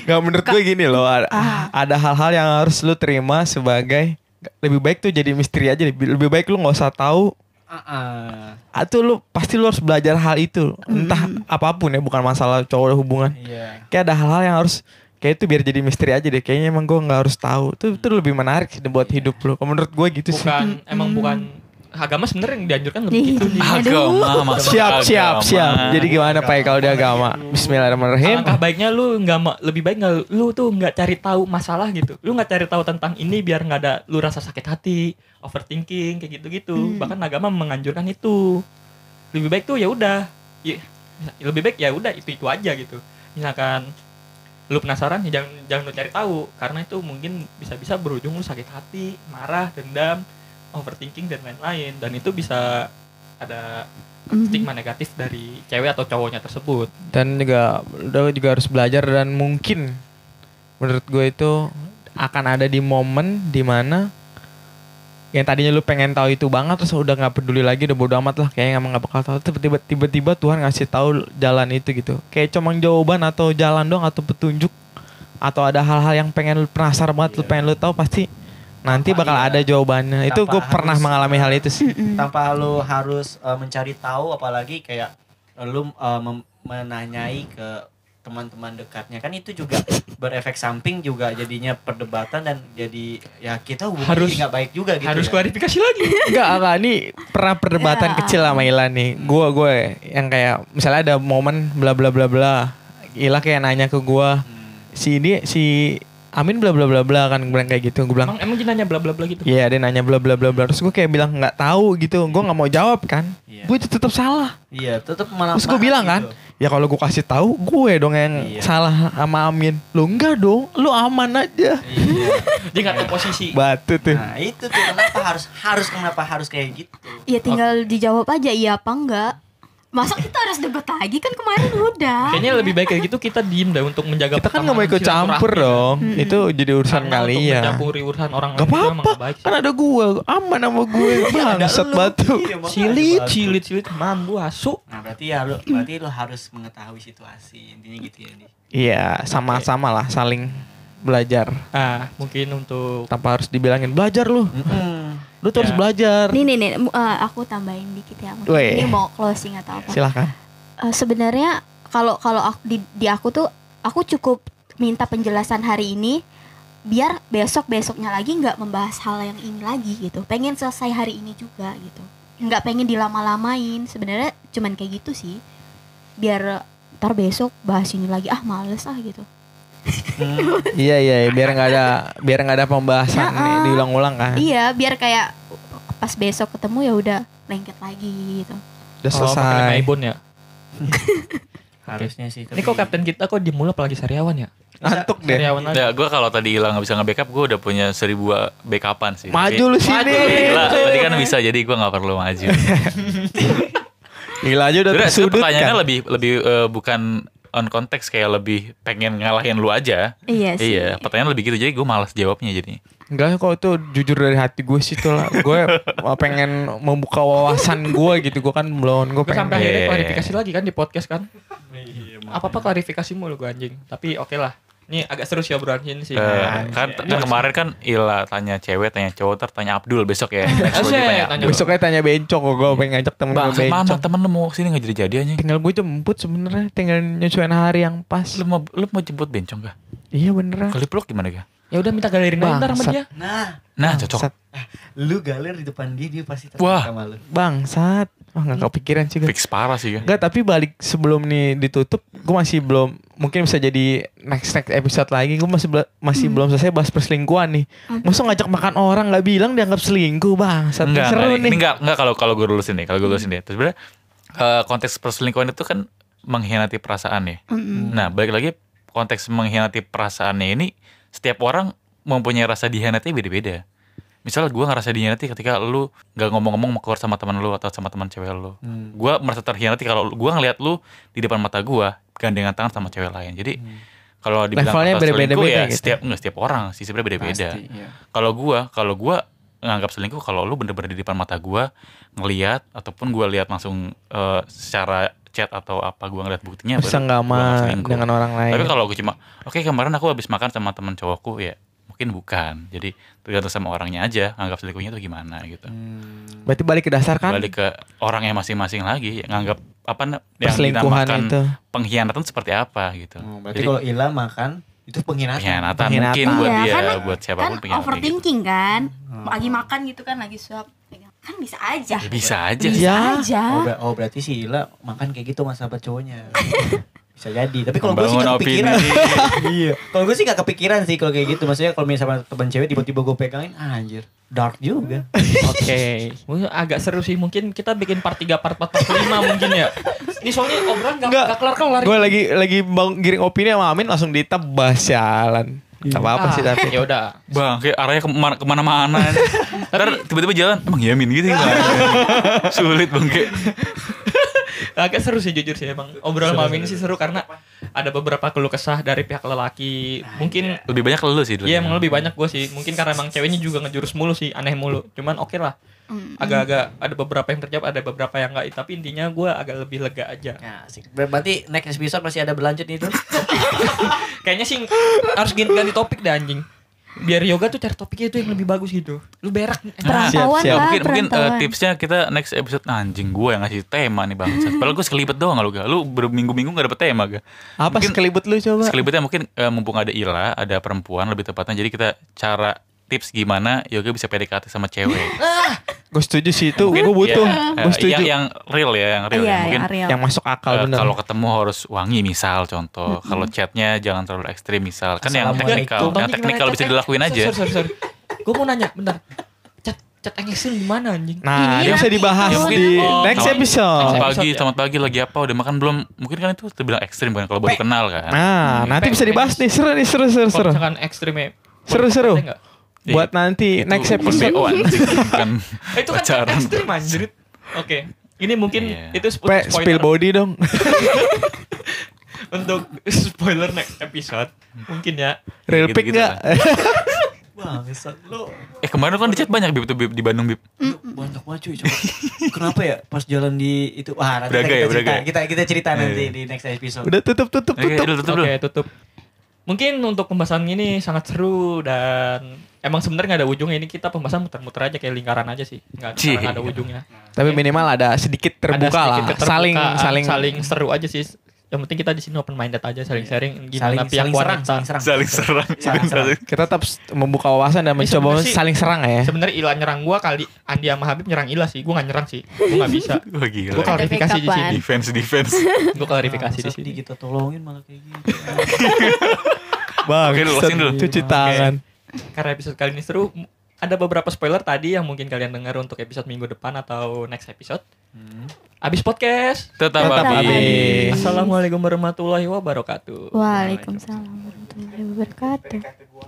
S2: nggak menurut gue gini loh. Ada, ada hal-hal yang harus lu terima sebagai lebih baik tuh jadi misteri aja. Lebih, lebih baik lu nggak usah tahu.
S5: Ah,
S2: Atau lu pasti lu harus belajar hal itu. Entah apapun ya, bukan masalah cowok hubungan.
S5: iya
S2: kayak ada hal-hal yang harus kayak itu biar jadi misteri aja deh kayaknya emang gue nggak harus tahu itu itu lebih menarik sih buat hidup lo Kalau menurut gue gitu sih
S4: Bukan emang bukan agama sebenarnya yang dianjurkan lebih gitu.
S3: Agama masuk
S2: siap siap
S3: agama.
S2: siap jadi gimana pak ya, kalau di agama Bismillahirrahmanirrahim
S4: Alangkah baiknya lu nggak ma- lebih baik nggak lu tuh nggak cari tahu masalah gitu. Lu nggak cari tahu tentang ini biar nggak ada lu rasa sakit hati, overthinking kayak gitu-gitu.
S6: Hmm.
S4: Bahkan agama menganjurkan itu. Lebih baik tuh ya udah. Ya, lebih baik ya udah itu-itu aja gitu. Misalkan lu penasaran ya jangan jangan lu cari tahu karena itu mungkin bisa-bisa berujung lu sakit hati, marah, dendam, overthinking dan lain-lain dan itu bisa ada
S6: Mhm.
S4: stigma negatif dari cewek atau cowoknya tersebut. gitu
S2: dan juga udah juga harus belajar dan mungkin menurut gue itu akan ada di momen dimana yang tadinya lu pengen tahu itu banget terus udah nggak peduli lagi udah bodo amat lah kayaknya emang nggak bakal tahu tiba-tiba tiba-tiba Tuhan ngasih tahu jalan itu gitu kayak cuman jawaban atau jalan dong atau petunjuk atau ada hal-hal yang pengen lu penasaran banget lu pengen lu tahu pasti nanti
S5: Tanpa
S2: bakal
S5: iya.
S2: ada jawabannya itu
S5: Tanpa
S2: gue pernah
S5: harus-
S2: mengalami hal itu sih
S6: Mm-mm.
S5: tanpa lu harus eh, mencari tahu apalagi kayak lu eh, mem- menanyai ke teman-teman dekatnya kan itu juga berefek samping juga jadinya perdebatan dan jadi ya kita hubungan
S4: Harus-
S5: jadi nggak baik juga gitu
S4: Harus
S5: ya.
S4: klarifikasi lagi.
S2: Enggak, enggak. Ini pernah perdebatan
S6: Ya.
S2: kecil sama Ila nih. Gue, gue yang kayak misalnya ada momen bla bla bla bla. Ila kayak nanya ke gue,
S5: Hmm.
S2: si ini si Amin bla bla bla bla kan gue bilang kayak gitu. Gue bilang,
S4: Emang emang dia nanya bla bla bla gitu.
S2: iya dia nanya bla bla bla bla. Terus gue kayak bilang nggak tahu gitu. Gue nggak mau jawab kan.
S5: Iya.
S2: Gue tetap salah.
S5: iya tetap malah
S2: Terus
S5: gitu.
S2: gue bilang kan, ya kalau gue kasih tahu gue dong yang
S5: Iya.
S2: salah sama Amin. Lu enggak dong, lu aman aja.
S5: iya
S4: Dia nggak tahu posisi.
S2: Batu tuh.
S5: nah itu tuh kenapa harus harus kenapa harus kayak gitu
S6: Ya tinggal dijawab aja iya apa enggak. Masa kita harus debat lagi kan kemarin udah.
S4: Kayaknya lebih baik kayak gitu kita diem dah untuk menjaga
S2: Kita kan nggak mau
S4: pertemanan
S2: ikut campur kan
S4: silaturahmi.
S2: dong.
S6: Mm-mm.
S2: Itu jadi urusan
S4: Karena untuk
S2: kalian.
S4: mencampuri urusan orang
S2: Gak Iya,
S4: lain itu emang
S2: apa-apa,
S4: nggak baik sih.
S2: kan ada gua, aman sama gue, bangsat Iya, batu.
S4: Cilit,
S5: Cilit,
S4: cilit, cilit, mambu, asu.
S5: Nah berarti ya lu berarti lu harus mengetahui situasi intinya gitu ya Di.
S2: Iya, sama-sama lah, saling belajar.
S4: Ah, mungkin untuk
S2: Tanpa harus dibilangin belajar lu,
S5: Mm-mm.
S2: lu tuh
S4: Ya.
S2: harus belajar.
S6: Nih nih nih mu- eh, aku tambahin dikit ya. Mungkin
S2: Weh.
S6: ini mau closing atau apa?
S2: Silahkan.
S6: Eh, sebenarnya kalau kalau aku- di, di aku tuh aku cukup minta penjelasan hari ini biar besok besoknya lagi nggak membahas hal yang ini lagi gitu. Pengen selesai hari ini juga gitu. Nggak pengen dilama-lamain. Sebenarnya cuman kayak gitu sih. Biar ntar besok bahas ini lagi ah males ah gitu.
S5: Mm.
S2: iya iya, iya, biar nggak ada biar nggak ada pembahasan nih, diulang-ulang kan.
S6: Iya, biar kayak pas besok ketemu ya udah lengket lagi gitu.
S2: Udah
S4: Kalau pakai lem
S2: selesai.
S4: Ibon ya.
S5: harusnya sih
S4: Ini kok kapten kita kok diem mulu apalagi Sariawan ya?
S2: Ngantuk deh.
S4: Sariawan aja.
S3: Ya, gue kalau tadi hilang nggak bisa nge-backup, gue udah punya seribu eh, backupan sih.
S2: Maju lu sini.
S3: Gila, tadi kan bisa jadi gue nggak perlu maju.
S2: Gila aja udah
S3: Sebenernya itu
S2: tersudut
S3: pertanyaannya
S2: kan.
S3: lebih lebih eh, bukan on konteks kayak lebih pengen ngalahin lu aja.
S6: Iya sih.
S3: Iya, pertanyaan lebih gitu. Jadi gue malas jawabnya jadi.
S2: Enggak kok itu jujur dari hati gue sih tuh lah. Gue pengen membuka wawasan gue gitu. Gue kan belum gue
S4: Gue
S2: pengen.
S4: sampai akhirnya
S3: Iya.
S4: klarifikasi lagi kan di podcast kan. Apa apa klarifikasi mulu gue anjing. Tapi oke lah. Ini agak seru sih obrolan ini sih.
S3: Eh, kan, kan kemarin kan Ila tanya cewek, tanya cowok, ntar tanya Abdul besok ya. Next
S4: Asyik,
S3: project tanya
S4: tanya
S3: Abdul.
S2: Besoknya tanya bencong kok gue pengen ngajak temen
S3: Bang,
S2: gue
S3: mana
S2: bencong.
S3: temen lu mau sini nggak jadi jadi aja?
S2: Tinggal gue jemput sebenarnya, tinggal nyesuaiin hari yang pas.
S3: Lu mau lu mau jemput bencong gak?
S2: Iya beneran.
S3: Kalau dipeluk gimana gak?
S4: Ya udah minta galerin aja ntar sama
S2: Bangsat.
S4: dia.
S5: nah
S3: Nah, cocok.
S2: Bangsat.
S5: lu galer di depan dia dia pasti tertarik
S3: Wah.
S5: sama lu
S2: Bangsat. Wah nggak kepikiran sih gue.
S3: Fix parah sih ya.
S2: Enggak tapi balik sebelum nih ditutup gue masih belum mungkin bisa jadi next next episode lagi gue masih bela- masih belum selesai bahas perselingkuhan nih masa ngajak makan orang nggak bilang dianggap selingkuh bang Satu
S3: Enggak,
S2: seru
S3: enggak, nih.
S2: nih
S3: Ini enggak, enggak kalau kalau gue lulusin nih, kalau gue lulusin deh. Terus sebenarnya eh, konteks perselingkuhan itu kan mengkhianati perasaan ya. Nah, balik lagi konteks mengkhianati perasaannya ini setiap orang mempunyai rasa dikhianati beda-beda. Misal gue ngerasa dikhianati ketika lu nggak ngomong-ngomong mau keluar sama teman lu atau sama teman cewek lu.
S5: Hmm.
S3: Gue merasa terkhianati kalau lu- gue ngeliat lu di depan mata gue gandengan tangan sama cewek lain. Jadi
S5: Hmm.
S3: kalau dibilang
S2: Levelnya
S3: konteks
S2: berbeda-beda
S3: selingkuh ya
S2: gitu.
S3: setiap enggak, setiap orang sih sebenarnya beda-beda
S5: Pasti, iya.
S3: kalau gua kalau gua nganggap selingkuh kalau lu bener-bener di depan mata gua ngelihat ataupun gua lihat langsung eh, secara chat atau apa gua ngeliat buktinya
S2: bisa
S3: baru
S2: nggak
S3: gua nganggap
S2: sama
S3: selingkuh.
S2: dengan orang lain
S3: tapi kalau gua cuma oke kemarin aku habis makan sama teman cowokku ya mungkin bukan jadi tergantung sama orangnya aja nganggap selingkuhnya tuh gimana gitu
S5: Hmm.
S2: berarti balik ke dasar kan
S3: balik Ya, ke orangnya masing-masing lagi ya, nganggap apa yang
S2: perselingkuhan
S3: dinamakan
S2: itu
S3: pengkhianatan seperti apa gitu
S5: Oh, berarti
S3: Jadi-
S5: kalau Ila makan itu penghinaan.
S3: pengkhianatan
S2: Pengkhianatan.
S3: mungkin buat
S6: Iya,
S3: dia
S6: karena-
S3: buat siapapun
S6: Kan
S3: pengkhianatan gitu.
S6: overthinking kan.
S5: Hmm.
S6: Lagi makan gitu kan lagi suap. Kan bisa aja.
S3: Ya, bisa aja
S6: Bisa
S2: Ya.
S6: aja.
S5: Oh, ber- oh, berarti si Ila makan kayak gitu sama sahabat cowoknya. Bisa jadi. Tapi kalau gue sih
S3: Membangun
S5: gak kepikiran.
S3: opini.
S5: iya. Kalau gue sih gak kepikiran sih kalau kayak gitu. Maksudnya kalau misalnya sama teman cewek tiba-tiba gue pegangin, ah, anjir. Dark juga.
S4: Oke. Mungkin agak seru sih. Mungkin kita bikin part 3, part 4, part 5 mungkin ya. Ini soalnya obrolan gak,
S2: Nggak.
S4: gak kelar-kelar.
S2: gue lagi lagi bang giring opini sama Amin langsung ditebas jalan
S4: Iya.
S2: apa apa
S3: Ah.
S2: sih tapi
S4: Ya udah.
S3: Bang, kayak arahnya kemana- kemana-mana. Ntar tiba-tiba jalan, emang Yamin gitu ya? Sulit bang, kayak
S4: agak seru sih jujur sih emang obrolan malam ini sih seru karena ada beberapa keluh kesah dari pihak lelaki mungkin
S3: lebih banyak lu sih dulu.
S4: iya emang lebih banyak gue sih mungkin karena emang ceweknya juga ngejurus mulu sih aneh mulu cuman oke lah agak-agak ada beberapa yang terjawab ada beberapa yang enggak tapi intinya gue agak lebih lega aja
S5: Nah, asik. Ber- Berarti next episode masih ada berlanjut nih tuh.
S4: kayaknya sih harus ganti, ganti topik deh anjing biar yoga tuh cari topiknya itu yang lebih bagus gitu lu berak nih.
S3: Nah,
S6: Perantauan
S2: siap, siap.
S6: lah,
S3: mungkin mungkin eh,
S6: perantauan.
S3: tipsnya kita next episode nah, anjing gue yang ngasih tema nih bang. Padahal gue sekelibet doang lu gak. Lu berminggu-minggu gak dapet tema gak.
S2: apa
S3: Mungkin-
S2: sekelibet lu coba
S3: Sekelibetnya mungkin eh, mumpung ada Ila, ada perempuan lebih tepatnya. Jadi kita cara tips gimana Yoga bisa PDKT sama cewek.
S2: gue setuju sih itu
S3: Mungkin,
S2: gue butuh
S3: ya, eh,
S2: gue setuju
S3: Yang, yang real ya, yang real.
S6: Iya,
S3: ya. Mungkin
S6: yang real.
S2: yang masuk
S3: Eh,
S2: akal bener
S3: kalau ketemu harus wangi misal contoh kalau chatnya jangan terlalu ekstrim misal kan yang
S2: Iya,
S5: Assalamualaikum.
S3: teknikal yang teknikal bisa dilakuin aja
S4: Eh, sorry sorry, sorry. gue mau nanya bentar cat cat engeksil gimana anjing
S2: Nah,
S6: Ini
S2: dia bisa
S6: nanti
S2: dibahas
S6: turun.
S2: di
S3: Oh,
S2: next
S3: sama-
S2: episode.
S3: selamat
S4: Next
S3: pagi
S4: episode ya.
S3: selamat pagi lagi apa udah makan belum mungkin kan itu terbilang ekstrim kan kalau baru kenal kan
S2: Nah, nanti bisa dibahas nih. Seru nih, seru, seru, seru.
S4: Kalau misalkan ekstrimnya
S2: Seru, seru.
S4: Enggak.
S3: Iya.
S2: Buat nanti
S3: Itu
S2: next
S3: bukan
S2: episode.
S3: BO-an, bukan
S4: Eh, itu kan
S3: pacaran.
S4: ekstrim anjrit. Oke. Ini mungkin
S3: Iya.
S4: itu spo-
S2: Pe, spill body dong.
S4: untuk spoiler next episode. Mungkin ya.
S2: Real pick
S3: Gitu-gitu lah.
S2: enggak?
S5: Bangsat lu.
S3: eh kemarin kan di chat banyak bib tuh Bib, di Bandung bib
S5: Lu Banyak banget cuy coba. Kenapa ya pas jalan di itu wah nanti
S3: Braga
S5: kita
S3: ya,
S5: cerita.
S3: Braga ya?
S5: Kita kita cerita
S3: Iya,
S5: nanti
S3: iya.
S5: di next episode.
S2: Udah tutup, tutup,
S3: oke
S2: tutup.
S3: dulu tutup
S4: Oke,
S3: dulu
S4: tutup. Mungkin untuk pembahasan ini sangat seru dan emang sebenarnya nggak ada ujungnya ini kita pembahasan muter-muter aja kayak lingkaran aja sih nggak
S3: Cih.
S4: nggak ada ujungnya
S3: iya.
S2: Tapi minimal ada sedikit
S4: Ada
S2: terbuka lah.
S4: sedikit
S2: Saling,
S4: keterbukaan,
S2: saling,
S4: saling seru aja sih yang penting kita di sini open minded aja saling sharing
S5: saling
S4: gimana pihak
S5: saling serang,
S4: wanita
S5: saling serang.
S3: saling serang
S5: Saling serang.
S2: Kita tetap membuka wawasan dan
S4: Ini
S2: mencoba
S4: sebenarnya sih-
S2: saling serang ya.
S4: sebenarnya Ila nyerang gua kali Andi sama Habib nyerang Ila sih gua nggak nyerang sih gua nggak bisa
S3: wah gila
S4: gua klarifikasi di sini
S3: defense defense
S4: gua klarifikasi di
S5: Bangsat,
S4: sini
S5: Di kita tolongin malah kayak gitu.
S2: Bang,
S3: Oke, lu
S2: set-
S3: lurusin dulu.
S2: cuci tangan.
S4: karena episode kali ini seru m- ada beberapa spoiler tadi yang mungkin kalian dengar untuk episode minggu depan atau next episode. Abis podcast.
S3: Tetap,
S2: Tetap
S3: habis.
S2: habis.
S4: Assalamualaikum warahmatullahi wabarakatuh.
S6: Waalaikumsalam warahmatullahi wabarakatuh.